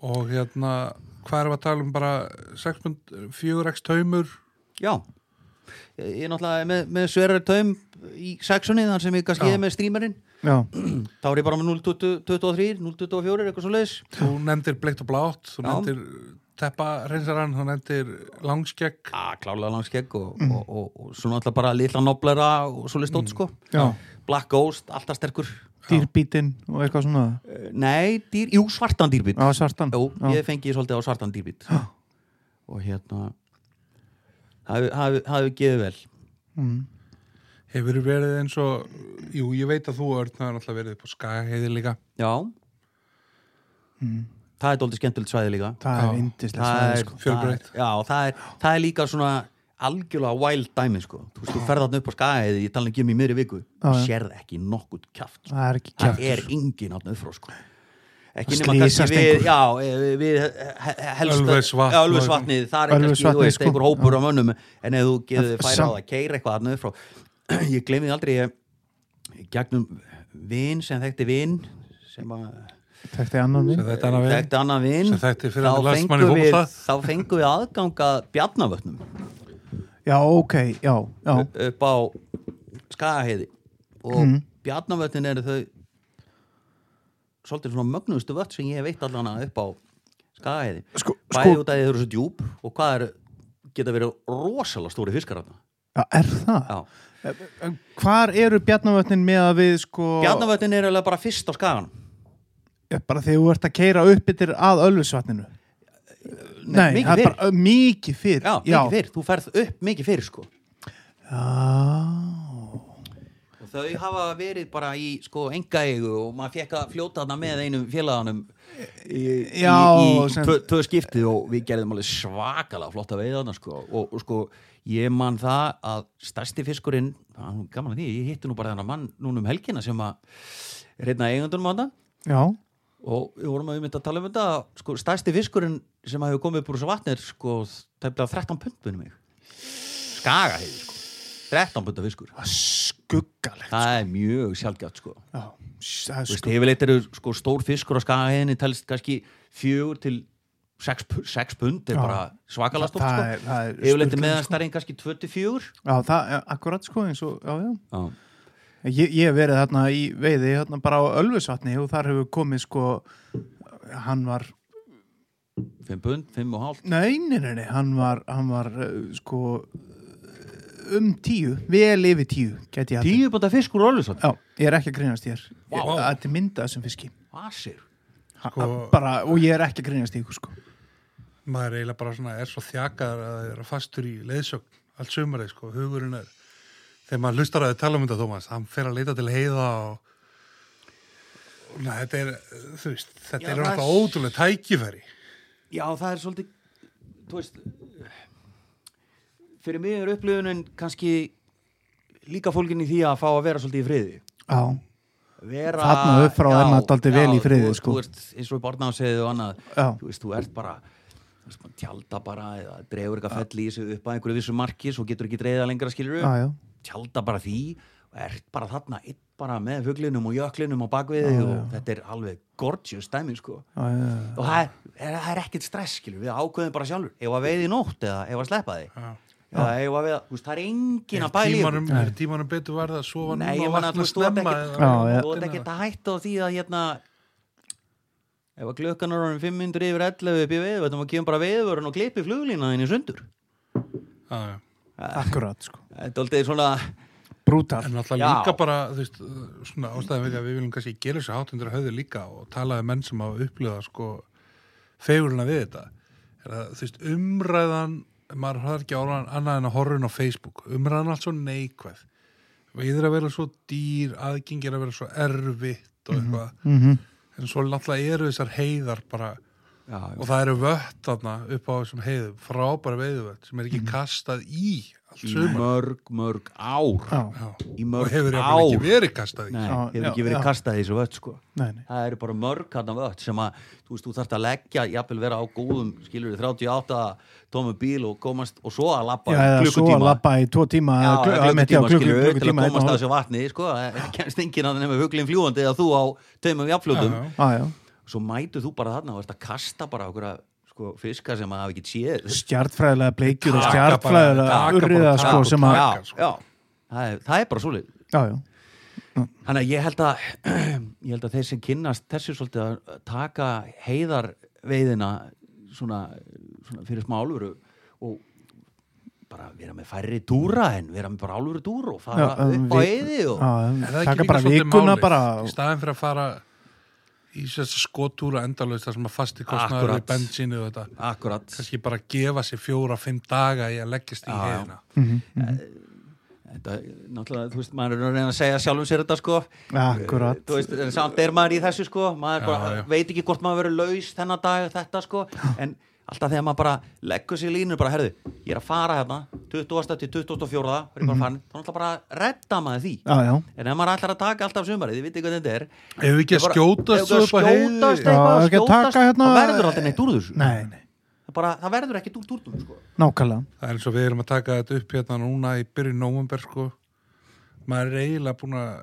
[SPEAKER 1] Og hérna, hvað erum við að tala um bara 6.4x taumur,
[SPEAKER 3] Já Ég er náttúrulega með, með sverri taum í sexunni þar sem ég kannski
[SPEAKER 1] Já.
[SPEAKER 3] er með streamerinn
[SPEAKER 2] já,
[SPEAKER 3] þá er ég bara með 0,23, 0,24 eitthvað svo leiðis
[SPEAKER 1] þú nefndir bleikt og blátt, þú
[SPEAKER 3] Já.
[SPEAKER 1] nefndir teppa reynsarhann, þú nefndir langskegg,
[SPEAKER 3] Já, klálega langskegg og,
[SPEAKER 2] Mm.
[SPEAKER 3] og, og, og svo náttúrulega bara litla noblera og svo leiðist mm. sko
[SPEAKER 2] já.
[SPEAKER 3] Black Ghost, alltaf sterkur
[SPEAKER 2] dýrbítin og eitthvað svona
[SPEAKER 3] Eh, Nei, dýr, jú, svartan dýrbít
[SPEAKER 2] á svartan
[SPEAKER 3] Jú,
[SPEAKER 2] já.
[SPEAKER 3] ég fengi svolítið á svartan dýrbít og hérna það hefur- það hefur gefið vel
[SPEAKER 2] Mm.
[SPEAKER 1] hefur verið eins og, jú, ég veit að þú örn, það er náttúrulega verið upp á skagaheiði líka.
[SPEAKER 3] Já
[SPEAKER 2] Mm.
[SPEAKER 3] Það er dóldi skemmtilegt svæði líka
[SPEAKER 2] það
[SPEAKER 1] Já.
[SPEAKER 2] er indislega
[SPEAKER 3] það er,
[SPEAKER 2] sko.
[SPEAKER 1] Fjölbreytt.
[SPEAKER 3] það er- já, það er, það er líka svona algjörlega wild dæmi sko. þú veist, þú ferð þarna upp á skæðið ég tala ekki um í miðri viku
[SPEAKER 2] Já, já.
[SPEAKER 3] sérð ekki nokkuð kjaft sko.
[SPEAKER 2] það er ekki
[SPEAKER 3] það
[SPEAKER 2] kjátt
[SPEAKER 3] er engin átnað frá sko. ekki
[SPEAKER 2] Það
[SPEAKER 3] nema kannski
[SPEAKER 2] slysast
[SPEAKER 3] við,
[SPEAKER 2] einhver.
[SPEAKER 3] já, eh, við he- helst
[SPEAKER 1] Ölfusvatn.
[SPEAKER 3] Já, Ölfusvatnið, það er kannski
[SPEAKER 2] Ölfusvatnið,
[SPEAKER 3] þú veist,
[SPEAKER 2] sko.
[SPEAKER 3] einhver hópur á mönnum en ef þú
[SPEAKER 2] En
[SPEAKER 3] getur færa á
[SPEAKER 2] samt-
[SPEAKER 3] það, keir eitthvað átnað frá ég glemði aldrei ég, gegnum vin sem þekkti vin sem að
[SPEAKER 2] þetta er
[SPEAKER 3] Mm.
[SPEAKER 2] annan
[SPEAKER 1] Sem
[SPEAKER 2] minn
[SPEAKER 1] Þetta er hann að vera.
[SPEAKER 3] þekkti annan vinn
[SPEAKER 1] Sem þekkti fyrir
[SPEAKER 3] þá
[SPEAKER 1] hann landsmann í
[SPEAKER 3] fengum við-
[SPEAKER 1] fótbolta.
[SPEAKER 3] þá fengum við aðgang að bjarnavötnum
[SPEAKER 2] já, ok, já, já
[SPEAKER 3] upp á skagaheiði og bjarnavötnin eru þau svolítið svona mögnuðustu vött sem ég hef veitt allan að upp á skagaheiði
[SPEAKER 2] Sko-
[SPEAKER 3] bæði
[SPEAKER 2] sko-
[SPEAKER 3] út að þið eru svo djúp og hvað eru geta verið rosalega stóri fiskar þarna.
[SPEAKER 2] já, er það?
[SPEAKER 3] Já.
[SPEAKER 2] En Hvar eru bjarnavötnin með að við sko
[SPEAKER 3] bjarnavötnin eru eiginlega bara fyrst á skagan
[SPEAKER 2] Já, bara þegar þú ert að keira upp yfir að ölfusvatninu Nei,
[SPEAKER 3] mikið
[SPEAKER 2] það er
[SPEAKER 3] fyrr.
[SPEAKER 2] bara ö, mikið fyrr
[SPEAKER 3] já, mikið fyrr, þú ferð upp mikið fyrr sko
[SPEAKER 2] Já,
[SPEAKER 3] og þau hafa verið bara í sko engaeigu og maður fekk að fljóta þarna með einum félaganum í,
[SPEAKER 2] Já,
[SPEAKER 3] í, í
[SPEAKER 2] sem-
[SPEAKER 3] tvö, tvö skiptið og við gerðum alveg svakalega flotta veið þarna sko og, og sko ég man það að stærsti fiskurinn, það er nú gaman að því ég hitti nú bara þennan mann núna um helgina sem að reyna eigundunum á þetta
[SPEAKER 2] já,
[SPEAKER 3] og við vorum að við mynda að tala um þetta sko stærsti fiskurinn sem hefur komið upp úr þessu vatnir sko tæmlega 13 pundbunum mig skaga heiði sko 13 punda fiskur
[SPEAKER 2] það er skuggalegt
[SPEAKER 3] það er mjög sjálfgjátt sko
[SPEAKER 2] Já, það er
[SPEAKER 3] Þú veist,
[SPEAKER 2] skuggalegt
[SPEAKER 3] yfirleitt eru sko stór fiskur á skagaheginni telst kannski fjögur til sex, pu- sex pund, er
[SPEAKER 2] Já.
[SPEAKER 3] bara svakalega stórt
[SPEAKER 2] Það
[SPEAKER 3] sko.
[SPEAKER 2] er- það er
[SPEAKER 3] yfirleitt er
[SPEAKER 2] sturlun,
[SPEAKER 3] meðan
[SPEAKER 2] sko.
[SPEAKER 3] starinn kannski 24
[SPEAKER 2] Já, það er akkurat sko eins og, já, já
[SPEAKER 3] já,
[SPEAKER 2] Ég, ég hef verið þarna í veiði þarna bara á ölfusvatni og þar hefur komið sko hann var,
[SPEAKER 3] 5 pund, 5 og hálft
[SPEAKER 2] nei, nei, nei, nei hann var, hann var ö, sko um tíu, vel yfir tíu geti ég haldið.
[SPEAKER 3] 10 punda fiskur og alveg svo
[SPEAKER 2] Já, ég er ekki að grínast þér
[SPEAKER 3] Vá.
[SPEAKER 2] wow. Þetta er myndað þessum fiski
[SPEAKER 3] Asir.
[SPEAKER 1] Sko-
[SPEAKER 2] Að- bara, Og ég er ekki að grínast í ykkur sko
[SPEAKER 1] maður er eiginlega bara svona er svo þjakaður að það er fastur í leiðsögn allt sumarið sko, hugurinn er þegar maður hlustar að þið tala um þetta Thomas hann fer að leita til heiða og Nei, þetta er, þú veist, þetta
[SPEAKER 3] Já,
[SPEAKER 1] er
[SPEAKER 3] það-
[SPEAKER 1] náttúrulega ótrúlega tækifæri
[SPEAKER 3] já það er svolítið þú veist fyrir mig er upplifunin kannski líka fólkin í því að fá að vera svolítið í friði
[SPEAKER 2] já,
[SPEAKER 3] vera,
[SPEAKER 2] Þarna upp frá
[SPEAKER 3] já,
[SPEAKER 2] er maður dálítið vel í
[SPEAKER 3] já,
[SPEAKER 2] friði,
[SPEAKER 3] þú ert-
[SPEAKER 2] sko.
[SPEAKER 3] þú ert eins og í barnáseðið og annað
[SPEAKER 2] Já.
[SPEAKER 3] þú veist, þú ert bara þú veist, maður tjálda bara eða dregur eitthvað fell í þessu upp að einhverju vissu marki svo getur ekki dreiða lengra skilur
[SPEAKER 2] já, já.
[SPEAKER 3] tjálda bara því og ert bara þarna einn bara með fuglinum og jöklinum á bakviði og þetta er alveg gorgeous dæmi sko
[SPEAKER 2] Já, já, já.
[SPEAKER 3] og það er, er, það er ekkert stress skilur við ákveðum bara sjálfur, ef að veiði í nótt eða ef að sleppa því
[SPEAKER 1] Já.
[SPEAKER 3] eða ef að veiða, þú veist, það er engin að bæli
[SPEAKER 1] tímanum, er tímanum betur verða að sofa
[SPEAKER 3] Nei,
[SPEAKER 1] núna
[SPEAKER 3] ég
[SPEAKER 1] og
[SPEAKER 3] man að
[SPEAKER 1] vakna
[SPEAKER 3] þú stóð
[SPEAKER 1] snemma
[SPEAKER 3] ekkert
[SPEAKER 2] Já,
[SPEAKER 1] eða-
[SPEAKER 2] já.
[SPEAKER 3] þú ert ekkert að hætta á því að hérna ef að klukkan er orðin 500 yfir 11 upp í veiðvöldum og kemur bara veiðvörun og klippi fluglína þín í sundur
[SPEAKER 1] Já, já.
[SPEAKER 2] akkurat sko
[SPEAKER 3] þetta er aldrei svona
[SPEAKER 2] brútal
[SPEAKER 1] En alltaf
[SPEAKER 3] Já.
[SPEAKER 1] líka bara, þú veist, svona ástæðum við að við viljum kannski gera þessu hátundur höfðu líka og talaði menn sem hafa upplifað sko fegurina við þetta. Er að, þú veist, umræðan, maður har ekki álan annað en að horfa inn á Facebook, umræðan allt svo neikvæð. Við er að vera svo dýr, aðgengi er að vera svo erfitt og eitthvað.
[SPEAKER 2] Mhm.
[SPEAKER 1] En svo alltaf eru þessar heiðar bara,
[SPEAKER 3] já, já.
[SPEAKER 1] og það eru vött þarna upp á þessum heiðum, frábæra veiðuvött sem er ekki
[SPEAKER 2] Mhm.
[SPEAKER 1] kastað í allt
[SPEAKER 3] í
[SPEAKER 1] sumar.
[SPEAKER 3] mörg, mörg ár
[SPEAKER 2] já,
[SPEAKER 1] Já.
[SPEAKER 3] í
[SPEAKER 1] Og
[SPEAKER 3] mörg
[SPEAKER 1] hefur
[SPEAKER 3] ár
[SPEAKER 1] jafnvel ekki verið kastað í.
[SPEAKER 3] Nei,
[SPEAKER 2] Já,
[SPEAKER 3] hefur
[SPEAKER 2] já,
[SPEAKER 3] ekki verið
[SPEAKER 2] já.
[SPEAKER 3] kastað í þessu vött sko
[SPEAKER 2] nei, nei
[SPEAKER 3] það eru bara mörg hann af öll sem að þú veist, þú þarft að leggja, jafnvel vera á góðum skilur 38 tómu bíl og komast og svo að labba
[SPEAKER 2] já,
[SPEAKER 3] í
[SPEAKER 2] eða svo að
[SPEAKER 3] klukkutíma.
[SPEAKER 2] labba í tvo tíma
[SPEAKER 3] Já,
[SPEAKER 2] eða
[SPEAKER 3] eða
[SPEAKER 2] klukk- einmitt, já,
[SPEAKER 3] klukkutíma
[SPEAKER 2] klukk-
[SPEAKER 3] skilur til að
[SPEAKER 2] klukkutíma,
[SPEAKER 3] komast að
[SPEAKER 2] einn og-
[SPEAKER 3] þessu vatni sko, það kemst enginn að nefna huglinn fljúandi eða þú á taumum jafnfljótum
[SPEAKER 1] Já, já.
[SPEAKER 2] Já, já.
[SPEAKER 3] svo mætu þú bara þarna og ert að kasta bara okkur sko, fiska sem að hafa ekki séð
[SPEAKER 2] stjartfræðilega bleikjur og
[SPEAKER 1] Taka
[SPEAKER 2] stjartfræðilega
[SPEAKER 1] bara- taka bara
[SPEAKER 2] urriða
[SPEAKER 1] taka
[SPEAKER 2] sko
[SPEAKER 1] og
[SPEAKER 2] sem að
[SPEAKER 1] taka.
[SPEAKER 3] já, já, það er, það er bara svolít
[SPEAKER 2] já, já,
[SPEAKER 3] Þannig að ég held að ég held að þeir sem kynnast þessu svolítið að taka heiðarveiðina svona, svona fyrir smá álfuru og bara vera með færri túra en vera með bara álfuru túra og fara
[SPEAKER 2] Já, um,
[SPEAKER 3] upp á
[SPEAKER 2] við-
[SPEAKER 3] heiði og
[SPEAKER 2] já,
[SPEAKER 1] Er það ekki
[SPEAKER 2] taka
[SPEAKER 1] líka
[SPEAKER 2] bara
[SPEAKER 1] svolítið
[SPEAKER 2] vikuna
[SPEAKER 1] málið?
[SPEAKER 2] bara
[SPEAKER 1] í staðin fyrir að fara í þessi skotúra endalaust þar sem að fasti kostnaður
[SPEAKER 3] Akkúrat.
[SPEAKER 1] í bensínu og þetta
[SPEAKER 3] akkurat
[SPEAKER 1] kannski bara gefa sér fjóra, fimm daga í að leggjast í
[SPEAKER 3] Já, já.
[SPEAKER 1] hefina
[SPEAKER 3] þetta, náttúrulega, þú veist, maður er að reyna að segja sjálfum sér þetta sko
[SPEAKER 2] akkurat
[SPEAKER 3] þú veist, en samt er maður í þessu sko maður bara,
[SPEAKER 1] Já, já.
[SPEAKER 3] veit ekki hvort maður verið laus þennan dag og þetta sko en alltaf þegar maður bara leggur sér línu bara, herðu, ég er að fara hérna 20. til 24. er ég bara farin þá er alltaf bara að redda maður því
[SPEAKER 2] Mhm. já, já,
[SPEAKER 3] en ef maður ætlar að taka alltaf sumarið, ég veit ekki hvað þetta er
[SPEAKER 1] Ef við ekki að
[SPEAKER 3] Ég bara-
[SPEAKER 1] skjótast
[SPEAKER 3] ef
[SPEAKER 1] svo
[SPEAKER 3] við
[SPEAKER 1] upp á heiði
[SPEAKER 3] skjótast
[SPEAKER 2] Já, ekki
[SPEAKER 3] eitthvað,
[SPEAKER 2] að
[SPEAKER 3] skjótast,
[SPEAKER 2] taka hérna-
[SPEAKER 3] það verður alltaf neitt úr þessu
[SPEAKER 2] nei, nei,
[SPEAKER 3] það, bara, það verður ekkert úr túrtum sko.
[SPEAKER 2] nákvæmlega
[SPEAKER 1] Það er eins og við erum að taka þetta upp hérna núna í byrjun nómumber sko maður er eiginlega búin að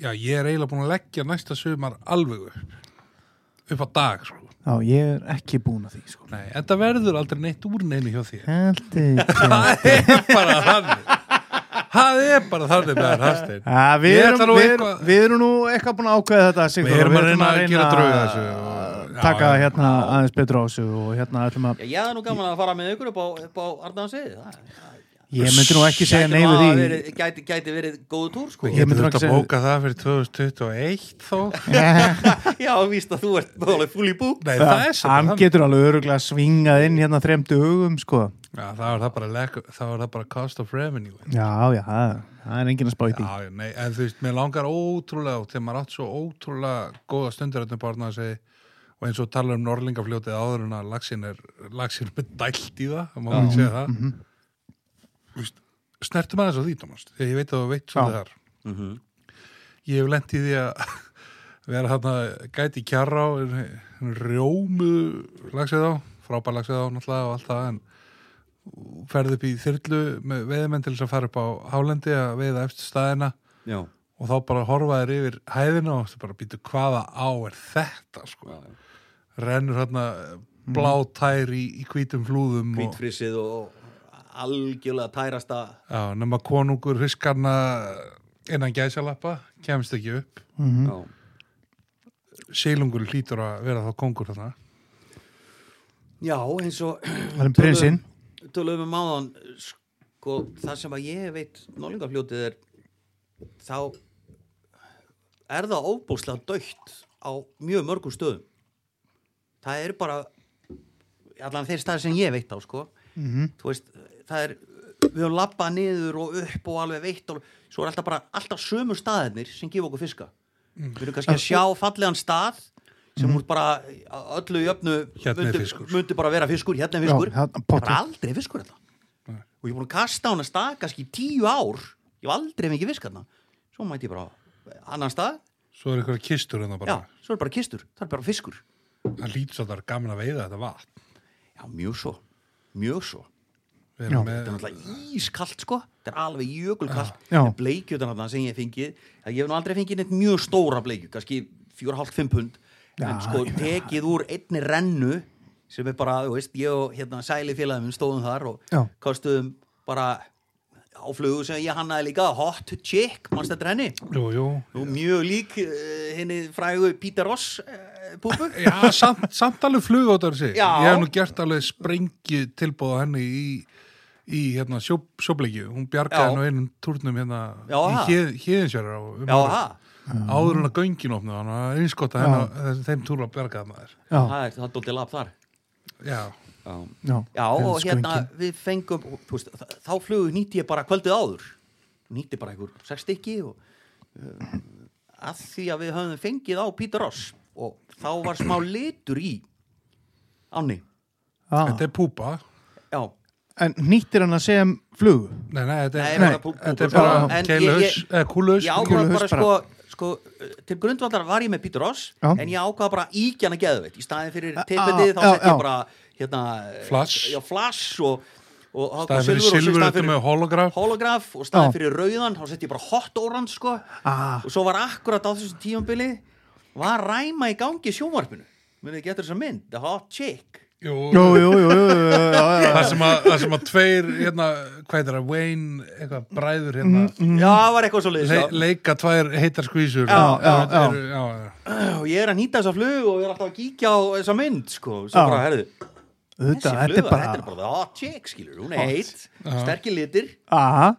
[SPEAKER 1] já, ég er eiginlega búin að leggja næsta sumar alveg upp upp á dag sko
[SPEAKER 2] já, ég er ekki búin að því sko
[SPEAKER 1] Nei, þetta verður aldrei neitt úr neinu hjá þér
[SPEAKER 2] heldur
[SPEAKER 1] Það er bara þannig Það er bara þannig með þær Hafstein
[SPEAKER 2] Ja, við,
[SPEAKER 1] Ég ætla
[SPEAKER 2] erum,
[SPEAKER 1] nú
[SPEAKER 2] við,
[SPEAKER 1] eitthvað-
[SPEAKER 2] við erum nú eitthvað búin að ákveða þetta Sigþór,
[SPEAKER 1] Við erum
[SPEAKER 2] og
[SPEAKER 1] að reyna að gera drög að þessu
[SPEAKER 2] að
[SPEAKER 1] og- já,
[SPEAKER 2] taka
[SPEAKER 1] já.
[SPEAKER 2] hérna aðeins betur á þessu og hérna ætlum að
[SPEAKER 3] Já, ég er nú gaman að fara með ykkur upp á, upp á Arnafnsið
[SPEAKER 2] ég myndi nú ekki segja
[SPEAKER 3] Gæti
[SPEAKER 2] neyfið
[SPEAKER 3] maður
[SPEAKER 2] því
[SPEAKER 3] verið- gæti, gæti verið góð túr sko.
[SPEAKER 2] Ég myndi
[SPEAKER 1] Getur
[SPEAKER 2] ekki
[SPEAKER 1] þetta
[SPEAKER 2] segja-
[SPEAKER 1] bóka það fyrir 2021 þó?
[SPEAKER 3] Já, víst að þú ert alveg full í búk
[SPEAKER 1] Nei, það er sem
[SPEAKER 2] hann getur alveg öruglega svingað inn hérna þrem dögum sko
[SPEAKER 1] Já, það var það bara, leg, það var það bara cost of revenue.
[SPEAKER 2] já, já, það það er enginn að spá í því
[SPEAKER 1] Já, já, nei, en þú veist, mér langar ótrúlega og þegar maður átt svo ótrúlega góða stundir hérna barna að segja og eins og tala um norlingafljótið áður en að lagsin er, lagsin er dælt í það, það má ekki segja það. Mm veist, snertum aðeins á því, Tómas, þegar ég veit að þú veit svolítið þar. Ég hef lent í því að vera þarna gæti í kjarra á, rjómu lagsið á, frábær lagsið á náttúrulega og allt það, en ferði upp í þyrlu með veiðmenn til þess að fara upp á hálendi að veiða eftir staðina
[SPEAKER 3] Já,
[SPEAKER 1] og þá bara horfa þér yfir hæðina og þú bara býtu hvaða á er þetta sko. rennur hérna blá tær í, í hvítum flúðum og,
[SPEAKER 3] hvítfrísið og algjörlega tærasta
[SPEAKER 1] já, nema konungur hriskarna innan gæsalappa kemst ekki upp
[SPEAKER 2] Mhm.
[SPEAKER 3] Já,
[SPEAKER 1] sílungur hlýtur að vera þá kongur þarna
[SPEAKER 3] já eins og
[SPEAKER 2] það er um prinsinn
[SPEAKER 3] Tölum um áðan sko, það sem að ég veit nálingafljótið er þá er það ofbúslega dögt á mjög mörgum stöðum það er bara allan þeir staðar sem ég veit á sko
[SPEAKER 1] Mhm.
[SPEAKER 3] þú veist, það er við höfum labbað niður og upp og alveg veitt og svo
[SPEAKER 1] Mm.
[SPEAKER 3] er alltaf bara, alltaf sömu staðirnir sem gefa okkur fiska við erum kannski að sjá fallegan stað sem mm bara að öllu jöfnu
[SPEAKER 1] Mhm. Hérna er
[SPEAKER 3] myndi-
[SPEAKER 1] fiskur.
[SPEAKER 3] myndi bara vera fiskur, hérna er fiskur
[SPEAKER 2] Já, hérna,
[SPEAKER 3] það
[SPEAKER 2] pottur.
[SPEAKER 3] er aldrei fiskur þetta og ég er búin að kasta á hana stað kannski í tíu ár ég hef aldrei mikið fisk hérna svo mæti ég bara á annan stað
[SPEAKER 1] Svo er eitthvað kistur en það bara
[SPEAKER 3] já, svo er bara kistur, það er bara fiskur
[SPEAKER 1] Það lýt svo að það er gaman að veiða þetta vatn
[SPEAKER 3] já, mjög svo, mjög svo
[SPEAKER 1] Við
[SPEAKER 2] Já.
[SPEAKER 1] erum með-
[SPEAKER 3] þetta er náttúrulega ískalt sko þetta er alveg jökulkalt
[SPEAKER 2] Já.
[SPEAKER 3] En bleikjutan þarna sem ég hef fengið það ég hef nú aldrei fengið neitt mjög stóra bleikju kannski 4,5-5 pund
[SPEAKER 2] Já,
[SPEAKER 3] en sko
[SPEAKER 2] já.
[SPEAKER 3] tekið úr einni rennu sem er bara, þú veist, ég og hérna sæli félagum stóðum þar og
[SPEAKER 2] Já.
[SPEAKER 3] kostuðum bara áflugu sem ég hannaði líka, hot chick mannst þetta renni,
[SPEAKER 1] Jú, jú
[SPEAKER 3] og mjög lík uh, henni frægu Peter Ross uh, púpu
[SPEAKER 1] Já, samt, samt alveg flugótar sig
[SPEAKER 3] Já.
[SPEAKER 1] Ég hef nú gert alveg sprengju tilbúð á henni í, í hérna, sjó, sjóbleikju Hún
[SPEAKER 3] Já.
[SPEAKER 1] bjargaði nú einum turnum hérna
[SPEAKER 3] Já, ha.
[SPEAKER 1] í hýðinsjörar um
[SPEAKER 3] já,
[SPEAKER 1] árið.
[SPEAKER 3] ha,
[SPEAKER 1] áður en að göngin opna hann að einskota henn að þeim túra bjargaði maður
[SPEAKER 2] já,
[SPEAKER 3] það er það dóldi lab þar
[SPEAKER 1] Já,
[SPEAKER 3] já
[SPEAKER 2] já,
[SPEAKER 3] Já, og hérna
[SPEAKER 2] skvöngin.
[SPEAKER 3] við fengum, og, þú veist, þa- þá flugu nýtti ég bara kvöldið áður. Nýtti bara einhver sex stykki og uh, að því að við höfum fengið á Peter Ross og þá var smá litur í áni.
[SPEAKER 1] þetta er púpa
[SPEAKER 3] Já,
[SPEAKER 2] en nýttir hann að segja um flug
[SPEAKER 1] Nei, nei, þetta
[SPEAKER 3] Nei,
[SPEAKER 1] er,
[SPEAKER 3] bara pú-
[SPEAKER 1] þetta er
[SPEAKER 3] púpa. Já,
[SPEAKER 1] bara eh,
[SPEAKER 3] en ég-
[SPEAKER 1] keiluhaus,
[SPEAKER 3] ég-
[SPEAKER 1] eða kúluhaus
[SPEAKER 3] ég ákvað
[SPEAKER 2] kúluhaus
[SPEAKER 3] bara sko, sko, uh, til grundvallar var ég með Peter Ross
[SPEAKER 2] Já.
[SPEAKER 3] en ég ákvað bara íkjana geðveitt. Í staðin fyrir
[SPEAKER 2] Já,
[SPEAKER 3] teipetið þá
[SPEAKER 2] já,
[SPEAKER 3] sett
[SPEAKER 2] já.
[SPEAKER 3] ég bara hérna, uh,
[SPEAKER 1] Flash.
[SPEAKER 3] Já, flash og og þá
[SPEAKER 1] Það er fyrir
[SPEAKER 3] silfur og svo í
[SPEAKER 1] silfur
[SPEAKER 3] staðinn
[SPEAKER 1] þetta með holograf
[SPEAKER 3] holograf og staðið
[SPEAKER 2] Já.
[SPEAKER 3] fyrir rauðan þá sett ég bara hot orange sko
[SPEAKER 2] Ah.
[SPEAKER 3] og svo var akkurat á þessu tíumbili var ræma í gangi í sjónvarpinu munið getur þess að mynd, the hot chick
[SPEAKER 1] Jú,
[SPEAKER 2] jú, jú, jú, jú, jú, jú, já, já, já.
[SPEAKER 1] það sem að, það sem að tveir, hérna, hvað er það, Wayne, eitthvað bræður hérna
[SPEAKER 3] já, það var eitthvað svo leiðis
[SPEAKER 1] le, leika tvær heitar skvísur
[SPEAKER 2] Já, já, já.
[SPEAKER 1] Eru- já, já.
[SPEAKER 3] og ég er að nýta þessa flug og ég er alltaf að kíkja á þessa mynd sko, og
[SPEAKER 2] Já.
[SPEAKER 3] svo bara, herðu, þessi
[SPEAKER 2] Þetta, þetta
[SPEAKER 3] fluga,
[SPEAKER 2] er bara
[SPEAKER 3] þetta er bara the hot chick, skilur, hún er heit sterkir litir
[SPEAKER 2] aha,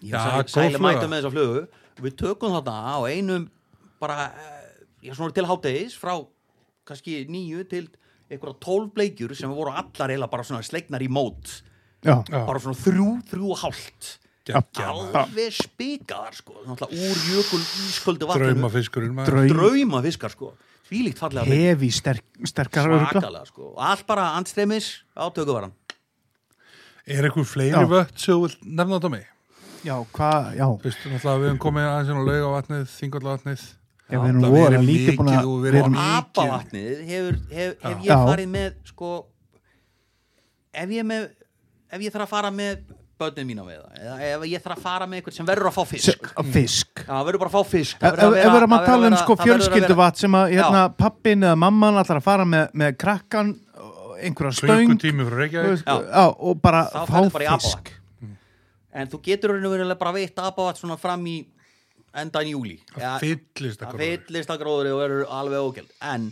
[SPEAKER 1] Já, góð
[SPEAKER 3] sæli
[SPEAKER 1] fluga.
[SPEAKER 3] mæta með þessa flugu við tökum þarna á einum bara, eh, já svona til háttegis frá kannski nýju til einhverja tólf bleikjur sem voru allar eiginlega bara svona sleiknar í mót
[SPEAKER 2] já,
[SPEAKER 1] Já.
[SPEAKER 3] bara svona þrjú, þrjú og hálft
[SPEAKER 1] Geggjað.
[SPEAKER 3] alveg spikaðar sko náttúrulega úr jökul ísköldu vatninu
[SPEAKER 1] Draumafiskurinn maður.
[SPEAKER 2] draum,
[SPEAKER 3] draumafiskar sko þvílíkt fallega mynd,
[SPEAKER 2] hefi sterk, sterkar örgla
[SPEAKER 3] svakalega sko og allt bara andstremis á tökuvaran
[SPEAKER 1] Er eitthvað fleiri
[SPEAKER 2] Já.
[SPEAKER 1] vött sem þú vilt nefna þetta á mig?
[SPEAKER 2] já, hvað, já,
[SPEAKER 1] Þú veist, náttúrulega við höfum komið aðeins inn á laugavatnið, þingallavatnið
[SPEAKER 2] ef við erum
[SPEAKER 1] það
[SPEAKER 2] voru
[SPEAKER 1] verið
[SPEAKER 2] lítið búin
[SPEAKER 1] mikið
[SPEAKER 2] að
[SPEAKER 1] og
[SPEAKER 2] við
[SPEAKER 1] verið
[SPEAKER 2] erum,
[SPEAKER 1] mikið.
[SPEAKER 3] apavatnið hefur, hef, hef
[SPEAKER 2] Já.
[SPEAKER 3] ég farið með sko ef ég, með, ef ég þarf að fara með börnin mín á veiða eða ef ég þarf að fara með einhvern sem verður að fá fisk
[SPEAKER 2] s- fisk
[SPEAKER 3] Já, það verður bara að fá
[SPEAKER 2] Ef
[SPEAKER 3] fisk það verður
[SPEAKER 2] ef- ef við erum að
[SPEAKER 3] það verður
[SPEAKER 2] tala um sko
[SPEAKER 3] það verður að vera-
[SPEAKER 2] fjölskylduvat sem að hérna,
[SPEAKER 3] Já.
[SPEAKER 2] pappin eða mamman ætlar að fara með, með krakkan og einhverja stöng
[SPEAKER 1] Klukkutími frá Reykjavík
[SPEAKER 2] og, já, og bara
[SPEAKER 3] Þá
[SPEAKER 2] fá
[SPEAKER 3] ferðu bara í
[SPEAKER 2] fisk
[SPEAKER 3] en þú getur raunverulega bara veitt apavat svona fram í endan júli
[SPEAKER 1] Það fyllist
[SPEAKER 3] það
[SPEAKER 1] að gróður
[SPEAKER 3] fyllist að gróðri og eru alveg ógjöld en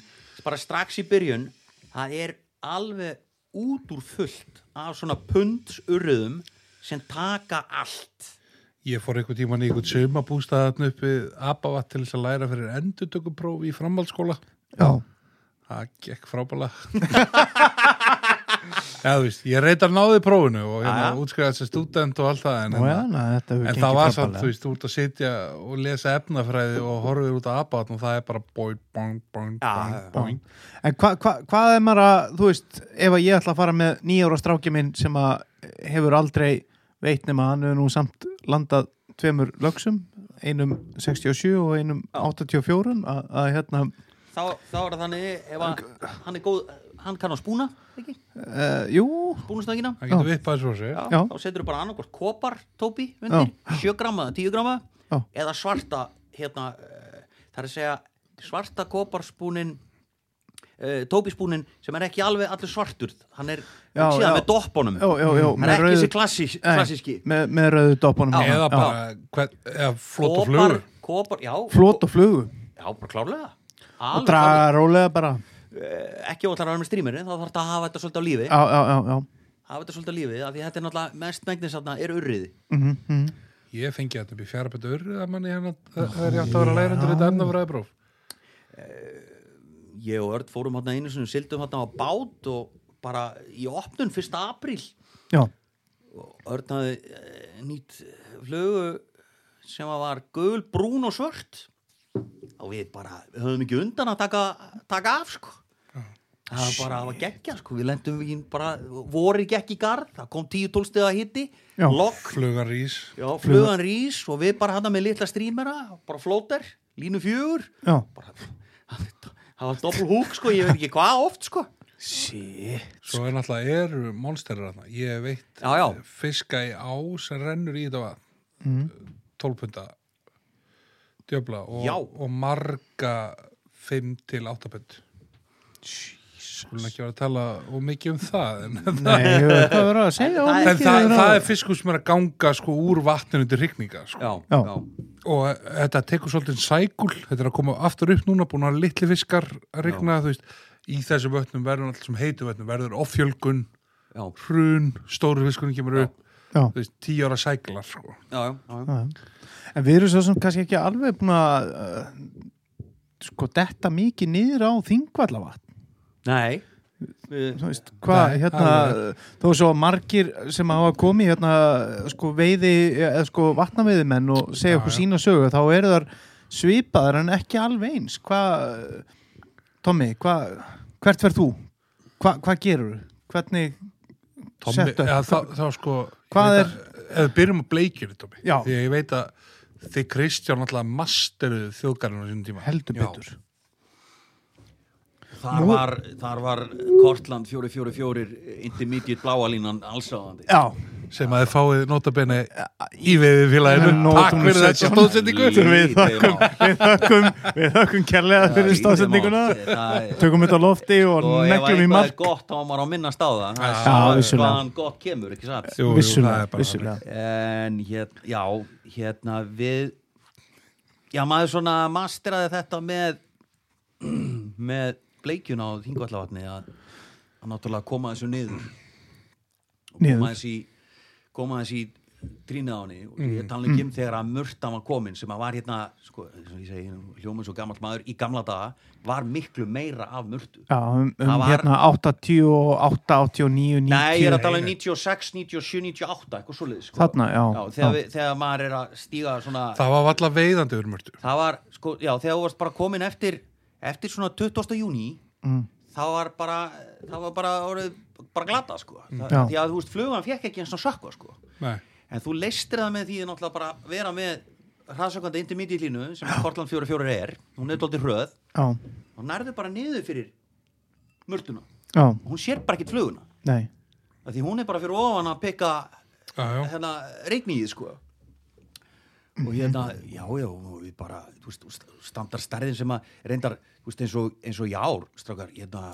[SPEAKER 3] bara strax í byrjun það er alveg út úr fullt af svona pundsurðum sem taka allt
[SPEAKER 1] Ég fór einhver tíma í einhvern sömabústaðan upp við Abavatt til þess að læra fyrir endurtökupróf í framhaldsskóla
[SPEAKER 2] já,
[SPEAKER 1] Það gekk frábæla Já, þú veist, ég reyndar náði prófinu og hérna
[SPEAKER 3] Jæja.
[SPEAKER 1] útskrifaði sem student og allt það en, hérna,
[SPEAKER 2] Nú, já, na, þetta hefur
[SPEAKER 1] en
[SPEAKER 2] gengið
[SPEAKER 1] það var samt,
[SPEAKER 2] frábærlega.
[SPEAKER 1] þú veist, þú ert að sitja og lesa efnafræði og horfir út að abatn og það er bara boing, boing, boing, boing,
[SPEAKER 3] já.
[SPEAKER 1] boing
[SPEAKER 2] en hva, hva, hvað er maður að þú veist, ef að ég ætla að fara með nýjára stráki minn sem að hefur aldrei veit nema hann hefur nú samt landað tveimur lögsum einum 67 og einum 84 að, að hérna
[SPEAKER 3] þá, þá er það þannig ef að, hann er góð, hann kann á spúna ekki,
[SPEAKER 2] uh, jú,
[SPEAKER 3] spúnustöngina
[SPEAKER 1] Það getur vippað þessu á sig
[SPEAKER 3] Já,
[SPEAKER 2] Já.
[SPEAKER 3] þá setur þú bara annarkort kopar tópi undir, 7 gramma eða 10 gramma
[SPEAKER 2] Já.
[SPEAKER 3] eða svarta hérna, uh, það er að segja svarta koparspúnin uh, tópispúnin sem er ekki alveg allir svartur hann er
[SPEAKER 2] Já,
[SPEAKER 3] síðan
[SPEAKER 2] já.
[SPEAKER 3] með doppunum
[SPEAKER 2] já, já, já
[SPEAKER 3] hann er ekki
[SPEAKER 2] rauðu-
[SPEAKER 3] þessi klassi,
[SPEAKER 2] Nei,
[SPEAKER 3] klassíski
[SPEAKER 2] með, með rauðu hérna. dopunum
[SPEAKER 3] Já.
[SPEAKER 1] eða bara, hvern, eða flott og
[SPEAKER 3] kopar,
[SPEAKER 1] flugur
[SPEAKER 3] kopar, já,
[SPEAKER 2] flót og flugu
[SPEAKER 3] já, bara klárlega
[SPEAKER 2] og
[SPEAKER 3] Alveg klárlega.
[SPEAKER 2] draga rólega bara
[SPEAKER 3] Eh, ekki ótlar að vera með strímurinn þá þarf þetta að hafa þetta svolítið á lífi
[SPEAKER 2] já, já, já, já.
[SPEAKER 3] hafa þetta svolítið á lífi af því þetta er náttúrulega mest megnis þarna er urriði
[SPEAKER 2] Mm -hmm.
[SPEAKER 1] Ég fengi þetta upp í fjárabættu urrið að manni hérna þegar ég átt að vera lærandur þetta efnafræðipróf
[SPEAKER 3] ég og Örd fórum hérna einu sinni sildum hérna á bát og bara í opnun 1. apríl
[SPEAKER 2] já,
[SPEAKER 3] og Örd hafði eh, nýtt flugu sem að var gul, brún og svört og við bara við höfum ekki undan að taka, taka af sko það var bara að gegja sko við lendum í bara, voru gekk í garð það kom 10-12 stiga hitti
[SPEAKER 2] Já.
[SPEAKER 3] lokk,
[SPEAKER 1] flugan rís
[SPEAKER 3] já, flugan rís og við bara hann með litla strímera bara flóter, línu fjögur
[SPEAKER 2] já
[SPEAKER 3] bara, það var doppel húk sko ég veit ekki hvað oft sko
[SPEAKER 2] shit
[SPEAKER 1] svo er náttúrulega eru monsterar þarna ég hef veitt
[SPEAKER 3] já, já,
[SPEAKER 1] fiska í á sem rennur í þetta vatn mm. 12 punta djöfla og,
[SPEAKER 3] Já.
[SPEAKER 1] og marga 5 til 8 punt skulum ekki vera að tala og mikið um það en, en,
[SPEAKER 2] nei, ég veit hvað verður að segja
[SPEAKER 3] En
[SPEAKER 2] of
[SPEAKER 1] það,
[SPEAKER 2] mikið
[SPEAKER 1] það,
[SPEAKER 2] verður að-
[SPEAKER 1] er fiskur sem er að ganga sko úr vatninu til hrygninga sko.
[SPEAKER 3] já,
[SPEAKER 2] Já.
[SPEAKER 3] já.
[SPEAKER 1] og þetta tekur svolítið sækul þetta er að koma aftur upp núna búin að vera litli fiskar að hrygna þú veist í þessu vötnum verður allt sem heitu vötnum verður offjölgun,
[SPEAKER 3] Já,
[SPEAKER 1] hrun stóru fiskurinn kemur upp
[SPEAKER 2] já
[SPEAKER 1] þú veist, 10 ára sæklar sko.
[SPEAKER 3] já, já, já.
[SPEAKER 2] Já, já. En við erum svo sem kannski ekki alveg búin að uh, sko detta mikið niður á þingvallavatn
[SPEAKER 3] Nei Við-
[SPEAKER 2] Þú veist, hvað,
[SPEAKER 1] Nei,
[SPEAKER 2] hérna uh, þó svo margir sem hafa komið hérna uh, sko veiði, eða sko vatnaveiðimenn og
[SPEAKER 1] Já,
[SPEAKER 2] segja okkur
[SPEAKER 1] já.
[SPEAKER 2] sína sögu þá eru þar svipaðar en ekki alveg eins hvað, uh, Tommy, hvað hvert verð þú? Hva, hvað gerur? Hvernig
[SPEAKER 1] Tommi,
[SPEAKER 2] Sett upp.
[SPEAKER 1] eða, þá, þá sko
[SPEAKER 2] Hvað
[SPEAKER 1] ég veit að- eða byrjum á bleikjunni Tommi
[SPEAKER 2] Já.
[SPEAKER 1] því að ég veit að þið Kristján alltaf masteruðu þjóðgarinn á sínum tíma
[SPEAKER 2] heldur
[SPEAKER 1] Já.
[SPEAKER 2] betur?
[SPEAKER 3] Þar
[SPEAKER 2] Nú-
[SPEAKER 3] var, þar var Kortland 444 intermediate bláa línan allsáðandi
[SPEAKER 2] Já,
[SPEAKER 1] sem að þið fáið notabene í veiðið félaginu
[SPEAKER 2] Nótum
[SPEAKER 1] takk fyrir þess
[SPEAKER 2] 17.
[SPEAKER 1] að stóðsendingu
[SPEAKER 2] við þökkum, við þökkum, við þökkum kærlega fyrir stafsendinguna tökum þetta á lofti og
[SPEAKER 3] og Sko, ef
[SPEAKER 2] neglum í
[SPEAKER 3] eitthvað er
[SPEAKER 2] mark
[SPEAKER 3] gott þá á maður að minnast á það Það er
[SPEAKER 2] Já,
[SPEAKER 3] sama
[SPEAKER 2] vissulega.
[SPEAKER 3] hvaðan gott kemur, ekki satt
[SPEAKER 1] Jú, jú, það
[SPEAKER 2] vissulega,
[SPEAKER 1] er bara
[SPEAKER 2] vissulega
[SPEAKER 3] en hér, já, hérna við já, maður svona masteraði þetta með með bleikjun á þingvallavatni að, að náttúrulega koma þessu niður koma
[SPEAKER 2] niður,
[SPEAKER 3] þessi koma þessi trínað á henni og
[SPEAKER 2] Mm.
[SPEAKER 3] ég tala ekki um þegar að murtan var komin sem að var hérna, sko, eins og ég segi hljóminn svo gammal maður í gamla daga var miklu meira af murtu
[SPEAKER 2] já, um,
[SPEAKER 3] Það
[SPEAKER 2] um
[SPEAKER 3] var-
[SPEAKER 2] hérna 88, 89, 90
[SPEAKER 3] Nei, ég er að tala um 96, 97, 98 eitthvað svoleiðis sko.
[SPEAKER 2] Þarna, já. Já.
[SPEAKER 3] þegar, Við, þegar maður er að stíga svona
[SPEAKER 1] það var valla veiðandi urmörtu
[SPEAKER 3] það var, sko, já, þegar þú varst bara komin eftir eftir svona 20. júni
[SPEAKER 2] Mm.
[SPEAKER 3] þá var bara það var bara, orðið, bara glata, sko það,
[SPEAKER 2] Já.
[SPEAKER 3] því að, þú veist, flugan fekk ekki eins og sökva, sko
[SPEAKER 1] Nei.
[SPEAKER 3] en þú leistir það með því að náttúrulega bara vera með hraðsökkvanda intermediate línu sem að Kortland 44 er, hún er dóltið hröð
[SPEAKER 2] já,
[SPEAKER 3] og nærðu bara niður fyrir mörtuna,
[SPEAKER 2] já,
[SPEAKER 3] hún sér bara ekkert fluguna
[SPEAKER 2] nei
[SPEAKER 3] af því hún er bara fyrir ofan að pikka
[SPEAKER 1] Já, já.
[SPEAKER 3] hérna, reiknýið sko og hérna, já, já, og við bara þú veist, st- standar stærðin sem að reyndar, þú veist, eins og, eins og jár strákar, hérna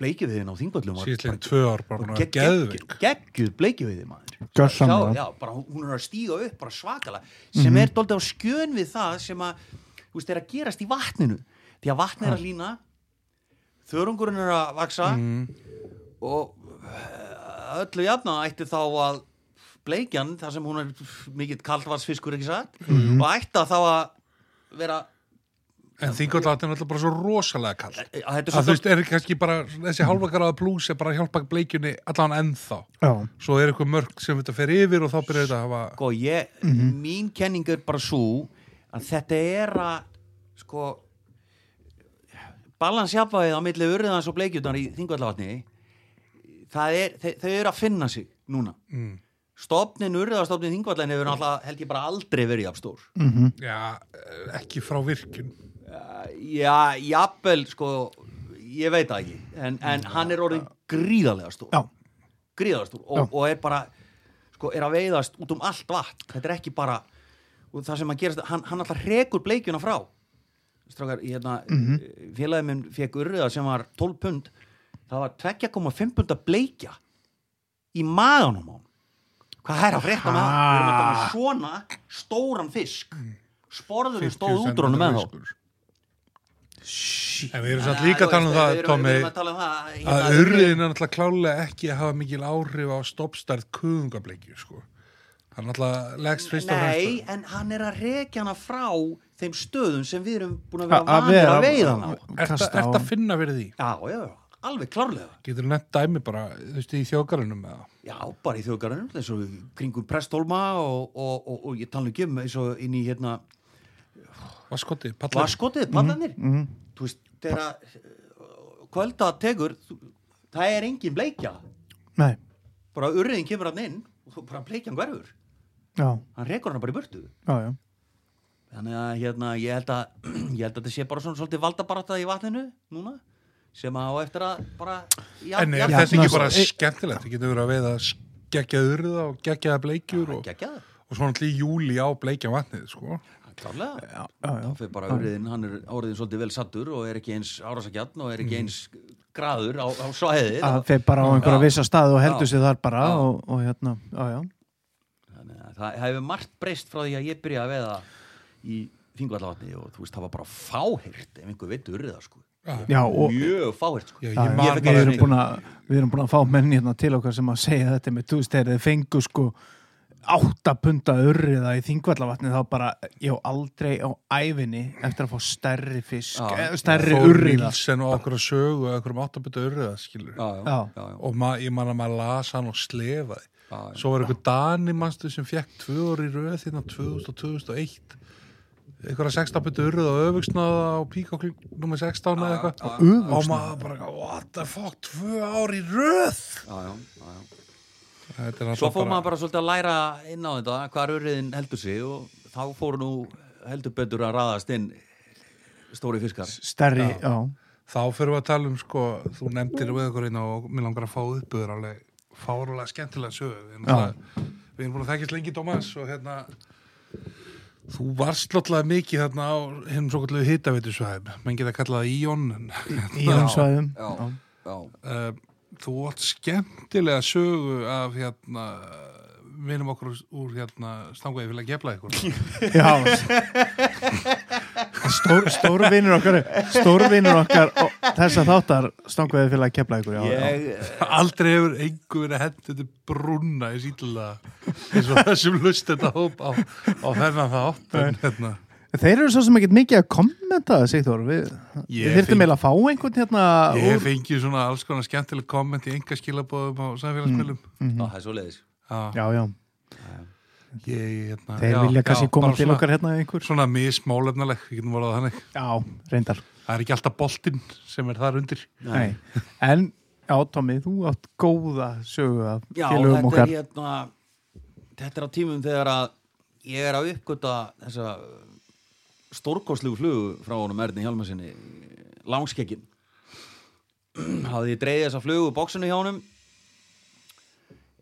[SPEAKER 3] bleikjöfiðin á þingvöllum var
[SPEAKER 1] síðan tvö ár bara búin að vera geðvik
[SPEAKER 3] geggjuð bleikjöfiði maður
[SPEAKER 2] Gjörsamlega.
[SPEAKER 3] já, já, bara hún- hún er að stíga upp bara svakala sem er doldið á skjön við það sem að, þú veist, er að gerast í vatninu því að vatn er að lína þörungurinn er að vaksa og eh, öllu jafna ætti þá að bleikjan, þar sem hún er mikill kaldvarsfiskur ekki satt og ætti að þá að vera
[SPEAKER 1] en þingotlátt er náttúrulega bara svo rosalega kall
[SPEAKER 3] að þetta er
[SPEAKER 1] að þú
[SPEAKER 3] svo
[SPEAKER 1] veist, er kannski bara þessi hálfakaraða blús er bara að hjálpa bleikjunni allan ennþá
[SPEAKER 2] já,
[SPEAKER 1] svo er eitthvað mörg sem þetta fer yfir og þá byrjar þetta að hafa
[SPEAKER 3] sko, ég, mín kenning er bara svo að þetta er að sko balansjafvæðið á milli urðans og bleikjutnar í þingvallavatni það er, þau, þau eru að finna sig núna
[SPEAKER 1] mm.
[SPEAKER 3] stofnin urðastofnin þingvallan hefur náttúrulega held ég bara aldrei verið jafn stór
[SPEAKER 1] Mm. já, ekki frá virkun
[SPEAKER 3] já, jafnvel sko, ég veit það ekki en, en hann er orðin gríðarlega stór
[SPEAKER 2] já,
[SPEAKER 3] gríðarlega stór
[SPEAKER 2] Já.
[SPEAKER 3] og, og er bara sko, er að veiðast út um allt vatn þetta er ekki bara og það sem að gerast, hann, hann alltaf rekur bleikjuna frá strákar, hérna mm
[SPEAKER 1] Mhm.
[SPEAKER 3] félagið minn fekk urriða sem var 12 pund, það var 2,5 pund að bleikja í maganum á hann hvað er að frétta með það? Við erum að
[SPEAKER 1] Ah.
[SPEAKER 3] tala um svona stóran fisk
[SPEAKER 1] Mm.
[SPEAKER 3] sporðurinn stóð út úr honum með þá
[SPEAKER 1] en við erum satt líka að tala um
[SPEAKER 3] Við
[SPEAKER 1] það
[SPEAKER 3] erum-
[SPEAKER 1] Tommy
[SPEAKER 3] við erum að tala um það, hérna,
[SPEAKER 1] að urriðin er náttúrulega klálega ekki að hafa mikil áhrif á stoppstærð kuðungableikju sko. hann náttúrulega leggst fyrst og
[SPEAKER 3] Nei,
[SPEAKER 1] fremst
[SPEAKER 3] en hann er að rekja hana frá þeim stöðum sem við erum búin að
[SPEAKER 2] A-
[SPEAKER 3] vera
[SPEAKER 2] að
[SPEAKER 3] vanir að
[SPEAKER 2] vera-
[SPEAKER 3] veiða hana á.
[SPEAKER 1] er
[SPEAKER 2] Kasta á-
[SPEAKER 1] þetta að finna fyrir því?
[SPEAKER 3] Já, já, alveg klárlega.
[SPEAKER 1] getur nett dæmi bara, þú veist, í þjókarunum með það
[SPEAKER 3] Já, bara í þjóðgarðinum, eins og kringum Prestólma og, og, og, og ég tala ekki um eins og inn í hérna
[SPEAKER 1] Vaskoti, pallar
[SPEAKER 3] Vaskotið, pallanir
[SPEAKER 1] mhm.
[SPEAKER 3] Þú veist, þegar að, uh, kvölda tekur þú, það er engin bleikja
[SPEAKER 2] Nei,
[SPEAKER 3] bara urriðin kemur hann inn og þú bara bleikjan hverfur
[SPEAKER 2] já,
[SPEAKER 3] hann rekur hann bara í burtu
[SPEAKER 2] já, já
[SPEAKER 3] þannig að hérna, ég held að ég held að þetta sé bara svona svolítið valdabarata í vatninu núna sem að á eftir að bara já,
[SPEAKER 1] En er
[SPEAKER 3] já,
[SPEAKER 1] þetta
[SPEAKER 2] Jafna
[SPEAKER 1] ekki bara
[SPEAKER 2] sig.
[SPEAKER 1] skemmtilegt? Þið getur verið að veiða geggjaða urða og geggjaða bleikjur
[SPEAKER 2] sko?
[SPEAKER 1] og,
[SPEAKER 3] gekkja
[SPEAKER 1] og svona allir júli á bleikja vatnið, sko.
[SPEAKER 3] klárlega
[SPEAKER 2] Já, já, já.
[SPEAKER 3] þá fyrir bara urriðin, hann er orðin svolítið vel sattur og er ekki eins árásakjarn og er ekki eins graður á, á svæðið
[SPEAKER 2] Mm. að þeir bara á einhverja
[SPEAKER 3] Já.
[SPEAKER 2] vissa staði og heldur
[SPEAKER 3] Já.
[SPEAKER 2] sér þar bara
[SPEAKER 3] Já.
[SPEAKER 2] og, og hérna, já, já
[SPEAKER 3] þannig að það hefur margt breyst frá því að ég byrja að veða í finguallavatni og þú veist það var bara fáhirt ef einhver veit urriða sko
[SPEAKER 2] Já, og
[SPEAKER 3] mjög fáhirt sko
[SPEAKER 1] Já,
[SPEAKER 2] Já,
[SPEAKER 1] ég
[SPEAKER 2] já,
[SPEAKER 1] man
[SPEAKER 2] við,
[SPEAKER 1] bara
[SPEAKER 2] erum búin að, við erum búin að fá menn hérna til okkar sem að segja þetta með tús þegar þeir fengu sko áttapunta urriða í þingvallavatni þá bara, ég á aldrei á æfinni eftir að fá stærri fisk
[SPEAKER 3] Já.
[SPEAKER 2] eh, stærri
[SPEAKER 1] Þór
[SPEAKER 2] urriða
[SPEAKER 1] Nilsen og okkur að sögu og okkur um áttabita urða, skilur.
[SPEAKER 3] já, já,
[SPEAKER 2] Já.
[SPEAKER 3] já, já,
[SPEAKER 1] Og ma, ég man að maður las hann og slefaði.
[SPEAKER 3] já, já.
[SPEAKER 1] Svo var einhver Dani, manstu, sem fekk tvö orð í röð þérna 2000 og 2001. Einhverja sextabita urða og öfugsnaða á píkokling nummer 16 eða eitthvað.
[SPEAKER 2] Öfugsnaða?
[SPEAKER 1] Og maður bara, what the fuck, tvö ár í röð?
[SPEAKER 3] já, já, já, já.
[SPEAKER 1] Þetta er
[SPEAKER 3] Svo
[SPEAKER 1] alltaf
[SPEAKER 3] fór maður bara svolítið að læra inn á þetta hvað röriðin heldur sig og þá fór nú heldur betur að raðast inn stóri fiskar
[SPEAKER 2] stærri, já,
[SPEAKER 1] Þá fyrir við að tala um sko, þú nefndir við ykkur einu og mér langar að fá uppöður alveg fárulega skemmtilega sögur. Við, erum náttúrulega- við erum búin að þekkjast lengi, Dómas, og hérna, þú varst alltaf mikið þarna á hennum svo kallu hittaveitusvæðum. Menn geta kallað það íjón. en-
[SPEAKER 2] í jónsvæðum
[SPEAKER 3] já, já, já,
[SPEAKER 1] Eh, Þú átt skemmtilega sögu af hérna, vinum okkur úr- úr hérna, stangaði fyrir að gefla ykkur.
[SPEAKER 2] Já Stór, stóru vinnur okkar stóru vinnur okkar og þess að þáttar stanguði fyrir að kepla ykkur já,
[SPEAKER 3] Ég,
[SPEAKER 1] Aldrei hefur einhver verið hendur til brúnna í síðlega eins og þessum lust þetta hóp á, á þennan þátt. En, hérna,
[SPEAKER 2] já. Þeir eru svo sem ekkert mikið að kommenta það, Sigþór Við,
[SPEAKER 1] Ég
[SPEAKER 2] við þyrftum
[SPEAKER 1] finn-
[SPEAKER 2] eiginlega að fá einhvern hérna
[SPEAKER 1] Ég hef
[SPEAKER 2] úr-
[SPEAKER 1] fengið svona alls konar skemmtileg komment í enga skilabóðum á samfélagsmiðlum.
[SPEAKER 2] Mm.
[SPEAKER 3] á, það er svo leiðis
[SPEAKER 1] Já,
[SPEAKER 2] Já, já,
[SPEAKER 1] ég, hérna,
[SPEAKER 2] þeir
[SPEAKER 1] já,
[SPEAKER 2] vilja kannski
[SPEAKER 1] já,
[SPEAKER 2] koma
[SPEAKER 1] bara
[SPEAKER 2] til
[SPEAKER 1] svona-
[SPEAKER 2] okkar hérna einhver
[SPEAKER 1] Svona mismálefnaleg, við getum vorað þannig.
[SPEAKER 2] Já, reyndar
[SPEAKER 1] Það er ekki alltaf boltinn sem er þar undir.
[SPEAKER 2] Nei. En, já, Tommy, þú átt góða sögu af
[SPEAKER 3] Já,
[SPEAKER 2] félögum
[SPEAKER 3] þetta er
[SPEAKER 2] okkar
[SPEAKER 3] hérna þetta er á tímum þegar að ég er að uppgöta þessa stórkostlegu flugu frá honum Erni Hjálmarsinni langskekkin hafði ég dreigði þessa flugu úr bóksinu hjá honum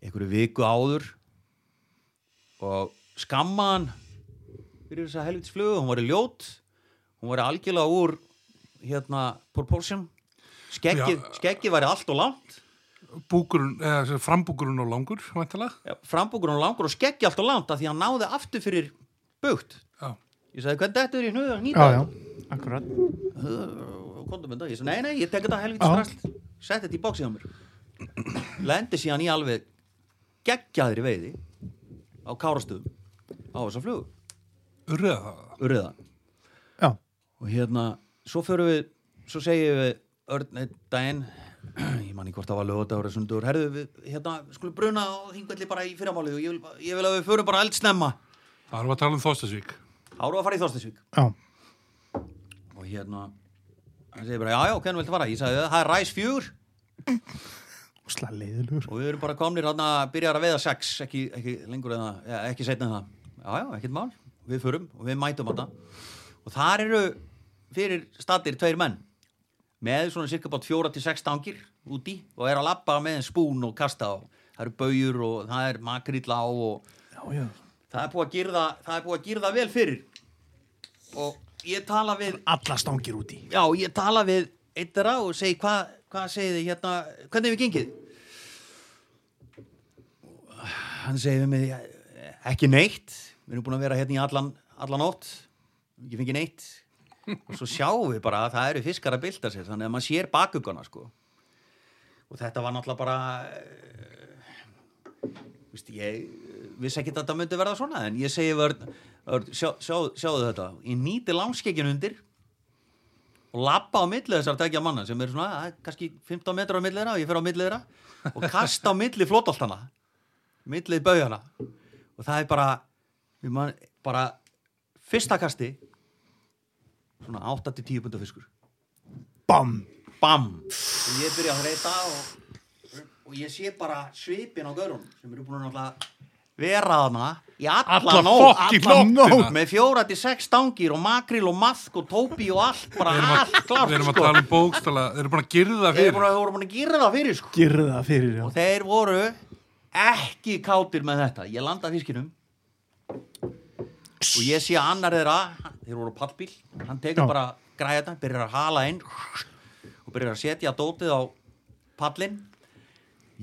[SPEAKER 3] einhverju viku áður og skamma hann fyrir þessa helvits flugu, hún var í ljót hún var algjörlega úr hérna proportion skeggið,
[SPEAKER 1] Já.
[SPEAKER 3] skeggið væri allt og langt
[SPEAKER 1] Búkurinn, eða sem sagt, frambúkurinn og langur, vantilega.
[SPEAKER 3] frambúkur og langur og skeggja allt og langt af því að hann náði aftur fyrir bugt
[SPEAKER 1] Já.
[SPEAKER 3] ég sagði hvernig þetta er í hnuga
[SPEAKER 2] Já,
[SPEAKER 3] nýta
[SPEAKER 2] já, akkurat
[SPEAKER 3] komdu með þetta, ég sagði nei nei ég tek þetta helvítið
[SPEAKER 2] Já.
[SPEAKER 3] strasl, sett þetta í bóksið á mér lendi síðan í alveg geggjaðri veiði á kárastöðum á þessa flugu,
[SPEAKER 1] Urriða það.
[SPEAKER 3] urriða
[SPEAKER 2] Já,
[SPEAKER 3] og hérna, svo förum við svo segjum við örn einn daginn ég man ekki hvort það var lögadagur eða sunnudagur, herðu við, hérna, skulum bruna og þingvelli bara í fyrramálið og ég vil, ég vil að við förum bara eldsnemma
[SPEAKER 1] Það erum við að tala um Þóstasvík.
[SPEAKER 3] þá erum við að fara í Þorstensvík
[SPEAKER 2] já,
[SPEAKER 3] og hérna hann segir bara, já, já, hvernig viltu fara? Ég sagði, það er ræs fjúr
[SPEAKER 2] úsla leiðilugur
[SPEAKER 3] og við erum bara komnir hann að byrja að veiða sex ekki, ekki lengur en það, ja, ekki setna en það já, já, ekkert mál, við förum og við mætum þetta og þar eru fyrir statir tveir menn með svona cirka bát fjóra til sex stangir úti og er að labba með en spún og kasta og það eru baujur og það er makríll á og
[SPEAKER 2] Já, já,
[SPEAKER 3] það er búið að girða, það er búið að girða vel fyrir og ég tala við
[SPEAKER 2] alla stangir úti
[SPEAKER 3] Já, ég tala við einn þeirra og segi hvað hva segið þið hérna, hvernig hefur gengið? Hann segir við mig, "Ja, ekki neitt, við erum búin að vera hérna í allan, allan ótt, ekki fengið neitt. Og svo sjáum við bara að það eru fiskar að bylta sér, þannig að maður sér bakugana, sko. Og þetta var náttúrulega bara, Vist, ég vissi ekki að þetta myndi verða svona, en ég segi vörn, vörn sjá, sjá, sjáðu þetta, ég nýti langskeikin undir, og lappa á milli þessar tekja manna sem eru svona að, kannski 15 metrar á milli þeirra og ég fer á milli þeirra og kasta á milli flótoltana milli baujana og það er bara, ég man, bara fyrsta kasti svona 8-10 punda fiskur
[SPEAKER 2] Bam!
[SPEAKER 3] bam og ég byrja að þreita og, og ég sé bara svipin á gaurunum sem eru búin að náttúrulega vera þarna í alla
[SPEAKER 1] Alla
[SPEAKER 3] nótt
[SPEAKER 1] fucking
[SPEAKER 3] alla
[SPEAKER 1] nóttina.
[SPEAKER 3] nótt, með fjóra til sex stangir og makril og maðk og tópi og allt bara allt klart
[SPEAKER 1] Við erum að
[SPEAKER 3] sko
[SPEAKER 1] tala um bókstala, þeir eru búin að girða
[SPEAKER 3] þeir
[SPEAKER 1] fyrir.
[SPEAKER 3] voru voru búin að gera það fyrir sko
[SPEAKER 2] Girða fyrir já.
[SPEAKER 3] og þeir voru ekki kátir með þetta ég landa fiskinum og ég sé að annar þeirra þeir voru á pallbíl, hann tekur
[SPEAKER 2] Já.
[SPEAKER 3] bara græða, byrjar að hala inn og byrjar að setja dótið á pallin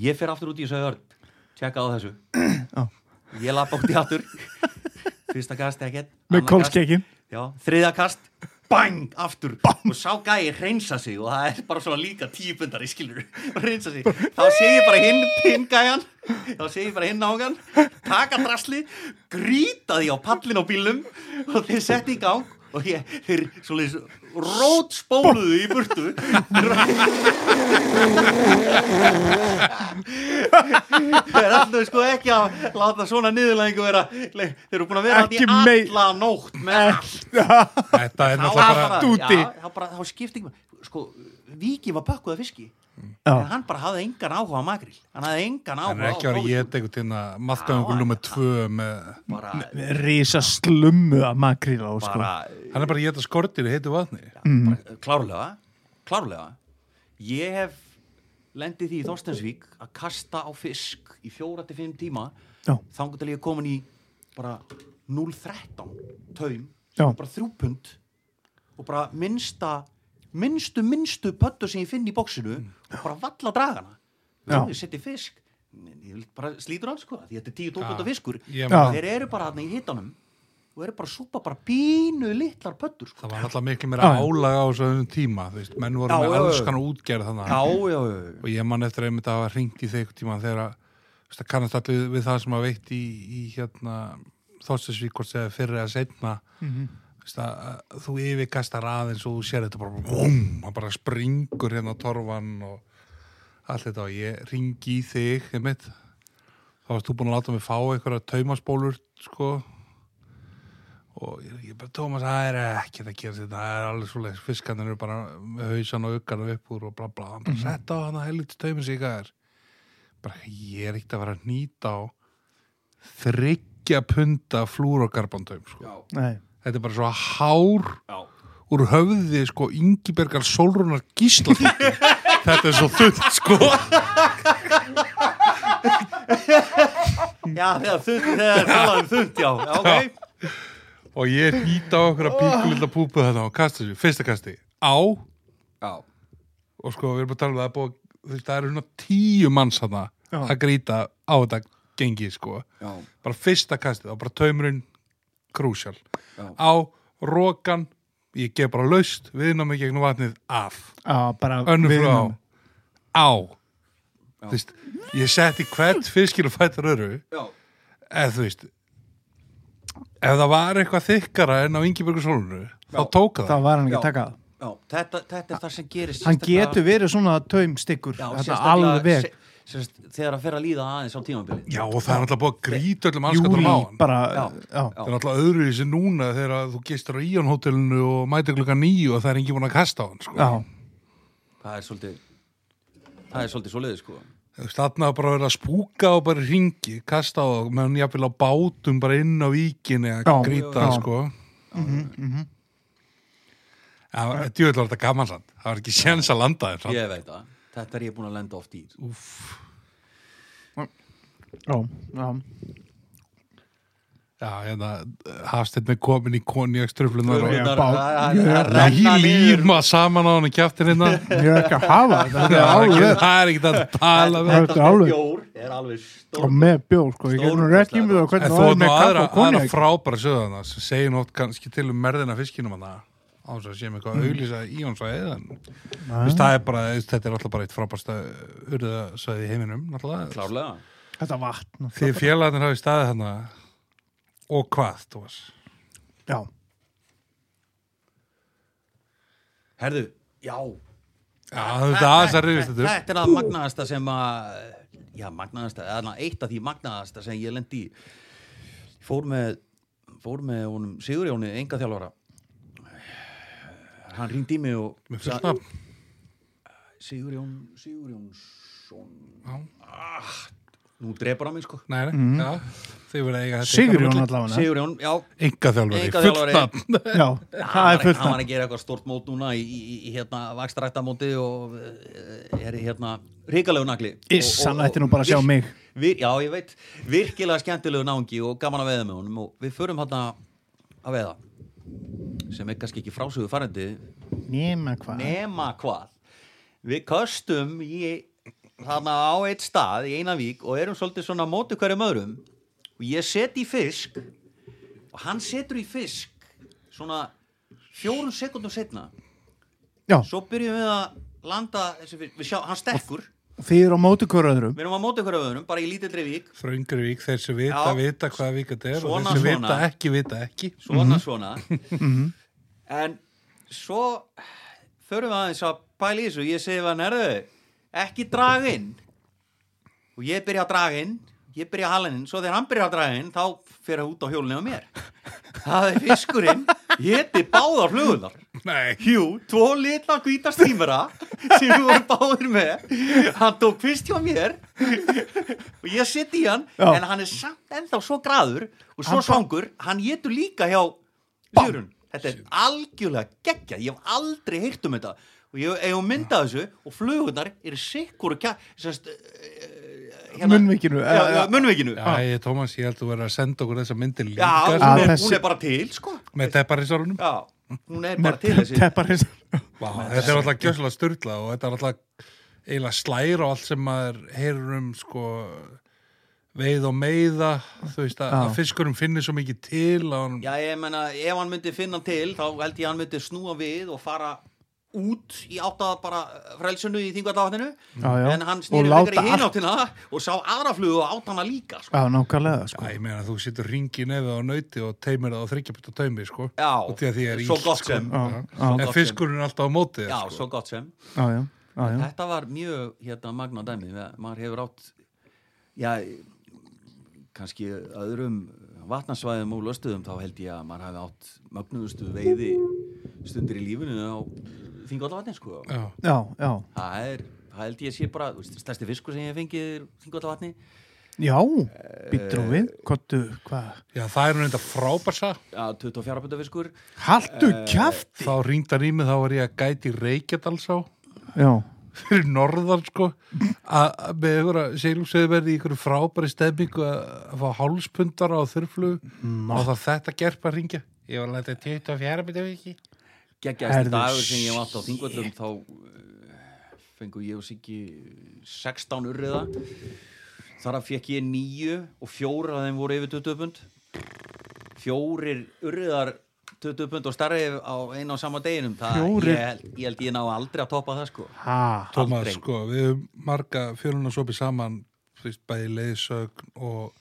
[SPEAKER 3] ég fer aftur út í þessu örd tjekka á þessu
[SPEAKER 2] Já.
[SPEAKER 3] ég lappa út í aftur fyrsta kast ekkert
[SPEAKER 2] Með
[SPEAKER 3] annað kast-
[SPEAKER 2] kólskeikin
[SPEAKER 3] Já, þriðja kast bang, aftur Bang. og sá gæi reynsa sig og það er bara svona líka típundar í skilur og reynsa sig, þá sé ég bara hinn hinn gæjan, þá sé ég bara hinn ágan taka drasli grýta því á pallin á bílum og þeir setti í gang og ég, þeir svona rót spóluðu í burtu þeir ætluðu sko ekki að láta svona niðurlæðingu vera þeir eru búin að vera
[SPEAKER 2] Ekki
[SPEAKER 3] þetta í
[SPEAKER 2] mei-
[SPEAKER 3] alla nótt með allt
[SPEAKER 1] Þetta er
[SPEAKER 3] þá
[SPEAKER 1] náttúrulega
[SPEAKER 3] var
[SPEAKER 1] bara,
[SPEAKER 3] bara,
[SPEAKER 2] dúti.
[SPEAKER 3] já, þá bara, þá skipti ekki máli. sko, Viki var bökkuð af fiski en hann bara hafði engan áhuga á makril hann hafði engan
[SPEAKER 1] hann
[SPEAKER 3] áhuga
[SPEAKER 1] er ekki að vera að geta eitthvað til að maðkæðingur nummer tvö með,
[SPEAKER 3] bara,
[SPEAKER 2] Rísa slummu af makríla og sko
[SPEAKER 3] bara,
[SPEAKER 1] hann er bara að geta skortir í heitu vatni.
[SPEAKER 3] bara klárlega klárlega ég hef lendið því í Þorstensvík að kasta á fisk í fjóra til fimm tíma
[SPEAKER 2] Já.
[SPEAKER 3] þangur til ég er komin í bara 0,13 taum
[SPEAKER 2] Já.
[SPEAKER 3] sem er bara þrjúpund og bara minnsta minnstu, minnstu pöttu sem ég finn í bóksinu og bara valla dragana
[SPEAKER 2] Já.
[SPEAKER 3] Svo ég seti fisk ég vil bara slítur hann sko því þetta er 10-12 punda
[SPEAKER 1] Já.
[SPEAKER 3] fiskur
[SPEAKER 1] Ég
[SPEAKER 2] Já.
[SPEAKER 1] man-
[SPEAKER 3] þeir eru bara hann í hitanum og eru bara að súpa bara pínu litlar pöttur sko
[SPEAKER 1] Það var alltaf miklu meira
[SPEAKER 2] Já.
[SPEAKER 1] álag á þessum tíma, þú veist, menn voru
[SPEAKER 3] Já,
[SPEAKER 1] með
[SPEAKER 3] já, já.
[SPEAKER 1] alls konar útgerð þannig.
[SPEAKER 3] já, já, já, já.
[SPEAKER 1] og ég man eftir einmitt að hafa hringt í þeir tíma þegar að þú veist, það kannast allir við það sem að veitt í, í hérna þóttisvíkort eða fyrr eða setna mm veist, að, að þú yfirkastar aðeins og þú sér þetta bara vum, hann bara springur hérna á torfan og allt þetta og ég ringi í þig einmitt þá varst þú búin að láta mig fá einhverja taumaspólur sko og ég, ég bara, Tómas, það er ekkert að gera þetta, það er alveg svoleiðis fiskarnir eru bara með hausan og aukkanum upp úr og bla bla, hann bara, setta á hann að helviti taumis í gæðir bara, ég er ekkert að vera að nýta á þryggja punta flúrokarbantaum, sko
[SPEAKER 2] Nei,
[SPEAKER 1] þetta er bara svo hár
[SPEAKER 3] Já.
[SPEAKER 1] úr höfði, sko, Ingibergar Solrunar Gísladóttir þetta er svo þunnt, sko
[SPEAKER 3] Já, þegar þund, þegar talaði um þund, já, já, ok
[SPEAKER 1] og ég nýta á okkur að bíkulilla púpu þetta og kasta þessu, fyrsta kasti á
[SPEAKER 3] Já,
[SPEAKER 1] og sko við erum að tala um það að búa, þú veist, það eru svona tíu manns hana
[SPEAKER 2] Já.
[SPEAKER 1] að grýta á þetta gengi sko,
[SPEAKER 3] já,
[SPEAKER 1] bara fyrsta kastið og bara taumurinn krúsjál
[SPEAKER 3] Já.
[SPEAKER 1] á rokan ég gef bara laust, viðnámi gegnum vatnið af,
[SPEAKER 2] á, bara
[SPEAKER 1] önnum
[SPEAKER 2] við-
[SPEAKER 1] frá á á þú veist, ég setti hvert fiskir og fættur öru
[SPEAKER 3] já
[SPEAKER 1] eða þú veist ef það var eitthvað þykkara en á Ingebergur Solunu þá tók það,
[SPEAKER 2] Það var hann ekki
[SPEAKER 3] Já.
[SPEAKER 2] að taka það
[SPEAKER 3] Já, þetta, þetta er það sem gerist
[SPEAKER 2] Hann
[SPEAKER 3] sérstaklega-
[SPEAKER 2] getur verið svona taumstykkur
[SPEAKER 3] Já,
[SPEAKER 2] Þetta
[SPEAKER 3] sérstaklega
[SPEAKER 2] alveg
[SPEAKER 3] se- sérst, Þegar að fer að líða aðeins á tímabili
[SPEAKER 1] já og það er alltaf búið að grýta öllum anskatunum
[SPEAKER 2] Júli
[SPEAKER 1] á hann
[SPEAKER 2] bara
[SPEAKER 3] Já.
[SPEAKER 2] já.
[SPEAKER 1] Það er alltaf öðruvísi núna þegar að þú gistur á Íon hótelinu og mætir klukka nýju og það er engin búin að kasta á hann sko.
[SPEAKER 2] Já.
[SPEAKER 3] Það er svolítið Það er svolítið svoleiðið, sko
[SPEAKER 1] Þú veist, Þarna var bara að vera að spúka og bara ringi, kasta á það meðan jafnvel á bátum bara inn á víkinni
[SPEAKER 2] Já,
[SPEAKER 1] að grýta
[SPEAKER 2] já.
[SPEAKER 1] sko. Það var djúvel var þetta gaman samt Það var ekki séns að landa þér samt.
[SPEAKER 3] Ég veit það, þetta er ég búin að lenda oft í sko.
[SPEAKER 2] Já. Já.
[SPEAKER 1] Já, hérna, hafsteinn er komin í konjakströflunar og
[SPEAKER 2] Já.
[SPEAKER 3] Þröfurnar,
[SPEAKER 2] bá-
[SPEAKER 3] það- það- það- það renna niður.
[SPEAKER 1] líma saman á hann í kjaftin hérna
[SPEAKER 2] Ég er ekki að hafa þetta Þetta er alveg
[SPEAKER 1] Það er ekki að tala við
[SPEAKER 2] Þetta er alveg-
[SPEAKER 3] bjór er alveg
[SPEAKER 2] Og
[SPEAKER 3] stór
[SPEAKER 2] með bjór sko Ég er nú rétt í mig það
[SPEAKER 1] En
[SPEAKER 2] hvernig
[SPEAKER 1] þú ert
[SPEAKER 2] það
[SPEAKER 1] nú
[SPEAKER 2] er með kakk
[SPEAKER 1] aðra,
[SPEAKER 2] og
[SPEAKER 1] aðra
[SPEAKER 2] konjak
[SPEAKER 1] frábæra söðana sem segir nótt kannski til um merðina fiskinum hana á þess að séum
[SPEAKER 2] Mm.
[SPEAKER 1] eitthvað að auglýsa í hans að eðan Vist, það er bara, þú veist, þetta er alltaf bara eitt frábærsta urðasöði í heiminum náttúrulega.
[SPEAKER 3] Klárlega
[SPEAKER 2] Þetta vatn sko.
[SPEAKER 1] því félagarnir hafi staðið þarna og hvað, þú veist
[SPEAKER 2] Já
[SPEAKER 3] Herðu, já,
[SPEAKER 1] Já, þú veist, aðeins að rifist þetta upp.
[SPEAKER 3] Þetta er að magnaðasta sem að já, magnaðasta, eða na, eitt af því magnaðasta sem ég lendi í fór með fór með honum Sigurjóni, enga þjálfara hann ringdi í mig og
[SPEAKER 1] Með fullt nafn.
[SPEAKER 3] Sigurjón Sigurjónsson Ah,
[SPEAKER 1] Já.
[SPEAKER 3] nú drepar á mig sko
[SPEAKER 1] Nei, nei,
[SPEAKER 2] Mm.
[SPEAKER 1] já, þið verða eiga þetta
[SPEAKER 2] Sigurjón allavega
[SPEAKER 3] Sigurjón, já
[SPEAKER 1] Enga þjálfari,
[SPEAKER 3] Enga
[SPEAKER 1] fullt nafn
[SPEAKER 3] þjálfari
[SPEAKER 2] Já, það
[SPEAKER 3] hann
[SPEAKER 2] er
[SPEAKER 3] var,
[SPEAKER 2] fullt
[SPEAKER 3] hann var
[SPEAKER 2] nafn
[SPEAKER 3] að gera eitthvað stort mót núna í, í, í hérna vakstarættamóti og eh, er í hérna ríkalegu nagli
[SPEAKER 2] Iss,
[SPEAKER 3] Og- og-
[SPEAKER 2] hann ætti nú bara að sjá mig.
[SPEAKER 3] vir, Já, ég veit, virkilega skemmtilegu náungi og gaman að veiða með honum og við förum hérna að veiða sem er kannski ekki frásögu farandi
[SPEAKER 2] Nema hvað
[SPEAKER 3] nema hvað við köstum í þarna á eitt stað í eina vík og erum svolítið svona á móti hverjum öðrum og ég set í fisk og hann setur í fisk svona fjórun sekundum setna
[SPEAKER 2] Já,
[SPEAKER 3] svo byrjum við að landa þessi fisk, við sjá, hann stekkur
[SPEAKER 2] þið eru á móti hver öðrum
[SPEAKER 3] við erum á móti hverjum öðrum, bara í lítildri vík
[SPEAKER 1] Þröngri vík, þeir sem vita,
[SPEAKER 3] Já.
[SPEAKER 1] vita hvaða vík þetta er
[SPEAKER 3] Svona,
[SPEAKER 1] og þeir sem
[SPEAKER 3] svona.
[SPEAKER 1] vita ekki, vita ekki
[SPEAKER 3] svona svona en svo förum við aðeins að pæla í þessu ég segi við hann, herðu, ekki draga inn og ég byrja að draga inn ég byrja að hala inn, svo þegar hann byrja að draga inn þá fer það út á hjólunni á mér það er fiskurinn héti báðar flugunar
[SPEAKER 1] Nei,
[SPEAKER 3] Jú, tvo litla hvíta stýmara sem við vorum báðir með hann tók fyrst hjá mér og ég sitt í hann
[SPEAKER 2] Já.
[SPEAKER 3] en hann er samt ennþá svo graður og svo
[SPEAKER 2] Hann bara-
[SPEAKER 3] svangur, hann getur líka hjá Sigurun, þetta er algjörlega geggja, ég hef aldrei heyrt um þetta og ég hef myndað þessu og flugurnar eru sikkur og kjá semst, eh,
[SPEAKER 2] Munnvikinu,
[SPEAKER 3] já,
[SPEAKER 2] eh,
[SPEAKER 3] já, munnvikinu. Já,
[SPEAKER 1] Æ, Tómas, ég held að vera að senda okkur þessa myndir líka
[SPEAKER 3] hún,
[SPEAKER 2] Ah,
[SPEAKER 3] er,
[SPEAKER 2] þessi-
[SPEAKER 3] hún er bara til sko.
[SPEAKER 1] með teppar í sálunum
[SPEAKER 3] já, hún er bara til þessi
[SPEAKER 2] Teppar hins
[SPEAKER 1] Vá, þetta er alltaf gjössalega styrla og þetta er alltaf eiginlega slær og allt sem maður heyrir um sko veið og meiða þú veist að,
[SPEAKER 2] Já.
[SPEAKER 1] að fiskurum finnir svo mikið til að hann,
[SPEAKER 3] Já, ég menna, ef hann myndi finna hann til þá held ég að hann myndi snúa við og fara út í áttað bara frelsunu í þingvallavatninu
[SPEAKER 2] Já, já.
[SPEAKER 3] en hann
[SPEAKER 2] Og
[SPEAKER 3] snýri
[SPEAKER 2] láta
[SPEAKER 3] frekar í
[SPEAKER 2] allt-
[SPEAKER 3] hináttina og sá aðraflugu og átt hana líka sko.
[SPEAKER 2] Já, nákvæmlega sko
[SPEAKER 1] að ég meina þú situr ringi nefið á nauti og teimir það á þryggjabytta taumi sko,
[SPEAKER 3] Já,
[SPEAKER 1] og því að því er
[SPEAKER 3] svo
[SPEAKER 1] illt,
[SPEAKER 3] gott
[SPEAKER 1] sko.
[SPEAKER 3] sem.
[SPEAKER 1] Já.
[SPEAKER 2] Já, já.
[SPEAKER 1] en fiskurinn er alltaf á móti
[SPEAKER 3] Já,
[SPEAKER 1] þér, sko.
[SPEAKER 3] svo gott sem
[SPEAKER 2] Já, já, já, já.
[SPEAKER 3] Þetta var mjög hérna, magna dæmi Ma- maður hefur átt já, kannski öðrum vatnarsvæðum og löstuðum þá held ég að maður hefði átt magnuðustu veiði stundir í lífinu á þingvallavatni sko.
[SPEAKER 1] Já.
[SPEAKER 2] Já, já,
[SPEAKER 3] Það er, það held ég sé bara, þú veist, stærsti fiskur sem ég hef fengið er þingvallavatni.
[SPEAKER 2] já Býttur og
[SPEAKER 3] Eh,
[SPEAKER 2] við, kottu, hvað
[SPEAKER 1] Já, það er nú enda frábærsa
[SPEAKER 3] Já, 24 punda fiskur.
[SPEAKER 2] Haltu
[SPEAKER 3] eh,
[SPEAKER 2] kjaft
[SPEAKER 1] þá ringdar í mig þá var ég að gæti reykjadalsá
[SPEAKER 2] Já,
[SPEAKER 1] fyrir norðan sko að að með einhverja seglumsveðverði í einhverju frábæri stefningu að að fá hálspundara á þurflu og það þetta gerpa ringja ég var að þetta 24 byrja viki
[SPEAKER 2] Herðu,
[SPEAKER 3] Geggjaðasti dagur sem ég hef átt á þingvallum, þá eh, fengu ég og Siggi 16 urriða. Þar að fekk ég nýju og fjóra af þeim voru yfir 20 pund. Fjórir urriðar 20 pund og starri á einu og sama deginum. Það,
[SPEAKER 2] Fjórir?
[SPEAKER 3] Ég, held- ég held ég ná aldrei að toppa það, sko.
[SPEAKER 2] ha
[SPEAKER 1] Tómas
[SPEAKER 3] Aldrei.
[SPEAKER 1] sko, við höfum marga fjölunarsópi saman þú veist, bæði leiðsögn og,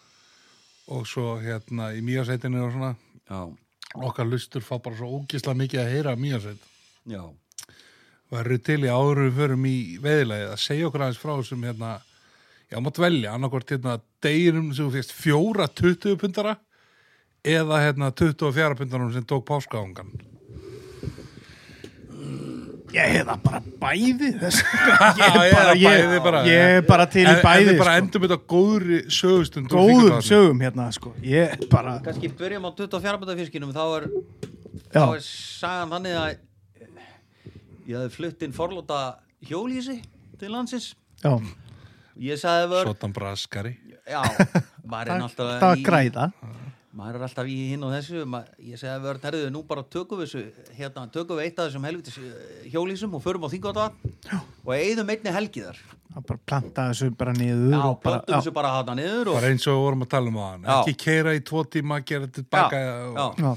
[SPEAKER 1] og svo hérna í mýjasætinu og svona
[SPEAKER 3] Já,
[SPEAKER 1] okkar lustur fá bara svo ógisla mikið að heyra mýjasæt
[SPEAKER 3] já.
[SPEAKER 1] og það eru til í árum við förum í veðilegið að segja okkur aðeins frá þessum hérna já, mátt velja, annarkvort hérna deginum sem þú fyrst fjóra 20 pundara eða hérna 24 pundarum sem tók páskaðungan
[SPEAKER 2] Ég hefða bara bæði þess
[SPEAKER 1] Já, ég er að
[SPEAKER 2] ég,
[SPEAKER 1] bæði bara,
[SPEAKER 2] ég er bara til í
[SPEAKER 1] En- en
[SPEAKER 2] bæði
[SPEAKER 1] við bara
[SPEAKER 2] sko.
[SPEAKER 1] endum þetta á góðri sögustund úr
[SPEAKER 2] Góðum
[SPEAKER 1] Víkurdagarnum.
[SPEAKER 2] sögum hérna sko Ég er bara
[SPEAKER 3] Kanski byrjum á 24 punda fiskinum, þá er
[SPEAKER 2] Já,
[SPEAKER 3] þá er sagan þannig að eh, ég hafði flutt inn forlóta hjólísi til landsins
[SPEAKER 2] já
[SPEAKER 3] ég sagði vör
[SPEAKER 1] Sotan braskari
[SPEAKER 3] já, maður er
[SPEAKER 2] Það
[SPEAKER 3] alltaf
[SPEAKER 2] það
[SPEAKER 3] í-
[SPEAKER 2] græða
[SPEAKER 3] maður er alltaf í hinn og þessu ma- ég segði að við erum herriðu, nú bara tökum við þessu, hérna, tökum við eitt af þessum helvitis eh, hjólísum og förum á þingóta og eigðum einni helgiðar
[SPEAKER 2] Það bara planta þessu bara niður
[SPEAKER 3] já,
[SPEAKER 2] og bara,
[SPEAKER 3] plöndum þessu bara hana niður og,
[SPEAKER 1] bara eins og við vorum að tala um á hann
[SPEAKER 3] Já.
[SPEAKER 1] ekki keira í tvo tíma, gera þetta tilbaka
[SPEAKER 3] já.
[SPEAKER 1] og
[SPEAKER 2] já,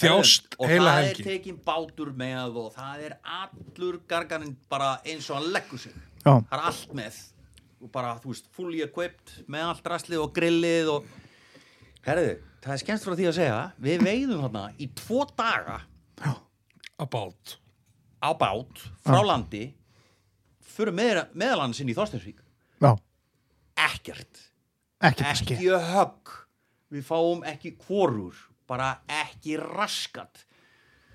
[SPEAKER 1] þjást
[SPEAKER 3] og
[SPEAKER 1] heila
[SPEAKER 3] það er
[SPEAKER 1] helgi
[SPEAKER 3] tekin bátur með og það er allur garganinn bara eins og hann leggur sig
[SPEAKER 2] Já.
[SPEAKER 3] það er allt með og bara, þú veist, fully equipped með allt rastlið og grillið og herðu, það er skemmst frá því að segja við veiðum þarna í tvo daga
[SPEAKER 1] að bát
[SPEAKER 3] á bát frá landi fyrir með, meðalansinn í Þorstensvík
[SPEAKER 2] já
[SPEAKER 3] ekkert,
[SPEAKER 2] Ekki
[SPEAKER 3] ekki
[SPEAKER 2] fiski
[SPEAKER 3] högg við fáum ekki kvorur bara ekki raskat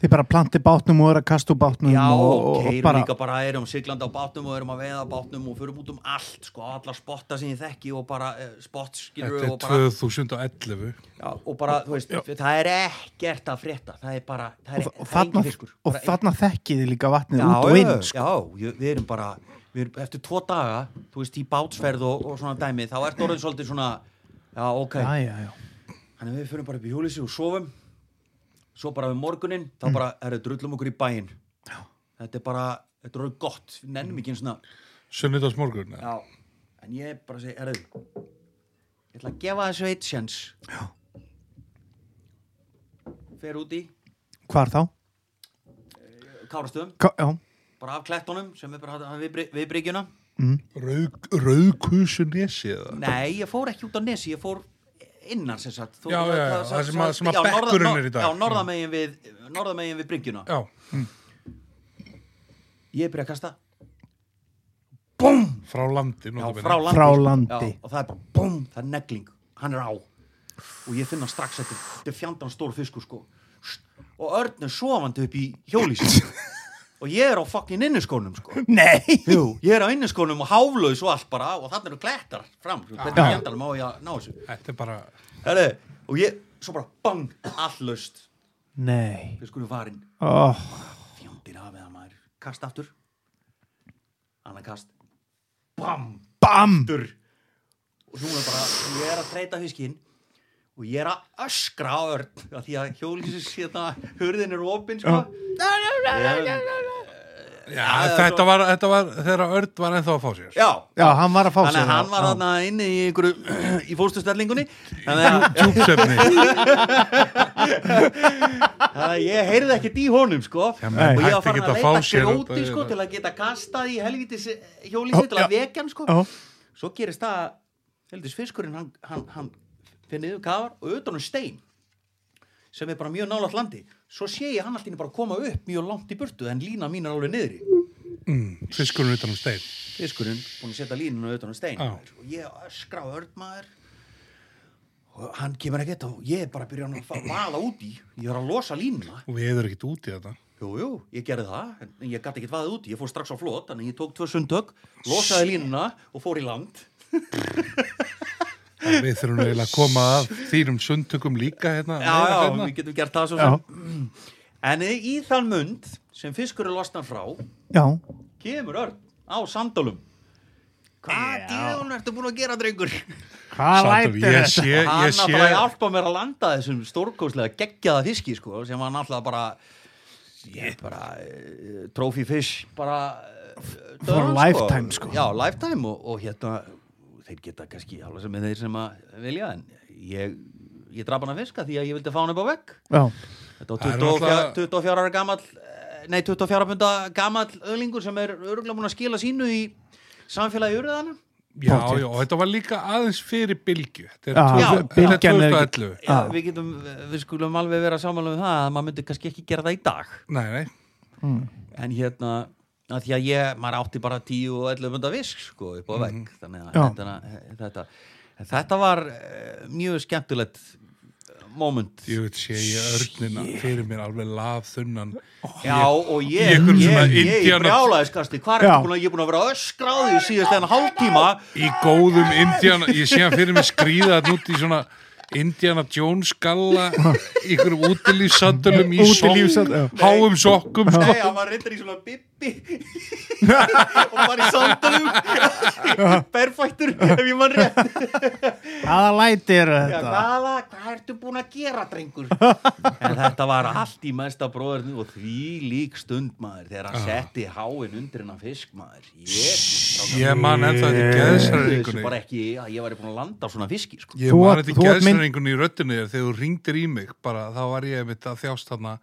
[SPEAKER 2] Þið bara planti bátnum og eru að kasta úr bátnum
[SPEAKER 3] Já,
[SPEAKER 2] og,
[SPEAKER 3] og
[SPEAKER 2] og,
[SPEAKER 3] keirum
[SPEAKER 2] og bara,
[SPEAKER 3] líka bara, erum siglandi á bátnum og erum að veiða á bátnum og förum út um allt, sko, alla spotta sem ég þekki og bara eh, spott skilur
[SPEAKER 1] Þetta er
[SPEAKER 3] og bara,
[SPEAKER 1] 2011
[SPEAKER 3] já, og bara, þú veist, það er ekkert að frétta, það er bara, það er,
[SPEAKER 2] og,
[SPEAKER 3] það er
[SPEAKER 2] þarna,
[SPEAKER 3] engin fiskur.
[SPEAKER 2] og
[SPEAKER 3] bara
[SPEAKER 2] þarna þekkið þið líka vatnið
[SPEAKER 3] já,
[SPEAKER 2] út og inn sko.
[SPEAKER 3] já, já, við erum bara við erum, eftir tvo daga, þú veist, í bátsferð og, og svona dæmi, þá ertu orðin svolítið svona já, ok,
[SPEAKER 2] Já, já, já.
[SPEAKER 3] þannig að við fyrir bara upp í hjólísi og sofum svo bara við morgunin, þá
[SPEAKER 2] Mm.
[SPEAKER 3] bara er það drullum okkur í bæinn þetta er bara, þetta er orðið gott við nennum ekki einu svona
[SPEAKER 1] Sunnudags morgun
[SPEAKER 3] já, en ég bara segi, erðu ég ætla að gefa þessu eitt sjens já fer út í
[SPEAKER 2] Hvar þá?
[SPEAKER 3] Kárastöðum,
[SPEAKER 2] Ka já,
[SPEAKER 3] bara af klettunum sem við bara hafði við, við bryggjuna
[SPEAKER 1] Rauðkusu nesi eða
[SPEAKER 3] Nei, ég fór ekki út á Nesi, ég fór innan sem sagt Þú-
[SPEAKER 1] Já, já, já,
[SPEAKER 3] það-
[SPEAKER 1] það sem að- sem að
[SPEAKER 3] já, norða-
[SPEAKER 1] bekkurinn
[SPEAKER 3] nor-
[SPEAKER 1] er í dag. Mm.
[SPEAKER 3] Já, norðamegin við, norðamegin við bryggjuna
[SPEAKER 1] Já,
[SPEAKER 3] Ég byrja að kasta
[SPEAKER 1] frá landi
[SPEAKER 3] já,
[SPEAKER 1] notabene.
[SPEAKER 3] frá landi,
[SPEAKER 2] Frá
[SPEAKER 3] sko.
[SPEAKER 2] landi.
[SPEAKER 3] já, Og það er bara, búm, það er negling Hann er á Og ég finna strax þetta, þetta er fjandan stór fiskur sko Og Örn er sofandi upp í hjólísi Og ég er á fucking inniskónum sko
[SPEAKER 2] nei
[SPEAKER 3] Jú, ég er á inniskónum og háflöðis og allt bara Og þannig eru klettar fram sko. Hvernig
[SPEAKER 2] Já.
[SPEAKER 3] fjandanum á ég að ná þessu
[SPEAKER 1] Þetta er bara
[SPEAKER 3] Herri, og ég, svo bara bang, allt laust
[SPEAKER 2] Nei
[SPEAKER 3] fiskurinn farinn
[SPEAKER 2] oh,
[SPEAKER 3] fjandinn hafið hann maður kast aftur annan kast bam,
[SPEAKER 2] Bam!
[SPEAKER 3] aftur og núna bara, ég er að treyta fiskinn og ég er að öskra á örn af því að hjólísið sé það hurðin er opinn sko Ég-
[SPEAKER 1] Já,
[SPEAKER 3] það er
[SPEAKER 1] þetta,
[SPEAKER 3] svo-
[SPEAKER 1] var, þetta var þegar Örd var ennþá að fá sér
[SPEAKER 3] já,
[SPEAKER 2] Já, hann var að fá
[SPEAKER 3] þannig
[SPEAKER 2] sig
[SPEAKER 3] að hann var þarna inni í einhverju í fórstustellingunni þannig að,
[SPEAKER 1] Djúpsefni,
[SPEAKER 3] þannig að ég heyrði ekkert í honum sko
[SPEAKER 1] Já, menn
[SPEAKER 3] og ég
[SPEAKER 1] hættu
[SPEAKER 3] var farin
[SPEAKER 1] ekki
[SPEAKER 3] að
[SPEAKER 1] að fá
[SPEAKER 3] leita
[SPEAKER 1] sér út
[SPEAKER 3] gróti
[SPEAKER 1] af-
[SPEAKER 3] sko til að geta kastað í helvitis hjólísið til að
[SPEAKER 2] Já.
[SPEAKER 3] vekja hann sko
[SPEAKER 2] Já,
[SPEAKER 3] svo gerist það að heldis fiskurinn hann, hann, hann finnir yfir kafar og auðvitað um stein sem er bara mjög nálaðt landi svo sé ég hann alltaf bara koma upp mjög langt í burtu en lína mín er alveg niðri
[SPEAKER 1] fiskurinn utan um stein
[SPEAKER 3] fiskurinn búin að setja línuna auðvitað um stein
[SPEAKER 1] Já.
[SPEAKER 3] og ég öskra á ördmaður og hann kemur ekkert og ég er bara að byrja að fara að vala út í ég er að losa línuna
[SPEAKER 1] og við erum ekkert hérna. út í þetta
[SPEAKER 3] Jú, jú, ég gerði það, en ég gæti ekkert vaðið úti, ég fór strax á flot, þannig ég tók tvö sundtök, losaði línuna og fór í land.
[SPEAKER 1] En Við þurfum eiginlega að koma að þýrum sundtökum líka hérna
[SPEAKER 3] já,
[SPEAKER 1] meira
[SPEAKER 3] já,
[SPEAKER 1] seinna.
[SPEAKER 3] við getum gert það svo
[SPEAKER 2] Já.
[SPEAKER 3] sem en í þann mund sem fiskur er losnan frá
[SPEAKER 2] já,
[SPEAKER 3] kemur örn á sandalum hvað
[SPEAKER 2] Já.
[SPEAKER 3] dýðun ertu búin að gera drengur
[SPEAKER 2] hvað
[SPEAKER 1] Sandra,
[SPEAKER 2] lætur
[SPEAKER 1] ég
[SPEAKER 2] þetta?
[SPEAKER 1] sé,
[SPEAKER 3] hann
[SPEAKER 1] ég
[SPEAKER 3] náttúrulega
[SPEAKER 1] sé
[SPEAKER 3] hjálpa mér að landa þessum stórkóslega geggjaða fiski sko, sem hann náttúrulega bara ég bara uh, trophy fish bara uh,
[SPEAKER 2] For
[SPEAKER 3] dörran,
[SPEAKER 2] lifetime, sko.
[SPEAKER 3] já, lifetime og, og hérna þeir geta kannski alveg sem er þeir sem að vilja en ég, ég draf hann að fiska því að ég vildi fá hann upp á vegg
[SPEAKER 2] Já,
[SPEAKER 3] Þetta
[SPEAKER 1] Það
[SPEAKER 3] var
[SPEAKER 1] er
[SPEAKER 3] 24,
[SPEAKER 1] náttúrulega-
[SPEAKER 3] 24 ára gamall eh, Nei, 24 punda gamall öðlingur sem er örgulega búin að skila sínu í samfélagi urðana
[SPEAKER 1] Já, já, og þetta var líka aðeins fyrir bylgju Þetta er
[SPEAKER 2] Já,
[SPEAKER 1] tvö-
[SPEAKER 2] bylgjan
[SPEAKER 1] þetta
[SPEAKER 2] er
[SPEAKER 1] er
[SPEAKER 2] ekki-
[SPEAKER 1] 2011
[SPEAKER 3] Já,
[SPEAKER 2] Já.
[SPEAKER 3] við getum, við skulum alveg vera sammála um það að maður myndi kannski ekki gera það í dag
[SPEAKER 1] Nei, nei,
[SPEAKER 3] en hérna, að því að ég maður átti bara 10 og 11 punda visk sko, upp á vegg, þannig að
[SPEAKER 2] Já.
[SPEAKER 3] þetta, þetta, þetta var eh, mjög skemmtilegt eh, moment
[SPEAKER 1] ég veit sé ég örnina fyrir mér alveg lafþunnan
[SPEAKER 3] Já, og
[SPEAKER 1] Í
[SPEAKER 3] ég,
[SPEAKER 1] einhverjum
[SPEAKER 3] ég,
[SPEAKER 1] svona
[SPEAKER 3] ég, ég, ég
[SPEAKER 1] Indiana-
[SPEAKER 3] brjálaðiskasti, hvað er
[SPEAKER 2] Já.
[SPEAKER 3] ég búin að, ég er búin að vera öskráði síðast enn hálftíma
[SPEAKER 1] í góðum Indiana ég sé hann fyrir mig skríða þarna út í svona Indiana Jones skalla í ykkurum útilífsandunum í
[SPEAKER 2] Útilífsand- já.
[SPEAKER 1] sokk, háum sokkum sko.
[SPEAKER 3] Nei, hann var reyndar í svona bibbi og var í sandalum berfættur ef ég mann rétt
[SPEAKER 2] hvaða lætur
[SPEAKER 3] Já,
[SPEAKER 2] þetta?
[SPEAKER 3] hvaða, hvað ertu búin að gera drengur en þetta var allt í mesta bróðurinn og því lík stund maður þegar hann setti háin undir hennar fisk maður ég
[SPEAKER 1] ég man ennþá þetta í
[SPEAKER 3] þessu
[SPEAKER 1] geðsræðingunni
[SPEAKER 3] bara ekki að ég væri búin að landa á svona fiski sko.
[SPEAKER 1] ég
[SPEAKER 2] Þú
[SPEAKER 1] man
[SPEAKER 2] átt-
[SPEAKER 1] þetta
[SPEAKER 2] þú
[SPEAKER 1] í
[SPEAKER 2] átt mynd-
[SPEAKER 1] geðsræðingunni í röddinni þér þegar þú ringdir í mig bara þá var ég mitt að þjást þarna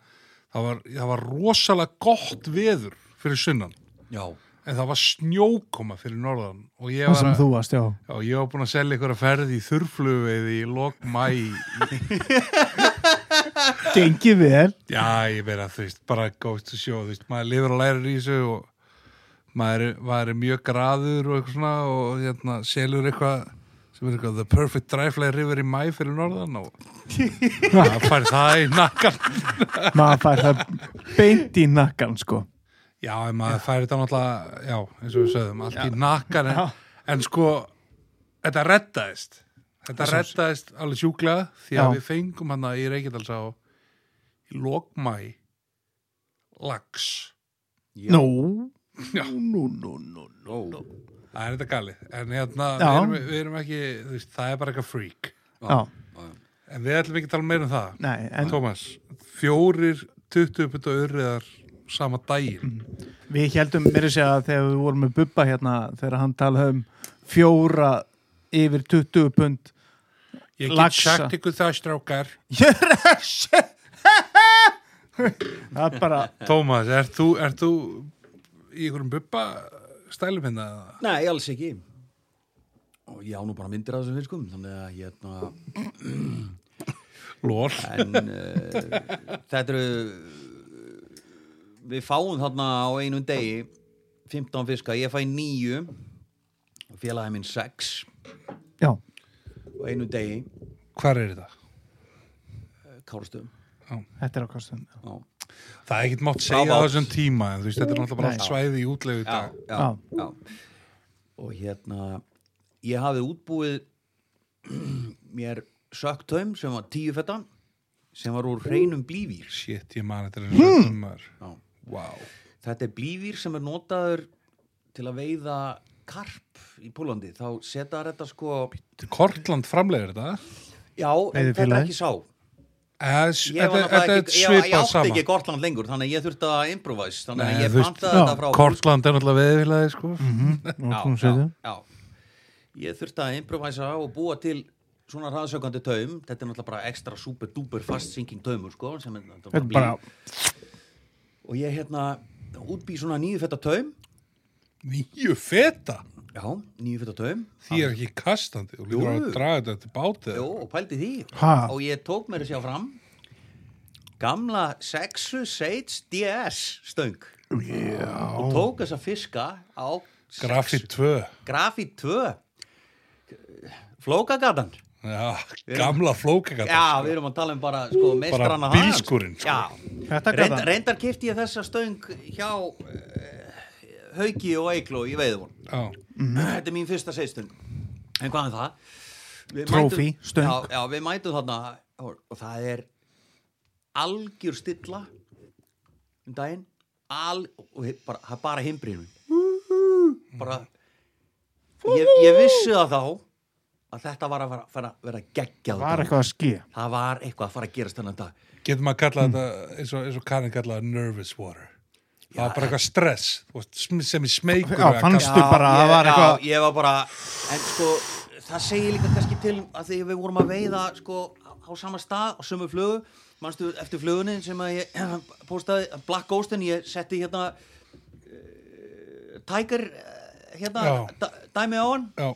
[SPEAKER 1] það var, það var rosalega gott veður fyrir sunnan
[SPEAKER 3] já,
[SPEAKER 1] en það var snjókoma fyrir norðan og ég
[SPEAKER 2] Það
[SPEAKER 1] var,
[SPEAKER 2] sem
[SPEAKER 1] að,
[SPEAKER 2] þú varst, já
[SPEAKER 1] já, ég var búin að selja ykkur að ferði í þurfluveiði í lok mæ
[SPEAKER 2] Gengið vel
[SPEAKER 1] já ég verið að þú veist bara góðst að sjó þú veist maður lifir og lærir í þessu og maður, er- maður er mjög graður og eitthvað svona og hérna selur eitthvað sem er eitthvað The Perfect Dryfly River í mæ fyrir norðan og það fær það í nakkan
[SPEAKER 2] maður fær það beint í nakkan sko
[SPEAKER 1] já, en maður fær þetta náttúrulega já, eins og við sögðum, allt í nakkan en, en sko, þetta reddaðist þetta reddaðist alveg sjúklega því að
[SPEAKER 2] Já.
[SPEAKER 1] við fengum hana í Reykjadalsá í lokmæ lags
[SPEAKER 2] nú,
[SPEAKER 1] Já.
[SPEAKER 2] nú, nú, nú, nú, nú.
[SPEAKER 1] það er þetta galið, en hérna við
[SPEAKER 2] Já.
[SPEAKER 1] erum, við erum ekki, þú veist, það er bara eitthvað freak
[SPEAKER 2] Já,
[SPEAKER 1] en við ætlum ekki að tala meira um það
[SPEAKER 2] nei, en
[SPEAKER 1] Tómas, fjórir 20 putta urriðar sama daginn
[SPEAKER 2] Mm. við heldum mér að segja að þegar við vorum með Bubba hérna þegar hann talaði um fjóra yfir 20 pund
[SPEAKER 1] Ég get
[SPEAKER 2] Laxa.
[SPEAKER 1] sagt ykkur það strákar
[SPEAKER 2] ég er að segja það er bara
[SPEAKER 1] Tómas, ert þú, er þú í einhverjum bubba stælum hérna? eða?
[SPEAKER 3] Nei, alls ekki og ég á nú bara myndir af þessum fiskum þannig að hérna
[SPEAKER 1] Lól
[SPEAKER 3] en uh, þetta eru við fáum þarna á einum degi 15 fiska, ég fæ nýju og félagið minn 6
[SPEAKER 2] já,
[SPEAKER 3] og einum degi
[SPEAKER 1] Hvar er þetta?
[SPEAKER 3] kárastöðum
[SPEAKER 2] þetta er á kostum
[SPEAKER 3] já,
[SPEAKER 1] Það er ekkert mátt segja á
[SPEAKER 3] Bravo.
[SPEAKER 1] þessum tíma en þú veist, þetta er náttúrulega bara
[SPEAKER 2] Nei.
[SPEAKER 1] allt svæði í útlegu í
[SPEAKER 3] já,
[SPEAKER 1] dag
[SPEAKER 3] já,
[SPEAKER 2] Já.
[SPEAKER 3] já. og hérna ég hafði útbúið mér söktaum sem var tíu fettan sem var úr hreinum blívír
[SPEAKER 1] Shit, ég man þetta er
[SPEAKER 2] Hmm.
[SPEAKER 1] einhverjum tímar
[SPEAKER 3] já.
[SPEAKER 1] Wow
[SPEAKER 3] Þetta er blífýr sem er notaður til að veiða karp í Pólandi. Þá setja þetta sko...
[SPEAKER 1] Kortland framlegir þetta
[SPEAKER 3] Já, en þetta er
[SPEAKER 2] Veiðifélagið.
[SPEAKER 3] ekki sá.
[SPEAKER 1] Eh, s-
[SPEAKER 3] Ég,
[SPEAKER 1] Þetta
[SPEAKER 3] var
[SPEAKER 1] þetta
[SPEAKER 3] náttúrulega
[SPEAKER 1] er
[SPEAKER 3] ekki- ég, ég
[SPEAKER 1] svipað
[SPEAKER 3] átti
[SPEAKER 1] sama
[SPEAKER 3] ekki Gortland lengur, þannig að ég þurfti að improvise. Þannig
[SPEAKER 1] Nei,
[SPEAKER 3] að ég
[SPEAKER 1] þú veist-
[SPEAKER 3] pantaði
[SPEAKER 2] Já,
[SPEAKER 3] þetta frá...
[SPEAKER 1] Kortland er náttúrulega veðifilaði sko
[SPEAKER 3] Já, já, já. Ég þurfti að improvisa og búa til svona hraðsökandi taum. Þetta er náttúrulega bara ekstra super duper fast sinking taumur, sko. sem er náttúrulega
[SPEAKER 2] þetta er bara
[SPEAKER 3] blý. Og ég hérna útbý svona nýju fetta taum.
[SPEAKER 1] Nýju feta
[SPEAKER 3] Já, nýju fetta taum.
[SPEAKER 1] Því er ekki kastandi og við erum að draga þetta til bátið
[SPEAKER 3] Jó, og pældi því
[SPEAKER 2] Ha?
[SPEAKER 3] og ég tók mér að sjá fram gamla sexu seits DS stöng
[SPEAKER 2] já,
[SPEAKER 3] og tók þessa fiska á
[SPEAKER 1] Graffi 2
[SPEAKER 3] grafít 2 flókagatan
[SPEAKER 1] Já, gamla flókagata
[SPEAKER 3] já, við erum að tala um bara sko, meistrana
[SPEAKER 1] bílskúrinn, sko.
[SPEAKER 3] sko.
[SPEAKER 2] þetta er
[SPEAKER 3] reyndar,
[SPEAKER 2] gata
[SPEAKER 3] reyndar kefti ég þessa stöng hjá uh, Hauki og Eikló í veiðvon
[SPEAKER 1] Já,
[SPEAKER 2] Mhm.
[SPEAKER 3] þetta er mín fyrsta seiðstöng en hvað er það? Við
[SPEAKER 2] Trophy,
[SPEAKER 3] mætum-
[SPEAKER 2] stöng.
[SPEAKER 3] já, já, við mætum þarna og, og það er algjör stilla um daginn al, og he- bara, það er bara himbrinu
[SPEAKER 2] Mhm.
[SPEAKER 3] bara ég, ég vissi það þá að þetta var að fara, fara, vera geggjað
[SPEAKER 2] var
[SPEAKER 3] dagur.
[SPEAKER 2] eitthvað að skýja
[SPEAKER 3] það var eitthvað að fara að gerast þennan dag
[SPEAKER 1] getur maður að kalla þetta eins og, eins og Karin kallaði það nervous water það var bara eitthvað stress þú veist, sm- sem í smeykur
[SPEAKER 2] Já, fannst- Veistu bara, það
[SPEAKER 3] ég,
[SPEAKER 2] var eitthvað-
[SPEAKER 3] já, ég var bara en sko, það segir líka kannski til um að því við vorum að veiða sko, á sama stað, á sömu flugu manstu eftir flugunni sem að ég postaði, Black Ghostin, ég setti hérna uh, Tiger eh, hérna,
[SPEAKER 1] Já.
[SPEAKER 3] dæ, dæmi á hann
[SPEAKER 1] já,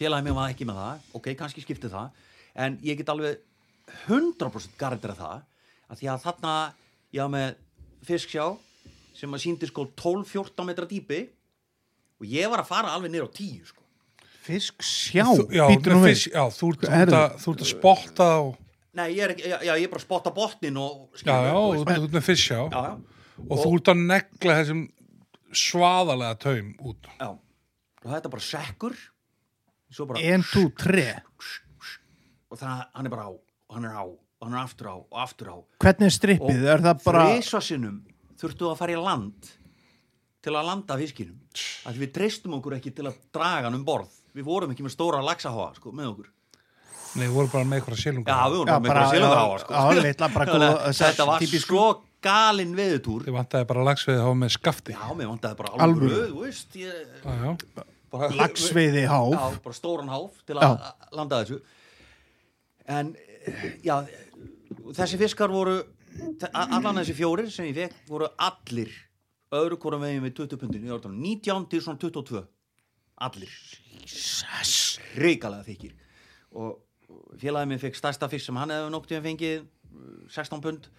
[SPEAKER 3] félagið mér var ekki með það ok, kannski skipti það en ég get alveg 100% garantera það að því að þarna ég var með fisksjá sem að síndi sko 12-14 metra dýpi og ég var að fara alveg niður á 10 sko.
[SPEAKER 2] Fisk sjá,
[SPEAKER 1] þú, já,
[SPEAKER 2] býtur nú
[SPEAKER 1] með
[SPEAKER 2] við
[SPEAKER 1] fisk- já, þú ert- þú
[SPEAKER 2] Herðu.
[SPEAKER 1] ert að- þú ert að spotta og,
[SPEAKER 3] nei, ég er, ekki, já, já, ég er bara að spotta botnin og
[SPEAKER 1] já, já, þú
[SPEAKER 3] þú veist.
[SPEAKER 1] ert- þú ert með fisk já,
[SPEAKER 3] já, já,
[SPEAKER 1] og þú ert að negla þessum svaðalega taum út
[SPEAKER 3] já og þetta er bara sekkur svo bara,
[SPEAKER 2] 1, 2, 3
[SPEAKER 3] og það, hann er bara á og hann er á, og hann er aftur á og aftur á
[SPEAKER 2] hvernig er strippið, er það bara
[SPEAKER 3] þrísvarsinnum þurftu að fara í land til að landa fiskinum að við treystum okkur ekki til að draga hann um borð við vorum ekki með stóra laxaháa sko, með okkur já,
[SPEAKER 1] nei, þú voru bara með eitthvað
[SPEAKER 3] við
[SPEAKER 1] sílungar
[SPEAKER 3] vorum
[SPEAKER 2] Já,
[SPEAKER 3] með
[SPEAKER 2] bara-
[SPEAKER 3] bara silungaháa sko.
[SPEAKER 2] já, já, litla, bara
[SPEAKER 3] Þannig að
[SPEAKER 2] góða,
[SPEAKER 3] þetta var
[SPEAKER 2] típisk-
[SPEAKER 3] svo galin veðutúr
[SPEAKER 1] þið vantaði bara lagsveið að hafa með skafti
[SPEAKER 3] já,
[SPEAKER 1] já,
[SPEAKER 3] mér vandaði bara
[SPEAKER 2] Alvöru.
[SPEAKER 3] alveg röð þú veist, ég,
[SPEAKER 1] já,
[SPEAKER 3] bara,
[SPEAKER 2] lagsveiði háf
[SPEAKER 3] já, bara stóran háf til
[SPEAKER 2] Já.
[SPEAKER 3] að að landa þessu en eh, já þessi fiskar voru a- allan þessi fjórir sem ég fekk voru allir öðru hvorum veginn við 20 pundin í orðanum 19 til svona 22 allir reikalega þykir og og félagið minn fekk stærsta fisk sem hann hefði nokkuð tíma fengið eh, 16 uh, pund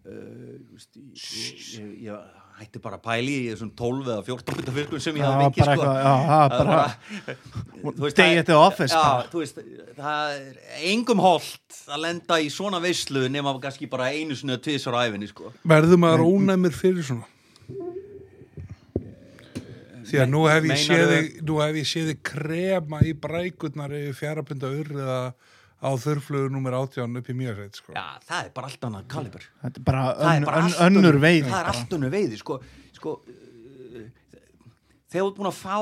[SPEAKER 3] Uh, veist, ég, ég, ég, ég hætti bara að pæli í þessum 12 eða 14 bita virkun sem ég
[SPEAKER 2] Já,
[SPEAKER 3] hafði fengið
[SPEAKER 2] bara
[SPEAKER 3] sko.
[SPEAKER 2] eitthvað, já, það er
[SPEAKER 3] Það
[SPEAKER 2] bara-
[SPEAKER 3] bara- þú veist,
[SPEAKER 2] Day
[SPEAKER 3] það er-
[SPEAKER 2] at the office,
[SPEAKER 3] já,
[SPEAKER 2] bara.
[SPEAKER 3] þú veist, það er engum holt að lenda í svona veislu nema kannski bara einu sinni að tvisar á æfinni sko.
[SPEAKER 1] Verðum að róna mér fyrir svona Því að nú hef ég
[SPEAKER 3] Meinarðu-
[SPEAKER 1] séði nú hef ég séði krema í brækurnar yfir fjarabinda urriða á þurflögu númer 18 upp í mjög sko.
[SPEAKER 3] já, það er bara allt annað kalibur
[SPEAKER 2] Þetta er bara,
[SPEAKER 3] það
[SPEAKER 2] ön,
[SPEAKER 3] er bara
[SPEAKER 2] ön,
[SPEAKER 3] allt önnur-
[SPEAKER 2] önnur veið
[SPEAKER 3] það er allt önnur veiði sko, sko, uh, þegar þú ert búin að fá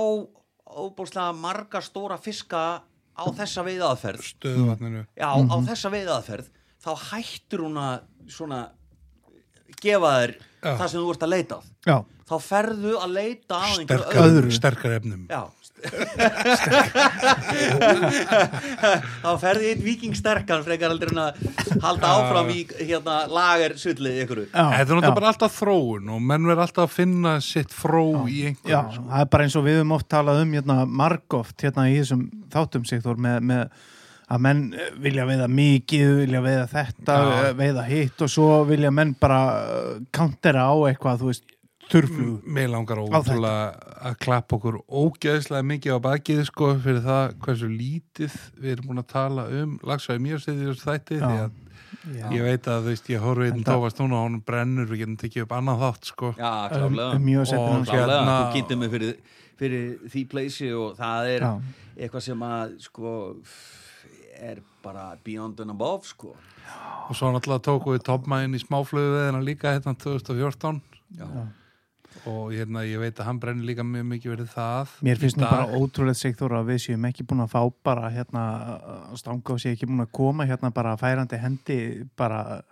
[SPEAKER 3] óbúrslega marga stóra fiska á þessa veiðaðferð
[SPEAKER 1] Stöðuvatninu
[SPEAKER 3] já, á þessa veiðaðferð þá hættur hún að svona gefa þér
[SPEAKER 1] Já.
[SPEAKER 3] það sem þú ert að leita að
[SPEAKER 2] Já,
[SPEAKER 3] þá ferðu að leita að einhverju
[SPEAKER 1] Sterkar,
[SPEAKER 2] öðru.
[SPEAKER 1] sterkar efnum
[SPEAKER 3] já þá ferði einn viking sterkan frekar aldrei en að halda áfram í hérna lager sullið ykkur
[SPEAKER 2] já,
[SPEAKER 1] Þetta er
[SPEAKER 2] já.
[SPEAKER 1] náttúrulega bara alltaf þróun og menn verður alltaf að finna sitt fró í
[SPEAKER 2] Já,
[SPEAKER 1] einhverju sko.
[SPEAKER 2] það er bara eins og við höfum oft talað um hérna, margóft hérna í þessum þáttum Sigþór með, með að menn eh, vilja veiða mikið, vilja veiða þetta,
[SPEAKER 1] Já.
[SPEAKER 2] eh, veiða hitt og svo vilja menn bara eh, countera á eitthvað, þú veist, þurflug.
[SPEAKER 1] Mér langar ótrúlega að klappa okkur ógeðslega mikið á bakið sko fyrir það hversu lítið við erum búin að tala um lagsaði mjög stegið þessu þætti því að ég veit að þú veist ég horfið einn
[SPEAKER 2] Enda-
[SPEAKER 1] tófast núna og hún brennur við getum tekið upp annað þátt sko
[SPEAKER 3] já, klálega
[SPEAKER 2] um mjög
[SPEAKER 1] Og
[SPEAKER 2] setjum.
[SPEAKER 1] hérna-
[SPEAKER 3] Klálega, þú kynntir mig fyrir, fyrir því pleysi og það er
[SPEAKER 2] Já.
[SPEAKER 3] eitthvað sem að sko er bara beyond and above sko
[SPEAKER 1] og svo náttúrulega tóku við topmæðin í smáflöðu veðina líka hérna 2014
[SPEAKER 3] Já.
[SPEAKER 1] og hérna ég veit að hann brennur líka mjög mikið verið það
[SPEAKER 2] Mér finnst
[SPEAKER 1] Í
[SPEAKER 2] nú
[SPEAKER 1] dag.
[SPEAKER 2] bara ótrúlega Sigþór að við séum ekki búin að fá bara hérna eh, stanga og séum ekki búin að koma hérna bara færandi hendi bara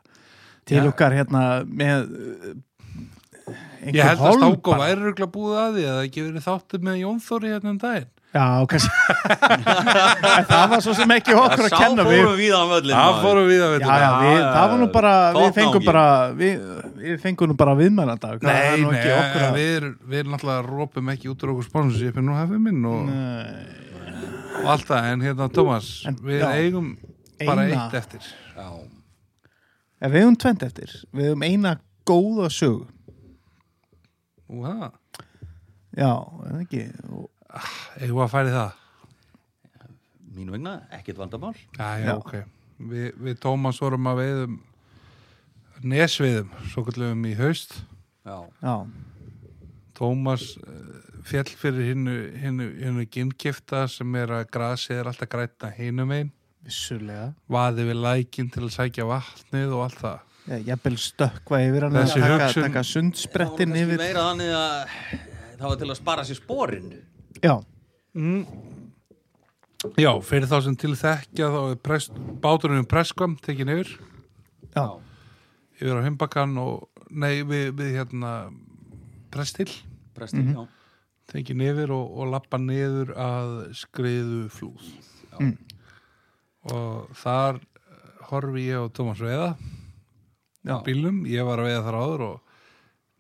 [SPEAKER 2] til
[SPEAKER 1] Já.
[SPEAKER 2] okkar hérna með eh, einhver
[SPEAKER 1] Ég held að
[SPEAKER 2] hálm
[SPEAKER 1] Stáko
[SPEAKER 2] bara.
[SPEAKER 1] væri röglega búið að því að það ekki verið þáttu með Jónþóri hérna um daginn
[SPEAKER 2] Já, kannski En Það var svo sem ekki okkur að
[SPEAKER 3] sá
[SPEAKER 2] kenna við
[SPEAKER 3] fórum um við á möllin
[SPEAKER 1] Það fórum við hérna. að
[SPEAKER 2] Já,
[SPEAKER 1] veitum
[SPEAKER 2] já, við,
[SPEAKER 3] Já,
[SPEAKER 2] það var nú bara, við
[SPEAKER 3] toppnámi.
[SPEAKER 2] fengum bara við, við fengum nú bara viðmælanda það var
[SPEAKER 1] Nei,
[SPEAKER 2] nú
[SPEAKER 1] nei,
[SPEAKER 2] ekki okkur að
[SPEAKER 1] við, erum- við erum náttúrulega rópum ekki út úr okkur sponsorshipin nú hefum minn og,
[SPEAKER 2] Nei,
[SPEAKER 1] og allt það, en hérna Thomas,
[SPEAKER 2] En-
[SPEAKER 1] við
[SPEAKER 2] já.
[SPEAKER 1] eigum bara
[SPEAKER 2] Eina.
[SPEAKER 1] eitt eftir.
[SPEAKER 3] Já.
[SPEAKER 2] en Við höfum tvend eftir, við höfum eina góða sög
[SPEAKER 1] Úha,
[SPEAKER 2] Já, er það ekki Og-
[SPEAKER 1] eigum við að færi það?
[SPEAKER 3] mín vegna, ekkert vandamál
[SPEAKER 1] Já, já,
[SPEAKER 2] Já.
[SPEAKER 1] ok. Vi, við Thomas vorum að veiðum nesveiðum, svo kallum í haust.
[SPEAKER 3] já,
[SPEAKER 2] Já,
[SPEAKER 1] Thomas uh, fjall fyrir hinnu, hinnu, hinnu ginnkifta sem er að grasið er alltaf grætna hinum einn,
[SPEAKER 2] vissulega
[SPEAKER 1] vaði við lækin til að sækja vatnið og allt það.
[SPEAKER 2] Já, Eh, Jafnvel stökkva yfir hann
[SPEAKER 1] Þessi
[SPEAKER 2] taka,
[SPEAKER 1] hugsun-
[SPEAKER 2] taka
[SPEAKER 3] það
[SPEAKER 2] sundsbrettin
[SPEAKER 3] var kannski
[SPEAKER 2] yfir
[SPEAKER 3] meira þannig að það var til að spara sér sporin
[SPEAKER 2] Já,
[SPEAKER 1] Mm. Já, fyrir þá sem til þekkja þá er prest, báturinn um preskvam tekin yfir,
[SPEAKER 2] já,
[SPEAKER 1] yfir á Humbakkan og nei, við, við hérna prestil
[SPEAKER 3] prestin,
[SPEAKER 2] Mhm.
[SPEAKER 3] já,
[SPEAKER 1] tekin yfir og, og lappa niður að skriðu flúð
[SPEAKER 3] já.
[SPEAKER 1] og þar eh, horfi ég á Tómas Veiða á
[SPEAKER 2] já.
[SPEAKER 1] bílum, ég var að veiða þar áður og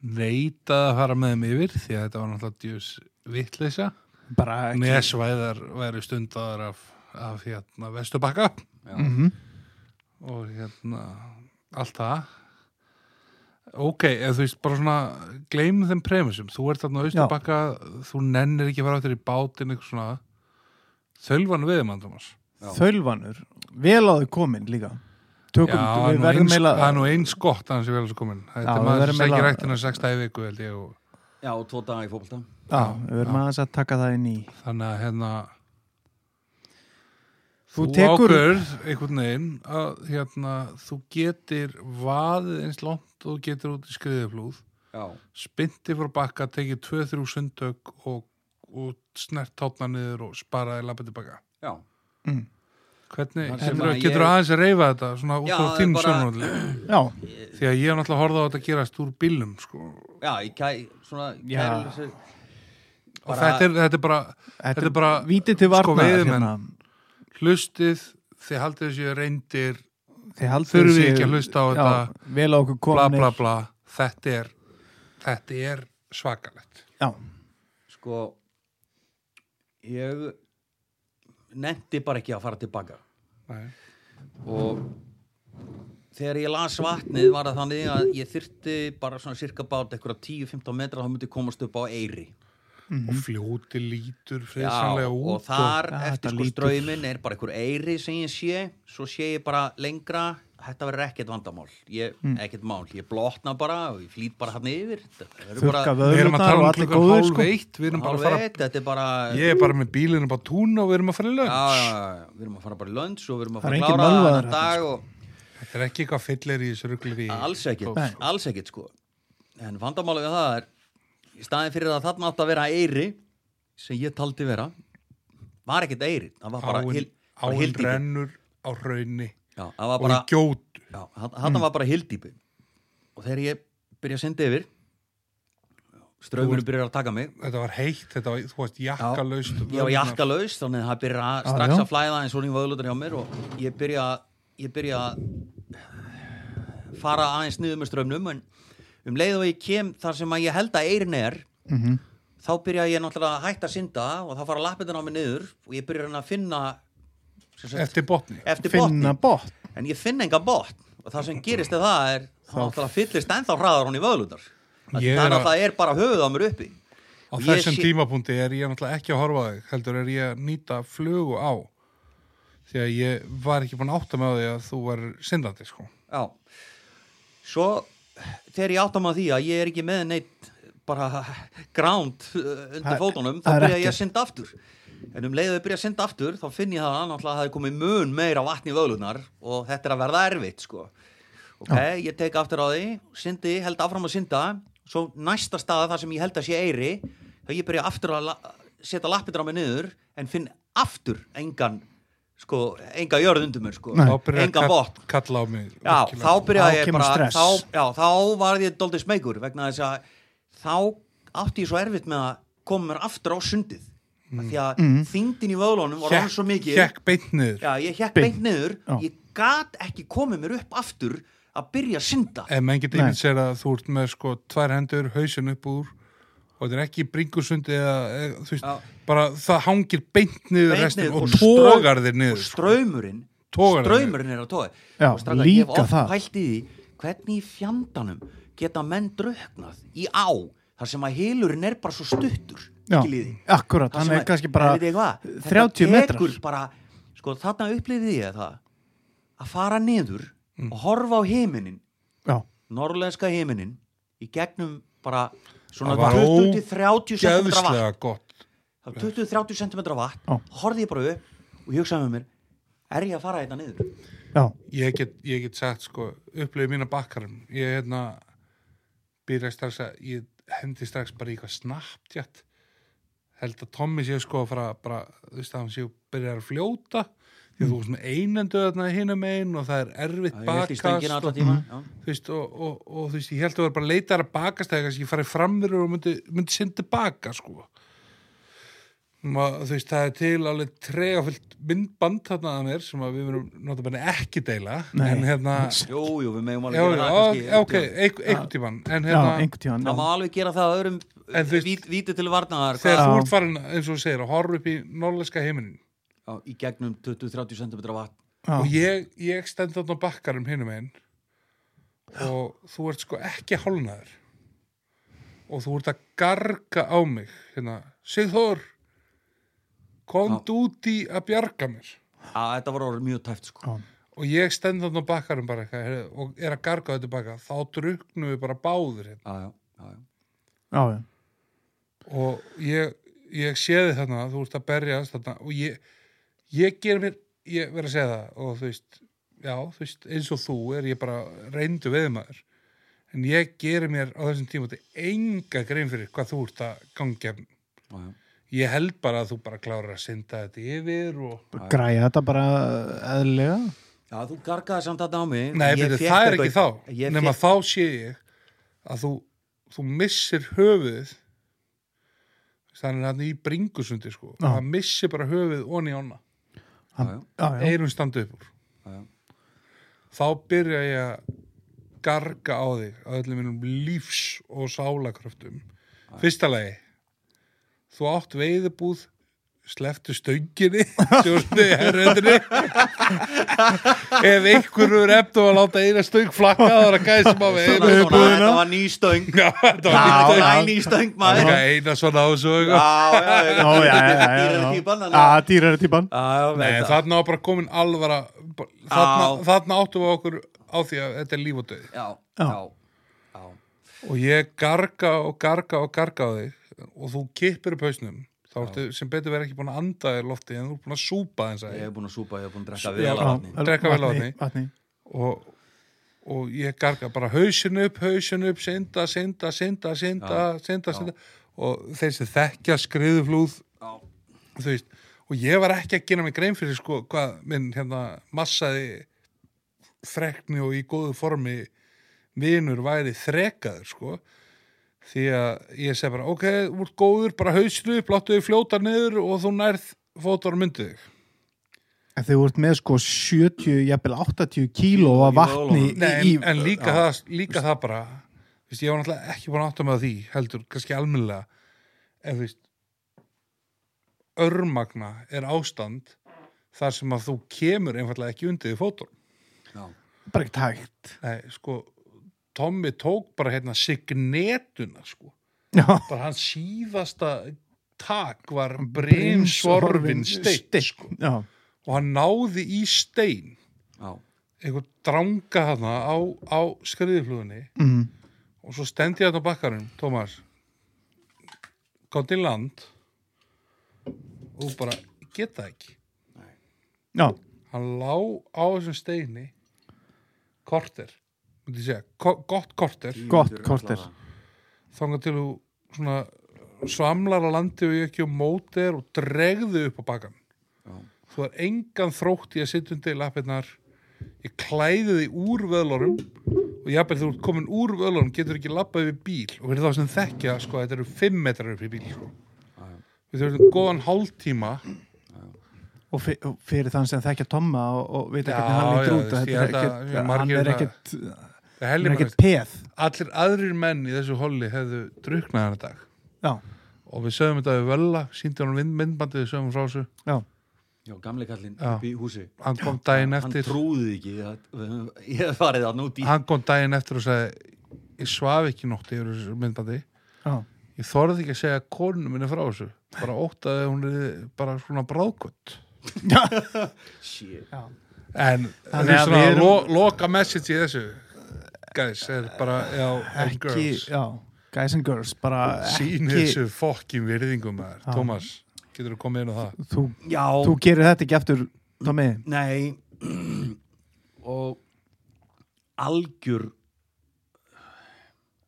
[SPEAKER 1] neitaði að fara með þeim yfir því að þetta var náttúrulega djús vitleisa
[SPEAKER 2] Bara ekki
[SPEAKER 1] nesvæðar væri stundaðar af, af hérna Vesturbakka
[SPEAKER 2] Mhm.
[SPEAKER 1] og hérna allt það ok, eða þú veist bara svona gleym þeim premisum, þú ert þarna á Austurbakka, þú nennir ekki að fara áttir í bátinn eitthvað svona þölvan við mann, Thomas
[SPEAKER 3] Já.
[SPEAKER 2] Þölvanur, vel á þau komin líka Tökum,
[SPEAKER 1] Já, það er
[SPEAKER 2] við
[SPEAKER 1] nú
[SPEAKER 2] verðum
[SPEAKER 1] eins-
[SPEAKER 2] meila
[SPEAKER 1] það er nú eins gott að hans ég vel svo komin
[SPEAKER 2] Já,
[SPEAKER 1] þetta er
[SPEAKER 2] við
[SPEAKER 1] maður
[SPEAKER 2] verðum
[SPEAKER 1] sem sækir
[SPEAKER 2] eiginlega-
[SPEAKER 1] ræktina sex dagi í viku held ég og
[SPEAKER 3] já, og tvo daga í fókbalta
[SPEAKER 2] Já, við verðum aðeins að taka það inn í
[SPEAKER 1] þannig að hérna
[SPEAKER 2] Þú tekur-
[SPEAKER 1] ákveður einhvern veginn að hérna, þú getir vaðið eins langt og þú getur út í skriðuflúð
[SPEAKER 3] já,
[SPEAKER 1] spinti frá bakka, tekið 2-3 sundtök og, og snert tátna niður og sparaði lappa tilbaka
[SPEAKER 3] já,
[SPEAKER 1] hvernig,
[SPEAKER 3] Það sem
[SPEAKER 1] getur,
[SPEAKER 3] að ég-
[SPEAKER 1] getur aðeins að reyfa þetta svona út
[SPEAKER 3] Já,
[SPEAKER 1] á
[SPEAKER 3] það er
[SPEAKER 1] þinn
[SPEAKER 3] bara-
[SPEAKER 1] sjónarhóli
[SPEAKER 2] Já,
[SPEAKER 1] því að ég hef náttúrulega horfað á þetta að gerast úr bílum sko.
[SPEAKER 3] já, í kæ svona,
[SPEAKER 2] Já.
[SPEAKER 3] kæruleysi.
[SPEAKER 1] og
[SPEAKER 3] Bara-
[SPEAKER 1] þetta er, þetta er bara
[SPEAKER 2] þetta
[SPEAKER 1] Þetta er
[SPEAKER 2] er bara
[SPEAKER 1] bara- sko,
[SPEAKER 2] Vítið til varna
[SPEAKER 1] veiðimenn.
[SPEAKER 2] hérna.
[SPEAKER 1] hlustið, þið haldið þessu reyndir
[SPEAKER 2] Þið haldið
[SPEAKER 1] Þurfið
[SPEAKER 2] séu-
[SPEAKER 1] ekki að hlusta á
[SPEAKER 2] Já,
[SPEAKER 1] þetta.
[SPEAKER 2] Vel á okkur
[SPEAKER 1] bla
[SPEAKER 2] komin
[SPEAKER 1] bla bla þetta er, þetta er svakalegt
[SPEAKER 2] Já,
[SPEAKER 3] sko ég nefndi bara ekki að fara tilbaka
[SPEAKER 1] Nei.
[SPEAKER 3] og þegar ég las vatnið var það þannig að ég þyrti bara svona cirka bát eitthvað 10-15 metra þá myndi ég komast upp á Eyri
[SPEAKER 1] og fljóti lítur
[SPEAKER 3] Já,
[SPEAKER 1] friðsamlega út
[SPEAKER 3] og þar
[SPEAKER 2] Já, þetta
[SPEAKER 3] eftir sko
[SPEAKER 2] lítur.
[SPEAKER 3] ströyminn er bara einhver Eyri sem ég sé svo sé ég bara lengra þetta verður ekkert vandamál ég,
[SPEAKER 1] Hmm.
[SPEAKER 3] ekkert mál, ég blotna bara og ég flýt bara hann yfir Þetta verður
[SPEAKER 2] Þurka
[SPEAKER 3] bara-
[SPEAKER 1] við erum að tala
[SPEAKER 2] vöðlunar
[SPEAKER 1] um
[SPEAKER 2] og allir
[SPEAKER 1] klukkan
[SPEAKER 2] góður
[SPEAKER 1] hálf
[SPEAKER 2] sko.
[SPEAKER 1] eitt við erum bara að
[SPEAKER 3] Hálf
[SPEAKER 1] fara
[SPEAKER 3] eitt, þetta er bara
[SPEAKER 1] ég er bara með bílinu bara tún og við erum að fara í
[SPEAKER 3] já,
[SPEAKER 1] lög
[SPEAKER 3] já, já, við erum að fara bara í lönns og við erum
[SPEAKER 2] Það
[SPEAKER 3] að fara
[SPEAKER 2] er
[SPEAKER 3] að
[SPEAKER 2] enginn
[SPEAKER 3] klára
[SPEAKER 2] völvaður
[SPEAKER 3] þennan dag og
[SPEAKER 1] þetta er ekki eitthvað fyllir í þessu rugglu
[SPEAKER 3] alls ekkert,
[SPEAKER 2] Nei.
[SPEAKER 3] alls ekkert sko en vandamálið við það er í staðin fyrir að þarna átt að vera eyri sem ég taldi vera var ekkert eyri, það var bara
[SPEAKER 1] áin,
[SPEAKER 3] hil- bara
[SPEAKER 1] áin
[SPEAKER 3] hyldýpi.
[SPEAKER 1] rennur á raunni
[SPEAKER 3] Já, það var
[SPEAKER 1] og Mm. í
[SPEAKER 3] bara,
[SPEAKER 1] gjótu
[SPEAKER 3] já, þarna var bara hildýpi og þegar ég byrja að senda yfir strömmunum byrjar að taka mig
[SPEAKER 1] þetta var heitt, þetta var, þú veist, jakkalaust
[SPEAKER 3] ég var jakkalaus þannig að það byrja að
[SPEAKER 2] Já,
[SPEAKER 3] strax
[SPEAKER 2] já.
[SPEAKER 3] að flæða eins og líka vöðlutur hjá mér og ég byrja ég byrja að fara aðeins niður með strömmnum en um leið og ég kem þar sem að ég held að eirin er
[SPEAKER 2] Mhm.
[SPEAKER 3] þá byrja ég náttúrulega að hætta að synda og þá fara lappindin á mig niður og ég byrja að reyna að finna sem sagt,
[SPEAKER 1] eftir botni
[SPEAKER 3] eftir
[SPEAKER 2] finna
[SPEAKER 3] botni
[SPEAKER 2] botn
[SPEAKER 3] en ég finn enga botn og það sem gerist er það er þá náttúrulega fyllist ennþá hraðar hún í vöðlutar
[SPEAKER 1] Ég er
[SPEAKER 3] þannig að
[SPEAKER 1] að-
[SPEAKER 3] það er bara höfuð á mér uppi
[SPEAKER 1] á
[SPEAKER 3] Og ég
[SPEAKER 1] þessum
[SPEAKER 3] sé-
[SPEAKER 1] tímapunkti er ég náttúrulega ekki að horfa á þig heldur er ég að nýta flugu á því að ég var ekki búin að átta með því að þú var syndandi sko.
[SPEAKER 3] Já Svo þegar ég átta maður því að ég er ekki með neitt bara ground uh, undir
[SPEAKER 2] Það-
[SPEAKER 3] fótunum þá
[SPEAKER 2] það er
[SPEAKER 3] byrja
[SPEAKER 2] ekkert.
[SPEAKER 3] ég að synda aftur en um leið að ég byrja að synda aftur þá finn ég það að náttúrulega að það er komið mun meira vatn í vöðlunar og þetta er að verða erfitt sko. ok, ég tek aftur á því syndi, held áfram að synda svo næsta staða þar sem ég held að sé eiri þá ég byrja aftur að la setja lappir á mig niður en finn aftur engan sko, enga jörð undir mér sko,
[SPEAKER 1] þá byrjaði
[SPEAKER 3] engan
[SPEAKER 1] að
[SPEAKER 3] botn
[SPEAKER 1] kall, kalla á mig
[SPEAKER 3] Já,
[SPEAKER 1] virkilega.
[SPEAKER 3] þá byrjaði
[SPEAKER 2] Þá
[SPEAKER 3] ég
[SPEAKER 2] kemur
[SPEAKER 3] bara
[SPEAKER 2] stress.
[SPEAKER 3] þá, já, þá var ég doldið smeykur vegna þess að þá átti ég svo erfitt með að koma mér aftur á sundið mm. því að þyngdin í vöðlunum var alveg svo mikið
[SPEAKER 1] hekk beintniður
[SPEAKER 3] Já, ég hekk
[SPEAKER 2] Beint.
[SPEAKER 3] beint niður
[SPEAKER 2] Já.
[SPEAKER 3] ég gat ekki komið mér upp aftur að byrja að synda
[SPEAKER 1] ef menn geta
[SPEAKER 2] Nei.
[SPEAKER 1] einmitt sér að þú ert með sko tvær hendur, hausin upp úr og þetta er ekki bringusundi eða, eða þú veist,
[SPEAKER 3] Já.
[SPEAKER 1] bara það hangir beint niður
[SPEAKER 3] Beint
[SPEAKER 1] restin
[SPEAKER 3] niður
[SPEAKER 1] og
[SPEAKER 3] og strauk-
[SPEAKER 1] tógar þér niður
[SPEAKER 3] og
[SPEAKER 1] sko.
[SPEAKER 3] ströymurinn
[SPEAKER 1] Togar þig
[SPEAKER 3] ströymurinn er að toga
[SPEAKER 2] Já,
[SPEAKER 3] og strákar, ég hef
[SPEAKER 2] líka
[SPEAKER 3] oft
[SPEAKER 2] það.
[SPEAKER 3] pælt í því hvernig í fjandanum geta menn drauknað í á þar sem að hilurinn er bara svo stuttur
[SPEAKER 2] Já,
[SPEAKER 3] skiljið þið.
[SPEAKER 2] akkurat,
[SPEAKER 3] Þar
[SPEAKER 2] hann
[SPEAKER 3] sem
[SPEAKER 2] er
[SPEAKER 3] að-
[SPEAKER 2] kannski bara
[SPEAKER 3] en vitið þið hvað? Þetta
[SPEAKER 2] 30 metrar.
[SPEAKER 3] tekur bara, sko þarna upplýði ég það að fara niður
[SPEAKER 1] Mm.
[SPEAKER 3] og horfa á heiminin
[SPEAKER 2] já,
[SPEAKER 3] norðlenska heiminin í gegnum bara svona
[SPEAKER 1] Það var
[SPEAKER 3] 20-30 sekundra vatn
[SPEAKER 1] geðslega gott
[SPEAKER 3] það var 20-30 cm vatn
[SPEAKER 2] Já.
[SPEAKER 3] og horfði ég bara upp og ég hugsaði með mér er ég að fara þetta niður
[SPEAKER 2] já,
[SPEAKER 1] ég get, ég get sagt sko upplifið mína bakkarum ég hérna byrja strax að ég hendi strax bara í eitthvað snabbt jætt held að Tommy sé sko að fara bara, þú veist að hann sé að byrja að fljóta því að þú veist með einendu þarna hinum megin og það er erfitt
[SPEAKER 3] ég held í
[SPEAKER 1] bakkast
[SPEAKER 3] stöngina
[SPEAKER 1] og,
[SPEAKER 3] alla tíma já.
[SPEAKER 1] þú veist, og, og, og þú veist, ég held að vera bara að leita að bakast eða kannski ég farið fram fyrir og myndi, myndi sinni tilbaka sko Ma, þú veist, það er til alveg tregafullt myndband þarna að mér sem að við verum náttúrulega ekki deila
[SPEAKER 2] Nei.
[SPEAKER 1] en hérna
[SPEAKER 3] jú, jú, við megum
[SPEAKER 1] já,
[SPEAKER 3] alveg
[SPEAKER 1] já,
[SPEAKER 3] gera það
[SPEAKER 1] ok,
[SPEAKER 3] kannski,
[SPEAKER 1] ok, einhver- einhvern tíman en
[SPEAKER 2] já,
[SPEAKER 1] hérna,
[SPEAKER 2] einhvern tíðan
[SPEAKER 3] það má alveg gera það að öðrum
[SPEAKER 1] En þú veist-
[SPEAKER 3] vít, víti til varnaðar
[SPEAKER 1] þegar
[SPEAKER 2] Já.
[SPEAKER 1] þú ert farin, eins og þú segir að horfa upp í norðleska heiminin
[SPEAKER 3] já, í gegnum 20-30 cm vatn
[SPEAKER 1] og
[SPEAKER 2] já,
[SPEAKER 1] ég, ég stend þarna á bakkarum hinum einn og þú ert sko ekki hálnaður og þú ert að garga á mig hérna, Sigþór komd út í að bjarga mér
[SPEAKER 3] já, þetta var orðið mjög tæft sko.
[SPEAKER 2] já.
[SPEAKER 1] og ég stend þarna á bakkarum bara eitthvað heyrðu, og er að garga þetta baka þá druknum við bara báður hérna.
[SPEAKER 3] já, já, já, já.
[SPEAKER 2] já, já.
[SPEAKER 1] og ég, ég séði þarna þú ert að berjast þarna og ég, ég ger mér, ég verð að segja það og þú veist, já, þú veist eins og þú er ég bara reyndu veðmaður en ég ger mér á þessum tímati enga grein fyrir hvað þú ert að gangja
[SPEAKER 3] Já, já.
[SPEAKER 1] ég held bara að þú bara klárar að synda þetta yfir og
[SPEAKER 2] græja þetta bara eðlilega
[SPEAKER 3] já, þú gargaði samt þetta á mig
[SPEAKER 1] Nei,
[SPEAKER 3] Ég
[SPEAKER 1] byrju,
[SPEAKER 3] fékk
[SPEAKER 1] það er ekki þá
[SPEAKER 3] eitthvað- ég
[SPEAKER 1] nema
[SPEAKER 3] fékk-
[SPEAKER 1] þá sé ég að þú, þú missir höfuðið þannig að hann í bringusundi sko
[SPEAKER 2] Já.
[SPEAKER 1] það missir bara höfuðið onni ána
[SPEAKER 2] hann, já, já,
[SPEAKER 1] eirun standa upp úr
[SPEAKER 3] Já, já.
[SPEAKER 1] þá byrja ég að garga á þig á öllum mínum lífs- og sálakröftum fyrsta lagi þú átt veiðibúð sleftu stönginni sjóstu herröndinni ef einhverju er eftir að láta eina stöng flakka þá er að gæði sem á
[SPEAKER 3] Svona,
[SPEAKER 1] veginn
[SPEAKER 3] svona, þetta var ný stöng
[SPEAKER 1] Já, þetta var nýtt
[SPEAKER 3] Já, það
[SPEAKER 1] stöng.
[SPEAKER 3] er ný stöng maður
[SPEAKER 1] Líka eina svona á þessu
[SPEAKER 3] Já,
[SPEAKER 1] eitthvað.
[SPEAKER 3] já, já,
[SPEAKER 2] Ó, já, já, já, já.
[SPEAKER 3] Dýrari típan, þannig að-
[SPEAKER 2] Já, dýrari típan
[SPEAKER 3] Já, já, veit
[SPEAKER 1] Nei,
[SPEAKER 3] það.
[SPEAKER 1] þarna var bara komin alvara bara-
[SPEAKER 3] Já.
[SPEAKER 1] þarna, þarna áttum við okkur á því að þetta er líf og döð
[SPEAKER 3] Já, já, já
[SPEAKER 1] og ég garga og garga og garga á þig og þú kippir upp hausnum þá ertu sem betur verið ekki búin að anda þér lofti en þú er búin að súpa þess að
[SPEAKER 3] Ég hef búin að súpa, ég hef búin að drekka
[SPEAKER 1] Já,
[SPEAKER 3] vel á vatni
[SPEAKER 1] Drekka vel á vatni.
[SPEAKER 2] vatni.
[SPEAKER 1] og, og ég garga bara hausin upp, hausin upp, senda, senda, senda, senda, senda, senda og þeir sem þekkja skriðuflúð
[SPEAKER 3] Já,
[SPEAKER 1] þú veist, og ég var ekki að gera mig grein fyrir sko hvað minn hérna massaði frekni og í góðu formi vinur væri þrekaður sko því að ég segi bara ok, þú ert góður, bara hausinu bláttu þig fljóta niður og þú nærð fótar og myndið þig
[SPEAKER 2] En þau vart með sko 70, jafnvel 80 kíló
[SPEAKER 3] Kíló í
[SPEAKER 2] af vatni
[SPEAKER 3] vöðlunum.
[SPEAKER 1] Nei,
[SPEAKER 2] í,
[SPEAKER 1] en, en líka, það, líka það bara þú veist, ég var náttúrulega ekki búin að átta með því heldur, kannski almennilega en þú veist örmagna er ástand þar sem að þú kemur einfallega ekki undir því fótor
[SPEAKER 3] já,
[SPEAKER 2] í bara ekkert hægt.
[SPEAKER 1] Nei, sko, Tommy tók bara hérna signetuna, sko.
[SPEAKER 2] Já,
[SPEAKER 1] Bara hans síðasta tak var
[SPEAKER 2] Brimsorfinn
[SPEAKER 1] brimsorfin steinn, sko.
[SPEAKER 2] já,
[SPEAKER 1] Og hann náði í stein,
[SPEAKER 3] já
[SPEAKER 1] einhver dranga þarna á, á skriðiflugunni
[SPEAKER 2] mm,
[SPEAKER 1] og svo stendi ég þarna á bakkarum, Tómas, kom til land og þú bara, "Ég get það ekki.
[SPEAKER 2] já,
[SPEAKER 1] Hann lá á þessum steini korter, myndi ég segja, ko gott korter.
[SPEAKER 2] gott korter.
[SPEAKER 1] þangað til þú svona svamlar á landi og ekki og mótir og dregðu upp á bakan
[SPEAKER 3] Já.
[SPEAKER 1] þú er engan þrótt í að sitja undir lappirnar ég klæði því úr vöðlorum og jafnvel þú ert komin úr vöðlorum getur ekki lappað yfir bíl og fyrir þá sem þekkja sko þetta eru 5 metrar upp í bíl sko.
[SPEAKER 3] já.
[SPEAKER 1] við þurfum góðan hálftíma
[SPEAKER 2] Og fe- og fyrir þann sem þekkja Tomma og, og veit
[SPEAKER 1] Já,
[SPEAKER 2] ekki hvernig hann
[SPEAKER 1] já,
[SPEAKER 2] lítur út.
[SPEAKER 1] þú veist, ég
[SPEAKER 2] Þetta er
[SPEAKER 1] held að-
[SPEAKER 2] ekkert-
[SPEAKER 1] ég margir
[SPEAKER 2] Hann er
[SPEAKER 1] það-
[SPEAKER 2] ekkert,
[SPEAKER 1] Það
[SPEAKER 2] hann
[SPEAKER 1] hellir
[SPEAKER 2] er
[SPEAKER 1] maður
[SPEAKER 2] ekkert peð.
[SPEAKER 1] veist, allir aðrir menn í þessu holli hefðu druknað hann dag
[SPEAKER 2] Já,
[SPEAKER 1] og við sögum þetta við völla síndi hann myndbandið við sögum frá þessu
[SPEAKER 2] já,
[SPEAKER 3] Já, gamli kallinn
[SPEAKER 1] Já.
[SPEAKER 3] upp í húsi
[SPEAKER 1] hann kom daginn eftir
[SPEAKER 3] Hann trúði ekki að, Ég hef farið að núti
[SPEAKER 1] hann kom daginn eftir og sagði ég svaf ekki nótt yfir þessu myndbandi
[SPEAKER 2] já.
[SPEAKER 1] ég þorði ekki að segja konunum minni frá þessu bara óttaði að hún er bara svona bráðkott
[SPEAKER 3] Shit
[SPEAKER 1] en það
[SPEAKER 2] Þannig
[SPEAKER 1] er svona
[SPEAKER 2] að við
[SPEAKER 1] erum...
[SPEAKER 2] erum-
[SPEAKER 1] lo, loka message í þessu guys, er bara já, and
[SPEAKER 2] Ekki,
[SPEAKER 1] girls
[SPEAKER 2] já, guys and girls, bara
[SPEAKER 1] sín
[SPEAKER 2] ekki,
[SPEAKER 1] þessu fokkin virðingum maður.
[SPEAKER 2] Já.
[SPEAKER 1] Thomas, getur þú komið inn á það
[SPEAKER 2] þú,
[SPEAKER 3] Já,
[SPEAKER 2] þú gerir þetta ekki aftur, Tommi.
[SPEAKER 3] nei Og algjör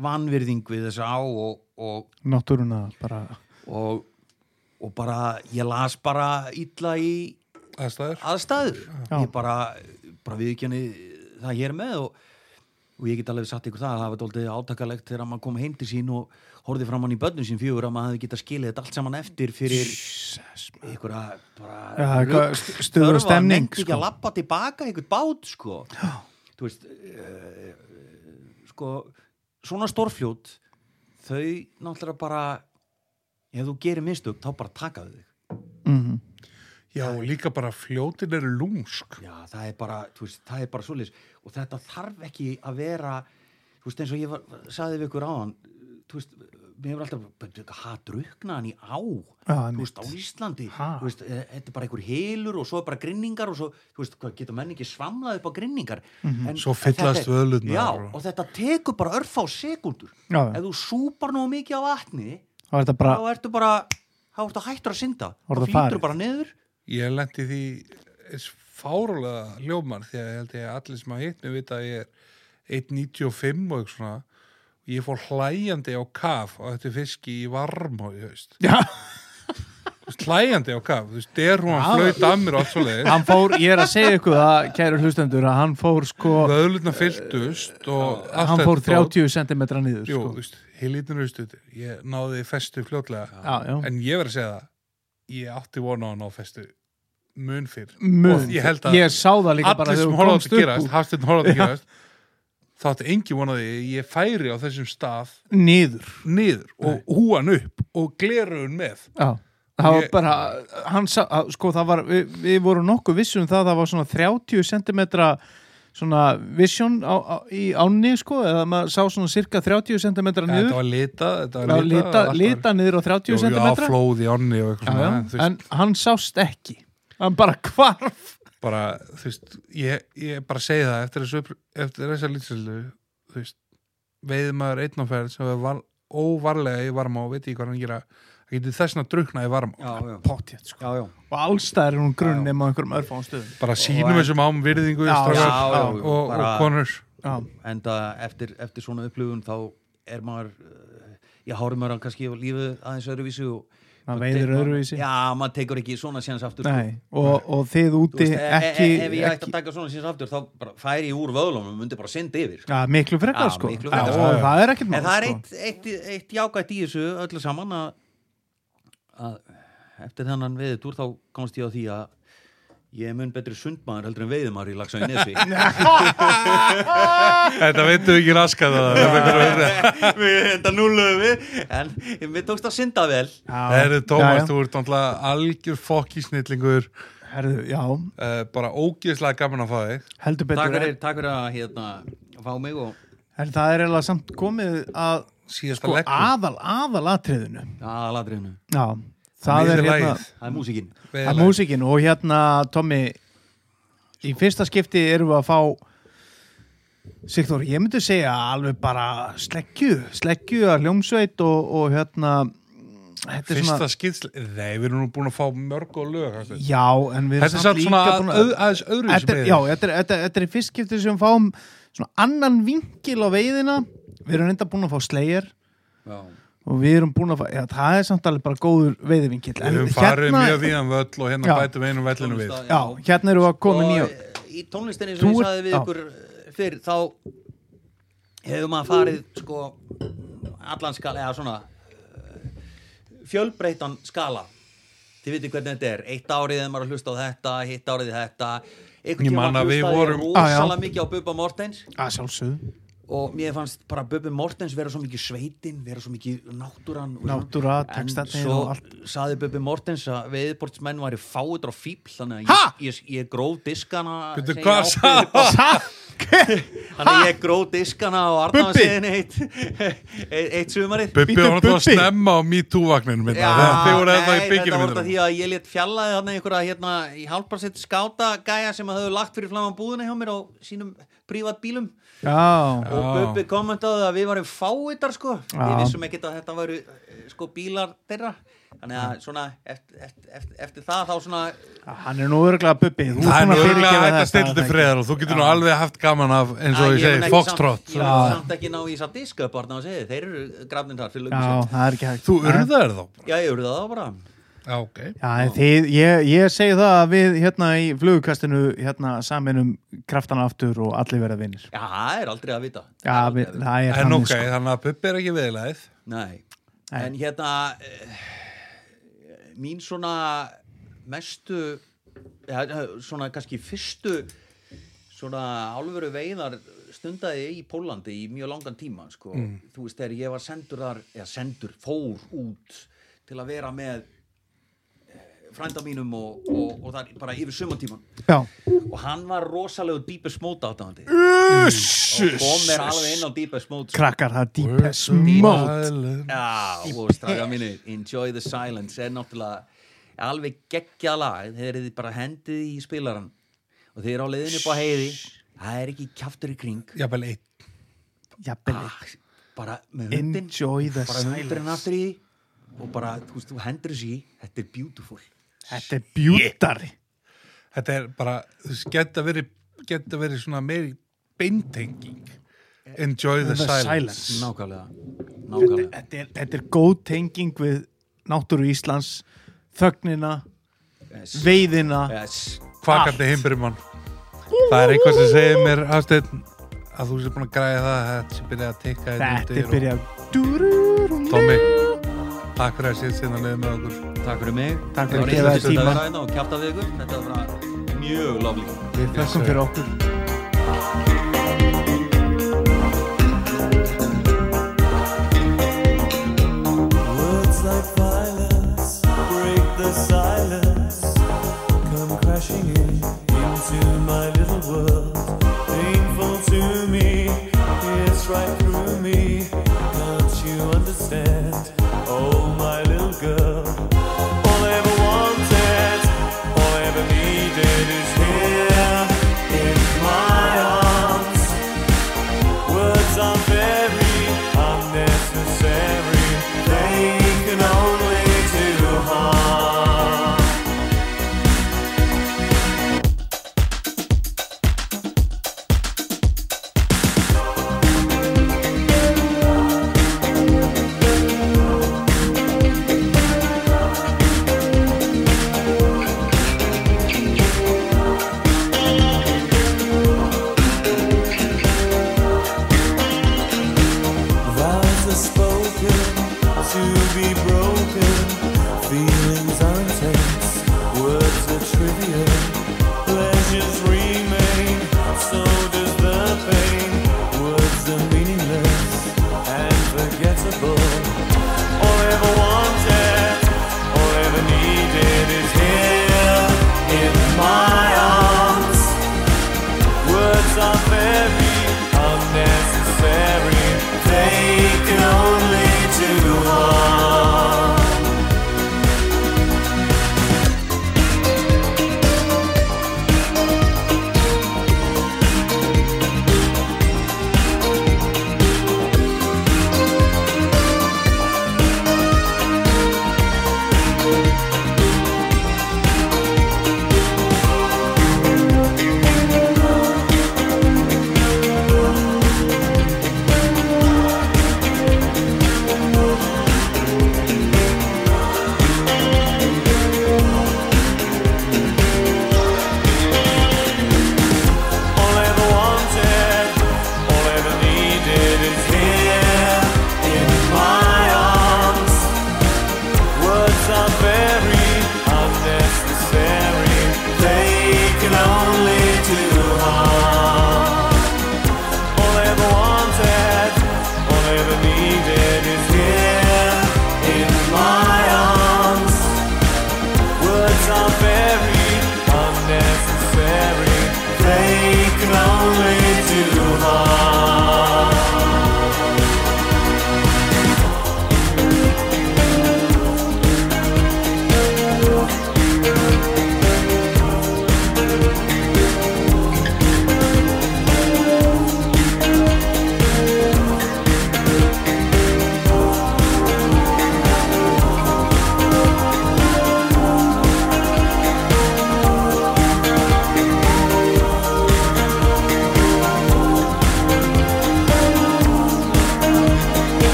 [SPEAKER 3] vanvirðing við þessa á og, og
[SPEAKER 2] Náttúruna bara,
[SPEAKER 3] og, og bara ég las bara illa í
[SPEAKER 1] aðstæður
[SPEAKER 3] aðstæður
[SPEAKER 2] Já.
[SPEAKER 3] ég bara, bara viðkjöni það hér með og, og ég get alveg sagt ykkur það að það var dóldið átakalegt þegar maður kom heim til sín og horfði fram hann í börnum sín fjögur að maður hefði getað skilið þetta allt saman eftir fyrir einhverja
[SPEAKER 2] Já,
[SPEAKER 3] bara
[SPEAKER 2] það er
[SPEAKER 3] rugl-
[SPEAKER 2] hvað- st- stuður og
[SPEAKER 3] þörf að
[SPEAKER 2] stemning,
[SPEAKER 3] nennti ekki
[SPEAKER 2] sko.
[SPEAKER 3] að lappa tilbaka einhvern bát sko þú veist uh, sko svona stórfljót þau náttúrulega bara ef þú gerir mistök þá bara takaðu þig
[SPEAKER 2] mhm.
[SPEAKER 1] já, og líka bara fljótin eru lúmsk
[SPEAKER 3] Já, það er bara, þú veist, það er bara svoleiðis og þetta þarf ekki að vera þú veist, eins og ég var, saði við ykkur áðan þú veist, mér hefur alltaf hatruknaðan í á
[SPEAKER 2] Já,
[SPEAKER 3] þú
[SPEAKER 2] einmitt.
[SPEAKER 3] veist, á Íslandi
[SPEAKER 2] Ha?
[SPEAKER 3] þú veist, eh, þetta er bara einhver helur og svo er bara grinningar og svo, þú veist, hvað geta menn ekki svamlað upp á grinningar
[SPEAKER 2] Mhm.
[SPEAKER 3] en,
[SPEAKER 1] Svo fyllast
[SPEAKER 3] en þetta er-
[SPEAKER 1] vöðlurnar
[SPEAKER 3] Já,
[SPEAKER 1] og-
[SPEAKER 3] og þetta tekur bara örf á sekundur
[SPEAKER 2] Já, já.
[SPEAKER 3] ef þú súpar nú mikið á vatni
[SPEAKER 2] þá er þetta bara,
[SPEAKER 3] þá ertu bara, þá ertu hættur að synda
[SPEAKER 2] Þá er
[SPEAKER 3] þá
[SPEAKER 2] það
[SPEAKER 3] flýtur
[SPEAKER 2] farið.
[SPEAKER 3] bara niður
[SPEAKER 1] ég lendi því eins fárulega hljómar því að ég held ég að allir sem að hitnu vita að ég er 1.95 og eitthvað svona og ég fór hlæjandi á kaf á þetta fiski í varmá í haust
[SPEAKER 2] já,
[SPEAKER 1] Þú veist, hlæjandi á kaf, þú veist, der hún
[SPEAKER 2] Já.
[SPEAKER 1] að flauta að mér og allt svo leið
[SPEAKER 2] hann fór, ég er að segja ykkur það, kæru hlustendur, að hann fór sko,
[SPEAKER 1] vöðlutna fylltust og allt
[SPEAKER 2] hann fór
[SPEAKER 1] þetta dót.
[SPEAKER 2] 30 cm niður,
[SPEAKER 1] Jú,
[SPEAKER 2] sko.
[SPEAKER 1] þú veist, heilítinu haustut ég náði festu fljótlega
[SPEAKER 2] Já, já.
[SPEAKER 1] en ég verð að segja það ég átti vona á að ná festu mun fyrr
[SPEAKER 2] Mun,
[SPEAKER 1] Og ég held að-
[SPEAKER 2] ég sá það líka bara
[SPEAKER 1] allir sem
[SPEAKER 2] þú
[SPEAKER 1] horfði á
[SPEAKER 2] komst
[SPEAKER 1] þetta
[SPEAKER 2] upp
[SPEAKER 1] gerast,
[SPEAKER 2] úr-
[SPEAKER 1] Hafsteinn horfði á þetta gerast þá átti engi vonaði ég færi á þessum stað
[SPEAKER 2] niður
[SPEAKER 1] niður og húan upp og gleruðun með
[SPEAKER 2] já, það var
[SPEAKER 1] Ég-
[SPEAKER 2] bara, hann sa, að- sko það var, við, við vorum nokkuð vissum það, það var svona 30 cm svona vision á, á, í ánni sko, eða maður sá svona cirka 30 cm
[SPEAKER 1] þetta
[SPEAKER 2] niður,
[SPEAKER 1] var lita þetta
[SPEAKER 2] það
[SPEAKER 1] var
[SPEAKER 2] var lita,
[SPEAKER 1] allt var-
[SPEAKER 2] lita niður á 30
[SPEAKER 1] Jú, jú, á
[SPEAKER 2] cm
[SPEAKER 1] flóð í onni og eitthvað
[SPEAKER 2] já, já,
[SPEAKER 1] svona, þú veist,
[SPEAKER 2] en hann sást ekki hann bara hvarf
[SPEAKER 1] bara, þú veist, ég, ég bara segi það eftir þessu, upp- eftir þessa lýtsildu þú veist, veiði maður einn á ferð sem er var, óvarlega í varma og veit ég hvað hann gera það getur þessna drukna í varma
[SPEAKER 3] já, já,
[SPEAKER 2] Potjett, sko.
[SPEAKER 3] já, já.
[SPEAKER 2] og allstæðar er hún grunn nema á einhverjum örfáum stöðum
[SPEAKER 1] bara sínum
[SPEAKER 3] en-
[SPEAKER 1] þessum ám virðingu
[SPEAKER 2] Já,
[SPEAKER 1] strákar,
[SPEAKER 3] Já,
[SPEAKER 2] já,
[SPEAKER 3] já,
[SPEAKER 1] og, og,
[SPEAKER 3] bara-
[SPEAKER 1] konur
[SPEAKER 2] já,
[SPEAKER 3] en það eftir, eftir svona upplifun þá er maður uh, ég hári maður kannski á lífið aðeins öðruvísi og
[SPEAKER 2] hann veiður öðruvísi
[SPEAKER 3] já, maður tekur ekki svona séns aftur sko.
[SPEAKER 2] Nei, og, og þið
[SPEAKER 3] Þú
[SPEAKER 2] úti
[SPEAKER 3] veist, e-
[SPEAKER 2] ekki,
[SPEAKER 3] e- ef ég
[SPEAKER 2] ekki
[SPEAKER 3] ætti að taka svona séns aftur þá bara færi ég úr vöðlunum og myndi bara synda yfir
[SPEAKER 2] ja, miklu frekar
[SPEAKER 3] Já,
[SPEAKER 2] sko
[SPEAKER 3] miklu
[SPEAKER 2] Já,
[SPEAKER 3] frekar,
[SPEAKER 1] sko.
[SPEAKER 2] og það er ekkert
[SPEAKER 3] en það er
[SPEAKER 2] sko.
[SPEAKER 3] eitt, eitt, eitt jákvætt í þessu öllu saman að, að eftir þennan veðitúr þá komst ég á því að ég er mun betri sundmaður heldur en veiðumar í lagsa í nesi
[SPEAKER 1] þetta veitum við ekki raskað það
[SPEAKER 3] við enda núluðum við en mér tókst að synda vel
[SPEAKER 2] Já,
[SPEAKER 1] það eru
[SPEAKER 2] já,
[SPEAKER 1] Tómas,
[SPEAKER 2] já.
[SPEAKER 1] þú ert náttúrulega algjör fokki snillingur
[SPEAKER 2] Herðu, já,
[SPEAKER 1] uh, bara ógeðslega gaman að fá þig
[SPEAKER 2] heldur
[SPEAKER 3] takk
[SPEAKER 2] betur
[SPEAKER 3] fyrir, takk fyrir að hérna, fá mig og
[SPEAKER 2] Herðu, Það er eiginlega samt komið að
[SPEAKER 1] síðasta
[SPEAKER 2] sko,
[SPEAKER 1] sko, leggur
[SPEAKER 2] aðal, aðal atriðinu
[SPEAKER 3] aðaladriðinu
[SPEAKER 2] Já, það er hérna
[SPEAKER 1] Miðlagið.
[SPEAKER 3] það er músikinn
[SPEAKER 2] að músikinn og hérna Tommy í fyrsta skipti erum við að fá Sigþór, ég myndi segja alveg bara sleggju, sleggju að hljómsveit og, og hérna þetta er
[SPEAKER 1] fyrsta
[SPEAKER 2] svona,
[SPEAKER 1] skýrsl nei, við erum nú búin að fá mörg og lög þetta
[SPEAKER 2] já en við
[SPEAKER 1] er
[SPEAKER 2] erum
[SPEAKER 1] samt svona
[SPEAKER 2] búin
[SPEAKER 1] að- aðeins öðru
[SPEAKER 2] þetta er, já, þetta er, þetta, er- þetta er í fyrst skipti sem við fáum svona annan vinkil á veiðina við erum enda búin að fá slegir
[SPEAKER 3] Já.
[SPEAKER 2] og við erum búin að fá, já það er samt alveg bara góður veiðivinkill
[SPEAKER 1] Við höfum farið mjög víðan völl og hérna
[SPEAKER 2] hérna- Já.
[SPEAKER 1] bætum einum vellinu við.
[SPEAKER 3] Tónlist-
[SPEAKER 2] já, hérna erum við að koma
[SPEAKER 3] Og eh,
[SPEAKER 2] nýja
[SPEAKER 3] í tónlistinni
[SPEAKER 2] Þú
[SPEAKER 3] sem ég
[SPEAKER 2] ert-
[SPEAKER 3] saði við
[SPEAKER 2] já.
[SPEAKER 3] ykkur eh, fyrr þá hefur maður farið sko allan skala eða svona eh, fjölbreyttan skala þið veitir hvernig þetta er eitt árið þegar maður er að hlusta á þetta hitt árið í þetta einhvern
[SPEAKER 1] Ég
[SPEAKER 3] tímann
[SPEAKER 1] man að við
[SPEAKER 3] hlustaði ég
[SPEAKER 1] vorum-
[SPEAKER 2] Já, já.
[SPEAKER 3] rosalega mikið á Bubba Mortens
[SPEAKER 2] að sjálfsögðu,
[SPEAKER 3] og mér fannst bara Bubbi Mortens vera svo mikið sveitinn, vera svo mikið náttúran og svona.
[SPEAKER 2] náttúra,
[SPEAKER 3] en
[SPEAKER 2] textatnir
[SPEAKER 3] svo
[SPEAKER 2] og allt
[SPEAKER 3] saði Bubbi Mortens að veðibortsmenn væri fáutur á fíbl þannig
[SPEAKER 2] Ha?
[SPEAKER 3] að ég, ég, ég gróf diskana
[SPEAKER 1] Bíddu,
[SPEAKER 3] sem ég
[SPEAKER 1] hvað
[SPEAKER 3] átti
[SPEAKER 1] sagði
[SPEAKER 3] upp á-
[SPEAKER 2] Takk!
[SPEAKER 3] þannig að ég gróf diskana á Arnaðarsiðin eitt, eitt, eitt sumarið
[SPEAKER 1] Bubbi
[SPEAKER 2] Bíddu,
[SPEAKER 1] var náttúrulega að
[SPEAKER 2] Bubbi.
[SPEAKER 1] snemma á MeToo-vagninu minna. Þegar þið voru eða í
[SPEAKER 3] nei, þetta
[SPEAKER 1] byggjum
[SPEAKER 3] voru þetta
[SPEAKER 1] minna.
[SPEAKER 3] því að ég létt fjallaði þannig einhverja hérna í hálparsitt skáta gæja sem að höfðu lagt fyrir flaman búðina hjá mér á sínum prívat bílum
[SPEAKER 2] Já,
[SPEAKER 1] Já.
[SPEAKER 3] og Bubbi kommentaði að við varum fáitar sko, við
[SPEAKER 2] Já.
[SPEAKER 3] vissum ekkert að þetta varu eh, sko bílar þeirra þannig að svona eftir, eftir, eftir, eftir það þá svona
[SPEAKER 2] hann er nú örglega bubbi
[SPEAKER 1] Það er
[SPEAKER 2] Þú ert búin að
[SPEAKER 1] náttúrulega að
[SPEAKER 2] fyrirgefa
[SPEAKER 1] þetta
[SPEAKER 2] þetta,
[SPEAKER 1] stildi
[SPEAKER 2] ekki?
[SPEAKER 1] friðar og þú getur nú alveg haft gaman af, eins og
[SPEAKER 3] að
[SPEAKER 1] ég
[SPEAKER 3] mun
[SPEAKER 1] segi,
[SPEAKER 3] ekki
[SPEAKER 1] Foxtrot.
[SPEAKER 3] samt- ég var samt ekki ná í þess að diska upp barna og segi þeir eru grafnir þar fyrir
[SPEAKER 2] Já,
[SPEAKER 3] löngu sér
[SPEAKER 2] það er ekki hægt
[SPEAKER 1] Þú urðaðir þá.
[SPEAKER 3] já ég eru það bara
[SPEAKER 1] Já, ok.
[SPEAKER 2] Já, en þið, ég, ég segi það að við hérna í flugkastinu hérna saminum kraftana aftur og allir verða vinnir.
[SPEAKER 3] já það er aldrei að vita
[SPEAKER 2] Já, við, það er
[SPEAKER 1] En
[SPEAKER 2] þannig, sko.
[SPEAKER 1] ok, þannig að Bubbi er ekki viðlæðið.
[SPEAKER 3] nei
[SPEAKER 2] Nei.
[SPEAKER 3] en hérna eh, mín svona mestu ja, svona kannski fyrstu svona álveru veiðar stundaði ég í Pólandi í mjög langan tíma sko. þú veist þegar ég var sendur þar eða sendur, fór út til að vera með eh, frænda mínum og, og, og það bara yfir sumantíman
[SPEAKER 2] sko. Já,
[SPEAKER 3] og hann var rosalegur dýpest mót áttandi og kom mér alveg inn á dýpest mót
[SPEAKER 2] krakkar, það er deepest mode.
[SPEAKER 3] Já, og straga mínu Enjoy the Silence er náttúrulega alveg geggjað lag þeir eru bara hendið í spilaran og þeir eru á leiðinu upp á heiði það er ekki kjaftur í kring
[SPEAKER 1] Já, vel eitt.
[SPEAKER 2] Jafnvel,
[SPEAKER 3] ah, bara með hundin
[SPEAKER 2] enjoy the
[SPEAKER 3] bara með
[SPEAKER 2] silence.
[SPEAKER 3] hundurinn aftur í því og bara, þú veist, þú hendur þessi í, þetta er beautiful
[SPEAKER 2] Þetta er bjútari.
[SPEAKER 1] Þetta er bara, þú veist, geta verið, geta verið svona meiri beintenging. Enjoy the
[SPEAKER 2] The
[SPEAKER 1] silence.
[SPEAKER 2] silence.
[SPEAKER 3] nákvæmlega,
[SPEAKER 2] Þetta,
[SPEAKER 3] nákvæmlega
[SPEAKER 2] þetta, er, þetta er góð tenging við náttúru Íslands, þögnina,
[SPEAKER 3] yes.
[SPEAKER 2] veiðina.
[SPEAKER 3] Yes.
[SPEAKER 1] Kvakandi heimbrimann. Það er eitthvað sem segir mér, Hafsteinn, að þú sér búin að græða það, að þetta sé byrjað að tikka hérna undir
[SPEAKER 2] Þetta er
[SPEAKER 1] og-
[SPEAKER 2] byrjað. Dúrúrúrú.
[SPEAKER 1] Tommy, takk fyrir að séð sinna leið með okkur.
[SPEAKER 3] Takk fyrir mig
[SPEAKER 2] Takk fyrir að
[SPEAKER 3] Það var
[SPEAKER 2] gefa þér
[SPEAKER 3] einhvers stund
[SPEAKER 2] tíma.
[SPEAKER 3] að vera hérna og kjafta við ykkur Þetta var bara mjög loflík
[SPEAKER 2] Við þökkum fyrir okkur.
[SPEAKER 4] Words like violence break því